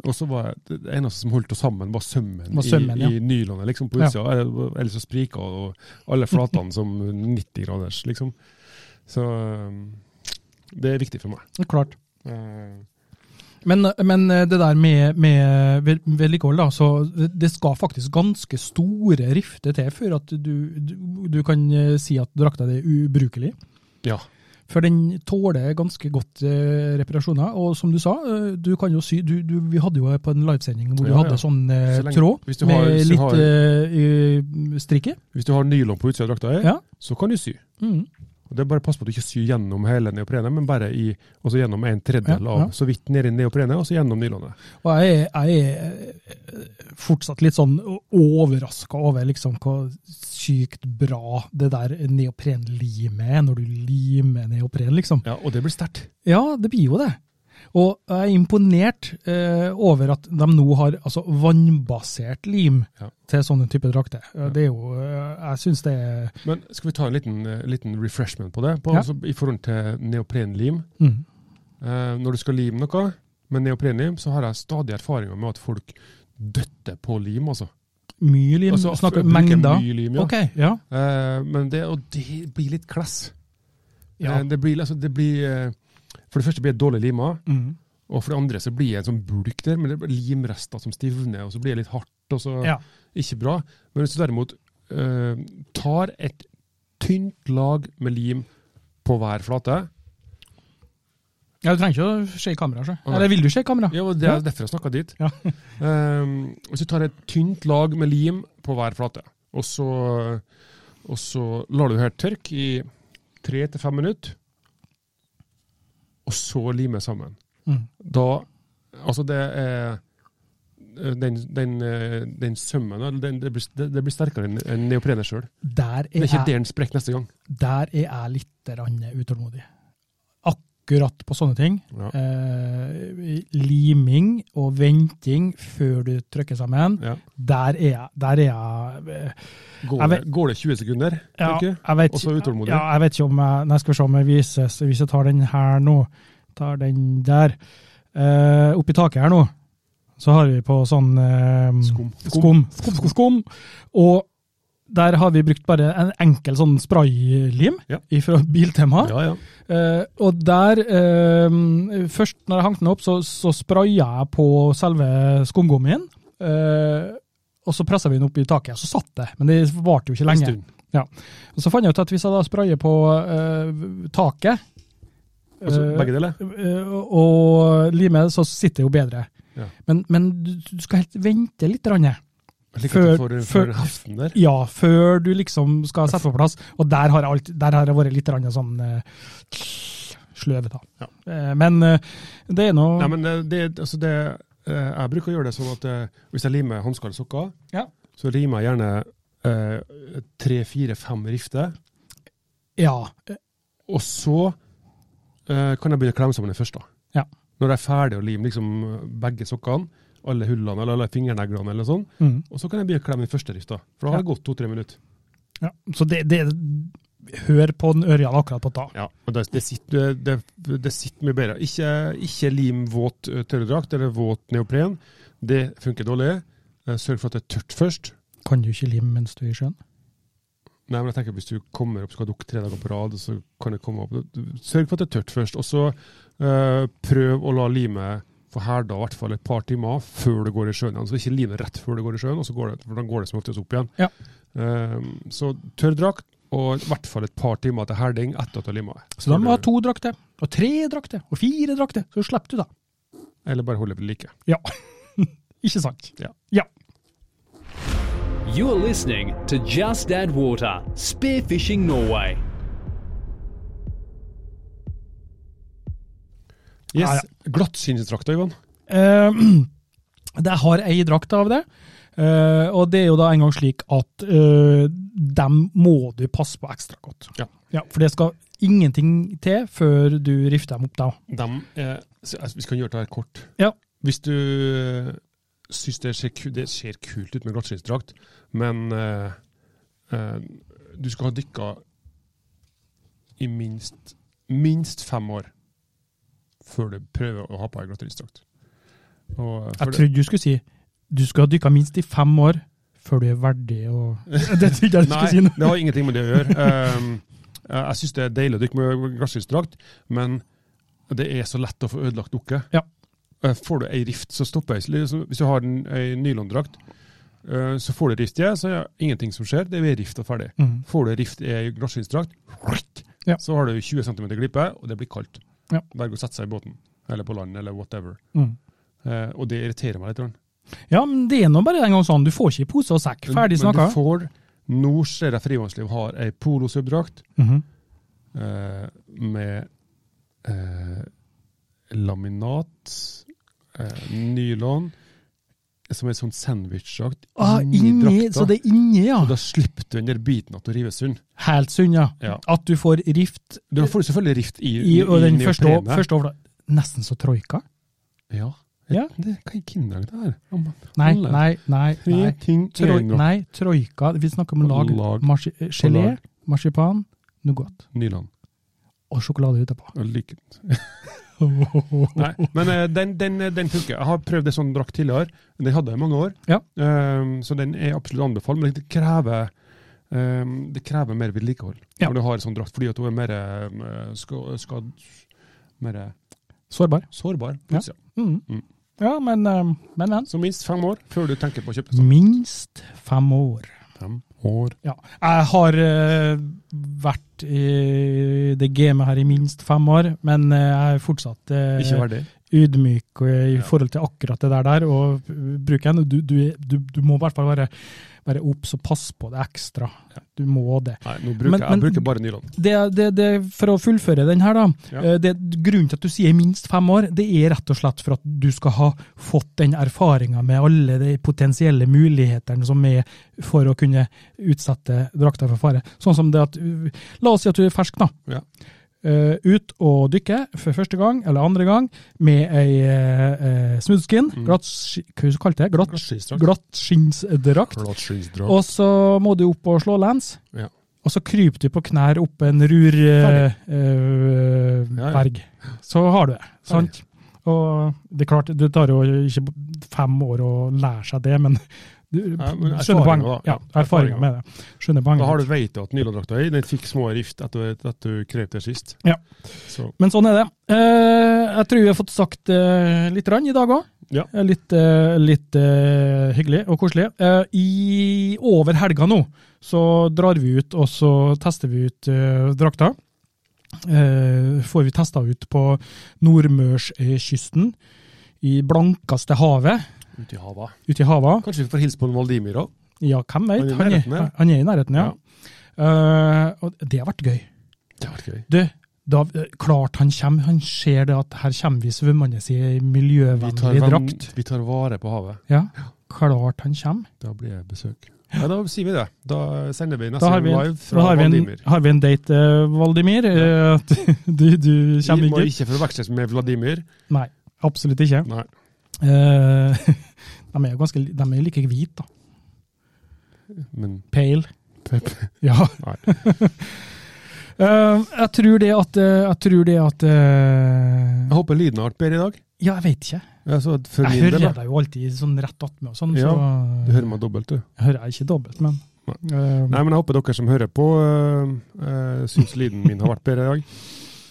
Speaker 2: Og så var jeg, det eneste som holdt oss sammen, var sømmen,
Speaker 1: Var sømmen,
Speaker 2: i,
Speaker 1: ja.
Speaker 2: i nylonet liksom, på
Speaker 1: Ja.
Speaker 2: utsida. Eller- Ellers så sprika liksom og alle flatene som 90 graders, liksom. Så eh, det er viktig for meg.
Speaker 1: Klart.
Speaker 2: Eh,
Speaker 1: Men, men eh, det der med, med ved- vedlikehold, da, så det skal faktisk ganske store rifter til før at du, du, du kan eh, si at drakta di er ubrukelig.
Speaker 2: Ja.
Speaker 1: For den tåler ganske godt eh, reparasjoner. Og som du sa, eh, du kan jo sy du, du, Vi hadde jo på en livesending hvor du
Speaker 2: Ja, ja.
Speaker 1: hadde sånn eh,
Speaker 2: Så lenge-
Speaker 1: tråd
Speaker 2: hvis du har-
Speaker 1: med
Speaker 2: hvis du
Speaker 1: litt
Speaker 2: har-
Speaker 1: eh, eh, strikke.
Speaker 2: Hvis du har nylon på utsida av drakta,
Speaker 1: Ja.
Speaker 2: så kan du sy.
Speaker 1: Mm.
Speaker 2: Og det er bare Pass på at du ikke syr gjennom hele neoprenet, men bare i, også gjennom en tredjedel
Speaker 1: Ja,
Speaker 2: av
Speaker 1: ja.
Speaker 2: så vidt nedi neoprenet, og så gjennom nylonet.
Speaker 1: Og jeg, er- jeg er eh, fortsatt litt sånn overraska over liksom hvor sykt bra det der neoprenlimet er, når du limer neopren, liksom.
Speaker 2: Ja, og det blir sterkt.
Speaker 1: Ja, det blir jo det. Og jeg er imponert eh, over at de nå har altså, vannbasert lim
Speaker 2: Ja.
Speaker 1: til sånne typer drakter. Eh,
Speaker 2: Ja.
Speaker 1: Det er jo eh, Jeg syns det er
Speaker 2: Men skal vi ta en liten, eh, liten refreshment på det, på,
Speaker 1: Ja.
Speaker 2: altså, i forhold til neoprenlim?
Speaker 1: mm.
Speaker 2: Eh, når du skal lime noe med neoprenlim, så har jeg stadig erfaringer med at folk døtter på lim, altså.
Speaker 1: mye lim.
Speaker 2: altså
Speaker 1: Snakker
Speaker 2: bruker
Speaker 1: mengder.
Speaker 2: Mye lim, ja.
Speaker 1: Ok, ja.
Speaker 2: Eh, men det, og det blir litt klass.
Speaker 1: ja.
Speaker 2: Eh, det blir, altså, det blir eh, For det første blir det dårlig lima.
Speaker 1: Mm.
Speaker 2: Og for det andre så blir det en sånn bulk der, men det blir limrester som stivner, og så blir det litt hardt, og så
Speaker 1: Ja.
Speaker 2: ikke bra. Men hvis du derimot eh, tar et tynt lag med lim på hver flate
Speaker 1: ja. Du trenger ikke å se i kamera, så.
Speaker 2: Å, nei.
Speaker 1: Eller vil du se i kamera?
Speaker 2: Ja, og det er derfor jeg snakka dit. Ehm,
Speaker 1: Ja.
Speaker 2: Eh, hvis du tar et tynt lag med lim på hver flate, og så Og så lar du det her tørke i tre til fem minutter, og så lime sammen.
Speaker 1: Mm.
Speaker 2: Da Altså, det er den, den, eh, den sømmen eller den, det, blir, det, det blir sterkere enn enn neoprenet sjøl.
Speaker 1: Der
Speaker 2: Det
Speaker 1: er
Speaker 2: er ikke
Speaker 1: jeg,
Speaker 2: der den sprekker neste gang.
Speaker 1: der er jeg litt grann utålmodig. Akkurat på sånne ting.
Speaker 2: Ja.
Speaker 1: Eh, liming og venting før du trykker sammen.
Speaker 2: Ja.
Speaker 1: Der er jeg. Der er jeg eh,
Speaker 2: Går,
Speaker 1: Jeg
Speaker 2: det,
Speaker 1: vet-
Speaker 2: går det 20 sekunder?
Speaker 1: Ja,
Speaker 2: Ikke?
Speaker 1: jeg vet,
Speaker 2: Og så utålmodig.
Speaker 1: Ja, jeg vet ikke om jeg Nei, skal vi se om jeg vises. Hvis jeg tar den her nå, tar den der eh, Oppi taket her nå, så har vi på sånn eh,
Speaker 2: Skum.
Speaker 1: Skum. Skum, skum, skum. Og der har vi brukt bare en enkel sånn spraylim
Speaker 2: Ja.
Speaker 1: fra Biltema.
Speaker 2: Ja, ja.
Speaker 1: Eh, og der eh, Først når jeg hang den opp, så, så spraya jeg på selve skumgummien. eh, og så pressa vi den opp i taket, og så satt det. Men det varte jo ikke
Speaker 2: En
Speaker 1: lenge.
Speaker 2: stund.
Speaker 1: Ja. Og så fant jeg ut at hvis jeg da sprayer på eh, taket
Speaker 2: Altså,
Speaker 1: eh,
Speaker 2: begge deler?
Speaker 1: eh, og limer, så sitter det jo bedre.
Speaker 2: Ja.
Speaker 1: Men, men du, du skal helt vente litt. Ranne.
Speaker 2: Jeg liker at du
Speaker 1: før-
Speaker 2: får,
Speaker 1: før-
Speaker 2: får heften der.
Speaker 1: Ja, før du liksom skal sette på plass. Og der har jeg, alt, der har jeg vært litt rann sånn uh, sløv, da.
Speaker 2: Ja.
Speaker 1: Eh, men eh, det er nå
Speaker 2: Nei, men det, det, altså det, eh, jeg bruker å gjøre det sånn at eh, hvis jeg limer hansker eller sokker,
Speaker 1: Ja.
Speaker 2: så limer jeg gjerne eh, tre, fire, fem rifter,
Speaker 1: Ja.
Speaker 2: og så eh, kan jeg begynne å klemme sammen den første.
Speaker 1: Ja.
Speaker 2: Når jeg er ferdig å lime liksom, begge sokkene, alle hullene eller alle fingerneglene, eller sånn,
Speaker 1: Mm.
Speaker 2: og så kan jeg begynne å klemme den første rifta. For da har det gått to-tre minutter.
Speaker 1: ja. Så det, det Hør på den Ørjan akkurat på da.
Speaker 2: Ja, og det, det, sitter, det, det sitter mye bedre. Ikke, ikke lim våt eh, tørrdrakt eller våt neopren. Det funker dårlig. Eh, Sørg for at det er tørt først.
Speaker 1: Kan du ikke lime mens du er i sjøen?
Speaker 2: Nei, men jeg tenker Hvis du kommer opp, skal dukke tre dager på rad, så kan det komme opp. Sørg for at det er tørt først. Og så eh, prøv å la limet få herda i hvert fall et par timer før du går i sjøen. igjen. Så ikke lime rett før du går i sjøen, og så går det, for da går det som oftest opp igjen.
Speaker 1: Ja.
Speaker 2: Eh, så tørr drakt, og i hvert fall et par timer til herding etter at du har lima.
Speaker 1: Så da må du ha to drakter, og tre drakter, og fire drakter. Så slipper du det.
Speaker 2: Eller bare holde det ved like.
Speaker 1: Ja. Ikke sant?
Speaker 2: Ja.
Speaker 1: Ja.
Speaker 3: You're listening to Just Add Water Spearfishing Norway.
Speaker 2: Yes.
Speaker 1: Ja,
Speaker 2: Glattsynsdrakta, Ivan.
Speaker 1: Eh, jeg har ei drakt av det, eh, og det er jo da engang slik at eh, dem må du passe på ekstra godt.
Speaker 2: Ja.
Speaker 1: for det skal ingenting til før du rifter dem opp da.
Speaker 2: Dem er, så, altså, vi skal gjøre det her kort.
Speaker 1: Ja.
Speaker 2: Hvis du syns det ser, ku- det ser kult ut med glattsynsdrakt, men eh, eh, du skal ha dykka i minst, minst fem år før du prøver å ha på deg glattsynsdrakt. Og, eh, for
Speaker 1: Jeg trodde du skulle si du skal ha dykka minst i fem år før du er verdig å Det trodde jeg du skulle si
Speaker 2: Nei,
Speaker 1: nå.
Speaker 2: det har ingenting med det å gjøre. Um, eh, jeg syns det er deilig å dykke med glassskyddsdrakt, men det er så lett å få ødelagt dukket.
Speaker 1: Ja.
Speaker 2: Eh, Får du ei rift, så stopper jeg. Liksom, Hvis du har en, ei nylondrakt, eh, så får du rift i, det, så er det ingenting som skjer. Det er ved rift og ferdig.
Speaker 1: Mm.
Speaker 2: Får du rift i ei glassskyddsdrakt,
Speaker 1: Ja.
Speaker 2: så har du 20 cm glipe, og det blir kaldt.
Speaker 1: Ja.
Speaker 2: Berg å sette seg i båten, eller på land, eller whatever.
Speaker 1: Mm.
Speaker 2: Eh, og det irriterer meg litt. grann.
Speaker 1: Ja, men det er nå bare en gang sånn. Du får ikke i pose og sekk. Ferdig
Speaker 2: Men
Speaker 1: snakka.
Speaker 2: du får, nå ser jeg Frivannsliv har ei polosubdrakt,
Speaker 1: Mhm.
Speaker 2: eh, med eh, laminat, eh, nylon, som er sånn sandwich-drakt.
Speaker 1: Ah, inni, så det er inni, ja.
Speaker 2: Og da slipper du den der biten at du rives sund.
Speaker 1: Helt sunn, ja.
Speaker 2: Ja.
Speaker 1: At du får rift
Speaker 2: Du får selvfølgelig rift i,
Speaker 1: i, og den første,
Speaker 2: neoprenet.
Speaker 1: første overfla- Nesten så troika.
Speaker 2: Ja.
Speaker 1: Ja.
Speaker 2: Det, hva er kinderegg det her? Ja, men
Speaker 1: Nei,
Speaker 2: alle.
Speaker 1: nei, nei.
Speaker 2: Tre
Speaker 1: nei.
Speaker 2: ting
Speaker 1: Troi,
Speaker 2: er nok.
Speaker 1: nei, troika. Vi snakker om lag.
Speaker 2: Lag.
Speaker 1: Marsi eh, gelé,
Speaker 2: lag.
Speaker 1: marsipan, nougat
Speaker 2: Nylon.
Speaker 1: og sjokolade utapå.
Speaker 2: Og like. Nei, men eh, den, den, den funker. Jeg har prøvd en sånn drakt tidligere. Den hadde jeg i mange år.
Speaker 1: Ja.
Speaker 2: Ehm, så den er absolutt anbefalt, men det krever, ehm, det krever mer vedlikehold
Speaker 1: Ja.
Speaker 2: når du har en sånn drakt, fordi at du er mer, ehm, ska- skadd, mer
Speaker 1: Sårbar.
Speaker 2: sårbar. på
Speaker 1: Ja.
Speaker 2: utsida.
Speaker 1: Mm.
Speaker 2: Mm.
Speaker 1: Ja, men eh, men, men.
Speaker 2: Så minst fem år før du tenker på å kjøpe sånn.
Speaker 1: Minst fem år.
Speaker 2: Fem år.
Speaker 1: Ja. Jeg har eh, vært i det gamet her i minst fem år, men eh, jeg er fortsatt eh,
Speaker 2: Ikke verdig.
Speaker 1: ydmyk eh, i forhold til akkurat det der, der og eh, bruke en. Du, du, du, du må i hvert fall være, være obs og passe på det ekstra. Du må det.
Speaker 2: Nei, nå bruker,
Speaker 1: Men- men-
Speaker 2: jeg bruker bare nylon.
Speaker 1: det, det, det for å fullføre den her, da.
Speaker 2: Ja.
Speaker 1: eh, Det, grunnen til at du sier minst fem år, det er rett og slett for at du skal ha fått den erfaringa med alle de potensielle mulighetene som er for å kunne utsette drakta for fare. Sånn som det at uh, La oss si at du er fersk, da.
Speaker 2: Ja.
Speaker 1: Eh, ut og dykke for første gang eller andre gang med ei uh, smoothskin,
Speaker 2: Mm.
Speaker 1: glatt, ski- hva kalte jeg det? Glatt,
Speaker 2: Glattskinnstrakt.
Speaker 1: glatt skinnsdrakt.
Speaker 2: Glattskinnstrakt.
Speaker 1: Og så må du opp og slå lens.
Speaker 2: Ja.
Speaker 1: Og så kryper du på knær opp en rur eh, eh,
Speaker 2: Ja, ja.
Speaker 1: berg. Så har du det. Sant? Og det er klart, det tar jo ikke fem år å lære seg det, men du
Speaker 2: Ja, men
Speaker 1: skjønner
Speaker 2: erfaringen
Speaker 1: poenget.
Speaker 2: da.
Speaker 1: Ja, erfaringa med det. Skjønner
Speaker 2: Da har
Speaker 1: poenget.
Speaker 2: du veit at nylondrakta di den fikk små rift etter at du krep det sist.
Speaker 1: Ja.
Speaker 2: Så
Speaker 1: Men sånn er det. Eh, jeg tror vi har fått sagt eh, litt rann i dag òg.
Speaker 2: Ja.
Speaker 1: Litt, eh, litt eh, hyggelig og koselig. Eh, i, over helga nå så drar vi ut og så tester vi ut eh, drakta. Eh, får vi testa ut på Nordmørskysten, i blankeste havet,
Speaker 2: ute i havet.
Speaker 1: ute i hava.
Speaker 2: Kanskje vi får hilse på en Valdimir òg?
Speaker 1: Ja, hvem
Speaker 2: Han er
Speaker 1: veit?
Speaker 2: i
Speaker 1: Han, er-
Speaker 2: nærheten, ja.
Speaker 1: han er i nærheten, ja. Eh, og det har vært gøy.
Speaker 2: Det hadde vært gøy.
Speaker 1: Du, da, eh, klart han kommer. Han ser det at her kommer vi svømmende i
Speaker 2: Vi tar,
Speaker 1: miljøvennlig
Speaker 2: vann-
Speaker 1: drakt.
Speaker 2: vi tar vare på havet.
Speaker 1: Ja, klart han kommer.
Speaker 2: Da blir det besøk. Ja, da sier vi det. Da sender vi neste
Speaker 1: Da har
Speaker 2: gang
Speaker 1: vi en,
Speaker 2: live
Speaker 1: da
Speaker 2: fra
Speaker 1: har vi en,
Speaker 2: Vladimir.
Speaker 1: har vi en date, eh, Valdimir. eh, at Du, du
Speaker 2: Vi må
Speaker 1: kommer ikke?
Speaker 2: ikke forveksles med Vladimir.
Speaker 1: Nei, absolutt ikke.
Speaker 2: Nei.
Speaker 1: Eh, De er jo ganske, li- de er jo like hvite, da.
Speaker 2: Men
Speaker 1: Pale.
Speaker 2: Pep-
Speaker 1: Ja.
Speaker 2: Nei.
Speaker 1: Eh, Jeg tror det at eh, Jeg tror det at
Speaker 2: jeg
Speaker 1: eh,
Speaker 2: håper lyden har vært bedre i dag.
Speaker 1: Ja, jeg vet ikke.
Speaker 2: Altså, for
Speaker 1: Jeg
Speaker 2: min del,
Speaker 1: hører
Speaker 2: da.
Speaker 1: deg jo alltid sånn rett attmed og sånn.
Speaker 2: Ja,
Speaker 1: så-
Speaker 2: Du hører meg dobbelt, du.
Speaker 1: Jeg hører ikke dobbelt, men eh,
Speaker 2: Nei, men jeg håper dere som hører på, øh, øh, syns lyden min har vært bedre i dag.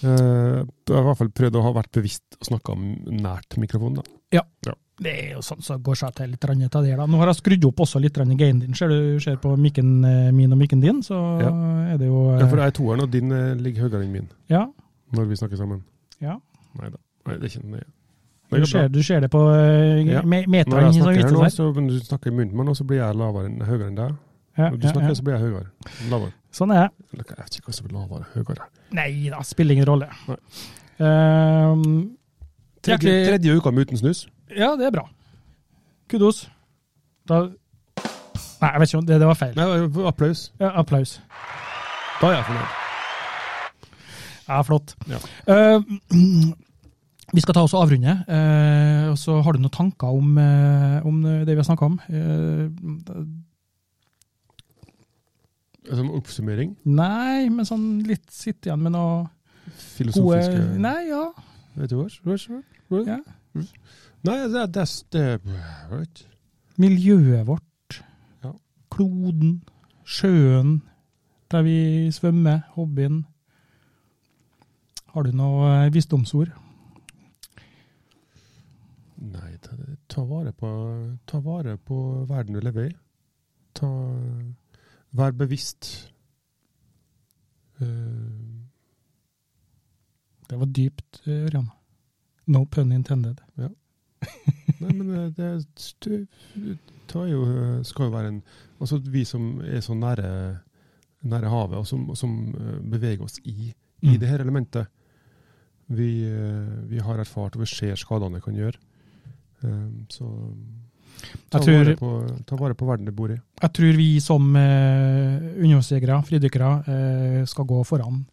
Speaker 2: Eh, jeg har i hvert fall prøvd å ha vært bevisst og snakka nært mikrofonen. da.
Speaker 1: det er jo sånn som går seg til litt rann etter det. da. Nå har jeg skrudd opp også litt rann i gainen din. Ser du ser på mikken eh, min og mikken din, så er det jo eh,
Speaker 2: Ja, for jeg er toeren, og din eh, ligger høyere enn min
Speaker 1: ja,
Speaker 2: når vi snakker sammen.
Speaker 1: ja.
Speaker 2: Nei da. Nei, det er ikke nøye. Det
Speaker 1: Du,
Speaker 2: går bra.
Speaker 1: ser, du ser det på eh,
Speaker 2: Ja.
Speaker 1: me-
Speaker 2: Når
Speaker 1: meteren som
Speaker 2: jeg snakker her
Speaker 1: viser
Speaker 2: nå,
Speaker 1: seg.
Speaker 2: så, men du snakker i munnen på meg nå, så blir jeg lavere enn, høyere enn deg.
Speaker 1: Ja,
Speaker 2: Når du
Speaker 1: ja,
Speaker 2: snakker,
Speaker 1: ja.
Speaker 2: så blir jeg høyere. Lavere.
Speaker 1: Sånn er det.
Speaker 2: Eller, Jeg vet ikke hva som blir lavere. Høyere.
Speaker 1: Nei da, spiller ingen rolle.
Speaker 2: Nei.
Speaker 1: Ehm,
Speaker 2: Tredje,
Speaker 1: Hjertelig-
Speaker 2: tredje uka med uten snus.
Speaker 1: ja, det er bra. Kudos. Da Nei, jeg vet ikke om det, det var feil.
Speaker 2: Nei, applaus.
Speaker 1: Ja, applaus.
Speaker 2: Da er jeg fornøyd.
Speaker 1: Ja, flott.
Speaker 2: Ja.
Speaker 1: Eh, vi skal ta oss og avrunde. eh, og så har du noen tanker om, eh, om det vi har snakka om? Eh,
Speaker 2: Som sånn oppsummering.
Speaker 1: nei, men sånn litt sitte igjen med noe gode
Speaker 2: Filosofiske
Speaker 1: Nei, ja.
Speaker 2: eh, Vet du hva? Hva- hva- hva-
Speaker 1: Ja.
Speaker 2: Mm. Nei, det, det, det jeg vet ikke.
Speaker 1: Miljøet vårt.
Speaker 2: Ja.
Speaker 1: Kloden. Sjøen. Der vi svømmer. Hobbyen. Har du noe eh, visdomsord?
Speaker 2: Nei, ta, ta, vare på, ta vare på verden du lever i. Ta, vær bevisst. Eh,
Speaker 1: Det var dypt, eh, Ørjan. No pun intended.
Speaker 2: Nei, men eh, det, er stu- tar jo, eh, skal jo være en Altså vi som er så nære, nære havet, og som, og som eh, beveger oss i, i
Speaker 1: Mm.
Speaker 2: det her elementet. Vi, eh, vi har erfart, og vi ser skadene det kan gjøre. Eh, Så ta,
Speaker 1: Jeg tror-
Speaker 2: vare på, ta vare på verden du bor i.
Speaker 1: Jeg tror vi som eh, undervannsjegere, fridykkere, eh, skal gå foran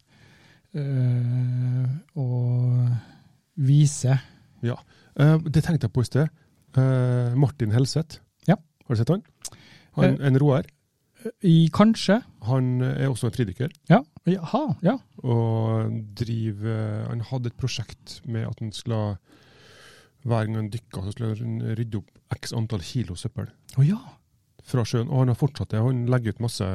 Speaker 1: eh, og vise
Speaker 2: Eh, Det tenkte jeg på i sted. Eh, Martin Helseth.
Speaker 1: Ja. Eh.
Speaker 2: Har du sett han? han en roer.
Speaker 1: i kanskje
Speaker 2: Han eh, er også en fridykker.
Speaker 1: Ja. Jaha, ja.
Speaker 2: og drive, han hadde et prosjekt med at han skulle hver gang han dykka, så skulle han rydde opp x antall kilo søppel
Speaker 1: Å ja.
Speaker 2: fra sjøen. Og han har fortsatt det. Han legger ut masse,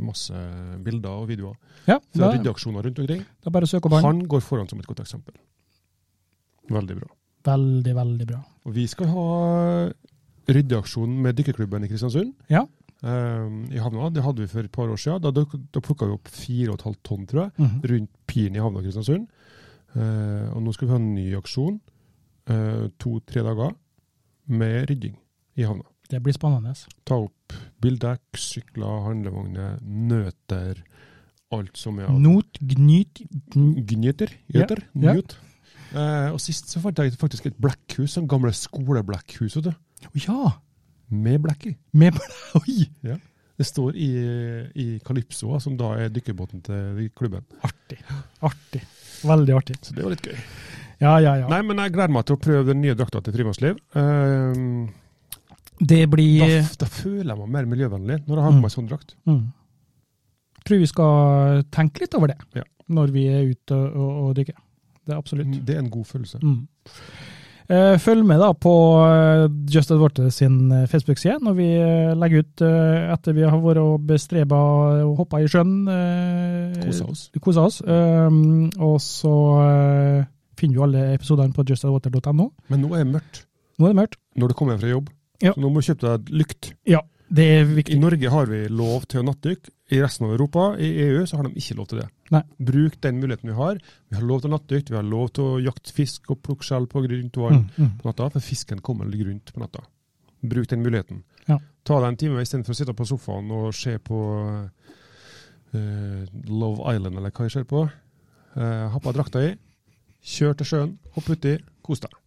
Speaker 2: masse bilder og videoer
Speaker 1: ja
Speaker 2: fra
Speaker 1: da, det
Speaker 2: ryddeaksjoner rundt omkring.
Speaker 1: er bare å søke opp han.
Speaker 2: Han går foran som et godt eksempel. Veldig bra.
Speaker 1: Veldig, veldig bra.
Speaker 2: Og vi skal ha ryddeaksjon med dykkerklubben i Kristiansund.
Speaker 1: Ja.
Speaker 2: eh, I havna. Det hadde vi for et par år siden. Da, duk- da plukka vi opp 4,5 tonn, tror jeg.
Speaker 1: Mhm.
Speaker 2: rundt piren i havna i Kristiansund. Eh, og nå skal vi ha en ny aksjon eh, to-tre dager med rydding i havna.
Speaker 1: Det blir spennende.
Speaker 2: Ta opp bildekk, sykler, handlevogner, nøter, alt som er av
Speaker 1: Not, gnyt gn-
Speaker 2: Gnyter. Gjøter.
Speaker 1: Ja, ja.
Speaker 2: Njut. Eh, og sist så fant jeg faktisk et blekkhus, sånn gamle skoleblekkhuset, vet du.
Speaker 1: Ja!
Speaker 2: Med blekk i.
Speaker 1: Med Oi!
Speaker 2: Det står i, i Calypsoa, som da er dykkerbåten til klubben.
Speaker 1: Artig. Artig. Veldig artig.
Speaker 2: Så det var litt gøy.
Speaker 1: Ja, ja, ja.
Speaker 2: Nei, men jeg gleder meg til å prøve den nye drakta til Frimannsliv. Eh,
Speaker 1: Det
Speaker 2: da,
Speaker 1: blir
Speaker 2: f- da føler jeg meg mer miljøvennlig når jeg har
Speaker 1: Mm.
Speaker 2: på meg sånn drakt.
Speaker 1: mm. Tror vi skal tenke litt over det
Speaker 2: Ja.
Speaker 1: når vi er ute og, og dykker. Det er absolutt.
Speaker 2: Det er en god følelse.
Speaker 1: Mm. Eh, Følg med da på eh, Just Edwarte sin eh, Facebook-side når vi eh, legger ut eh, etter vi har vært og bestreba og hoppa i sjøen. eh,
Speaker 2: Kosa oss.
Speaker 1: Kosa oss. Um, og så eh, finner du alle episodene på justedwater.no.
Speaker 2: Men nå er det mørkt.
Speaker 1: Nå er det mørkt.
Speaker 2: Når du kommer hjem fra jobb.
Speaker 1: Ja.
Speaker 2: Så nå må du kjøpe deg lykt.
Speaker 1: Ja, det er
Speaker 2: I
Speaker 1: viktig.
Speaker 2: Norge har vi lov til å nattdykke. I resten av Europa, i EU, så har de ikke lov til det.
Speaker 1: Nei.
Speaker 2: Bruk den muligheten vi har. Vi har lov til å nattdykke, vi har lov til å jakte fisk og plukke skjell på grunt vann
Speaker 1: Mm, mm.
Speaker 2: på natta, for fisken kommer litt grunt på natta. Bruk den muligheten.
Speaker 1: Ja.
Speaker 2: Ta deg en time istedenfor å sitte på sofaen og se på eh, Love Island, eller hva jeg ser på. Eh, ha på deg drakta i, kjør til sjøen, hopp uti, kos deg.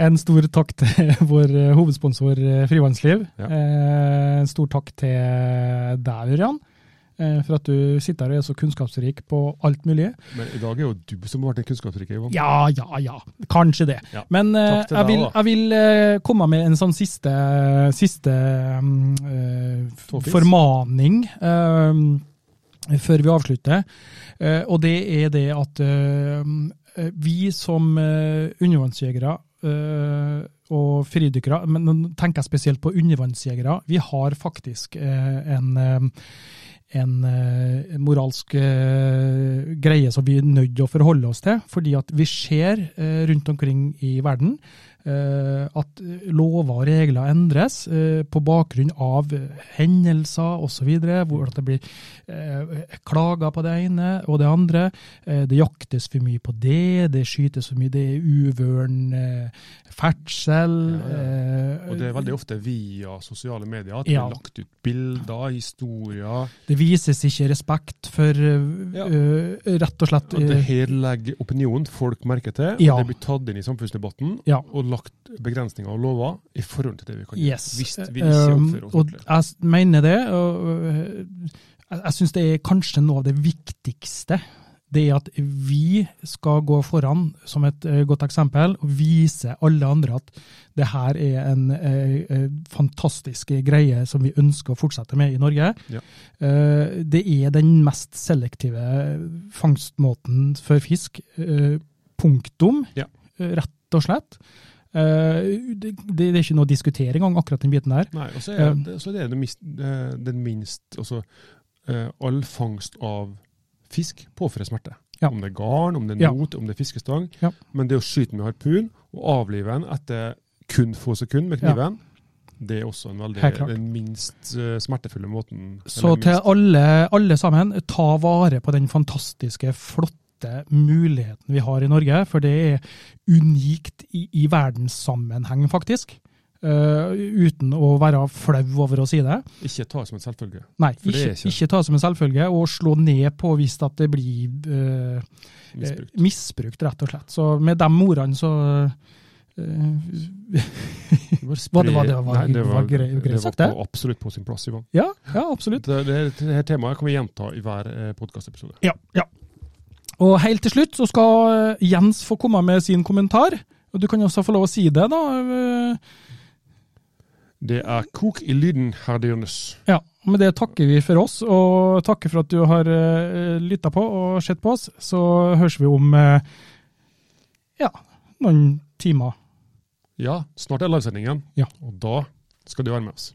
Speaker 1: En stor takk til vår eh, hovedsponsor eh, Frivannsliv.
Speaker 2: Ja.
Speaker 1: Eh, En stor takk til deg, Ørjan, eh, for at du sitter her og er så kunnskapsrik på alt mulig.
Speaker 2: Men i dag er jo du som har vært den kunnskapsrike, Ivan.
Speaker 1: Ja, ja, ja. Kanskje det.
Speaker 2: Ja.
Speaker 1: Men eh,
Speaker 2: Takk til
Speaker 1: jeg
Speaker 2: deg
Speaker 1: vil,
Speaker 2: også.
Speaker 1: jeg vil eh, komme med en sånn siste, siste mm, eh,
Speaker 2: Tåfis.
Speaker 1: formaning eh, før vi avslutter. Eh, og det er det at eh, vi som uh, undervannsjegere eh, og fridykkere, men nå tenker jeg spesielt på undervannsjegere, vi har faktisk eh, en eh, en eh, moralsk eh, greie som vi er nødt til å forholde oss til. Fordi at vi ser eh, rundt omkring i verden eh, at lover og regler endres eh, på bakgrunn av eh, hendelser osv. Hvor at det blir eh, klager på det ene og det andre. Eh, det jaktes for mye på det, det skytes for mye, det er uvøren eh, ferdsel.
Speaker 2: Ja, ja.
Speaker 1: eh,
Speaker 2: Og det er veldig ofte via sosiale medier at
Speaker 1: Ja.
Speaker 2: det blir lagt ut bilder, historier.
Speaker 1: Det vises ikke respekt for øh,
Speaker 2: Ja.
Speaker 1: øh, rett og slett
Speaker 2: At det
Speaker 1: øh,
Speaker 2: her legger opinionen folk merke til, og
Speaker 1: Ja.
Speaker 2: det blir tatt inn i samfunnsdebatten.
Speaker 1: Ja.
Speaker 2: Og lagt begrensninger og lover i forhold til det vi kan
Speaker 1: Yes.
Speaker 2: gjøre. Hvis vi ikke
Speaker 1: Um,
Speaker 2: oppfører oss
Speaker 1: og
Speaker 2: ordentlig.
Speaker 1: jeg s- mener det. Og, øh, jeg jeg syns det er kanskje noe av det viktigste. Det er at vi skal gå foran som et øh, godt eksempel og vise alle andre at det her er en øh, øh, fantastisk greie som vi ønsker å fortsette med i Norge.
Speaker 2: Ja.
Speaker 1: Eh, det er den mest selektive øh, fangstmåten for fisk. eh, punktum,
Speaker 2: Ja.
Speaker 1: eh, rett og slett. Eh, det, det er ikke noe å diskutere engang, akkurat den biten der.
Speaker 2: Nei, og så er
Speaker 1: um,
Speaker 2: det, så er det den mis- eh, den minst altså, eh, All fangst av fisk påfører smerte.
Speaker 1: Ja.
Speaker 2: Om det er garn, om det
Speaker 1: Ja.
Speaker 2: er not, om det er fiskestang.
Speaker 1: Ja.
Speaker 2: Men det å skyte med harpun og avlive en etter kun få sekunder med
Speaker 1: Ja.
Speaker 2: kniven, det er også en veldig,
Speaker 1: Helt klart.
Speaker 2: den minst eh, smertefulle måten.
Speaker 1: Så
Speaker 2: eller
Speaker 1: til
Speaker 2: minst-
Speaker 1: alle, alle sammen, ta vare på den fantastiske, flotte muligheten vi har i Norge. For det er unikt i, i verdenssammenheng, faktisk. Eh, uten å være flau over å si det.
Speaker 2: Ikke ta som en selvfølge.
Speaker 1: Nei,
Speaker 2: For det
Speaker 1: ikke,
Speaker 2: er
Speaker 1: ikke.
Speaker 2: ikke-
Speaker 1: ta som en selvfølge, og slå ned på hvis at det blir eh,
Speaker 2: Misbruk.
Speaker 1: Eh, misbrukt, rett og slett. Så med de ordene så eh, Var det- var det- var-
Speaker 2: Nei, det
Speaker 1: var grei- greit
Speaker 2: det
Speaker 1: sagt,
Speaker 2: var
Speaker 1: det?
Speaker 2: på, absolutt på sin plass, Ivan.
Speaker 1: Ja, ja absolutt.
Speaker 2: Det, det, det her temaet kan vi gjenta i hver eh, podkastepisode.
Speaker 1: Ja, ja. Og helt til slutt så skal eh, Jens få komme med sin kommentar. Og du kan også få lov å si det, da. eh,
Speaker 2: Det er kok i lyden, herr Dyrnes.
Speaker 1: Ja, og Med det takker vi for oss, og takker for at du har lytta på og sett på oss. Så høres vi om eh, ja, noen timer.
Speaker 2: Ja, snart er livesendingen,
Speaker 1: Ja.
Speaker 2: og da skal du være med oss.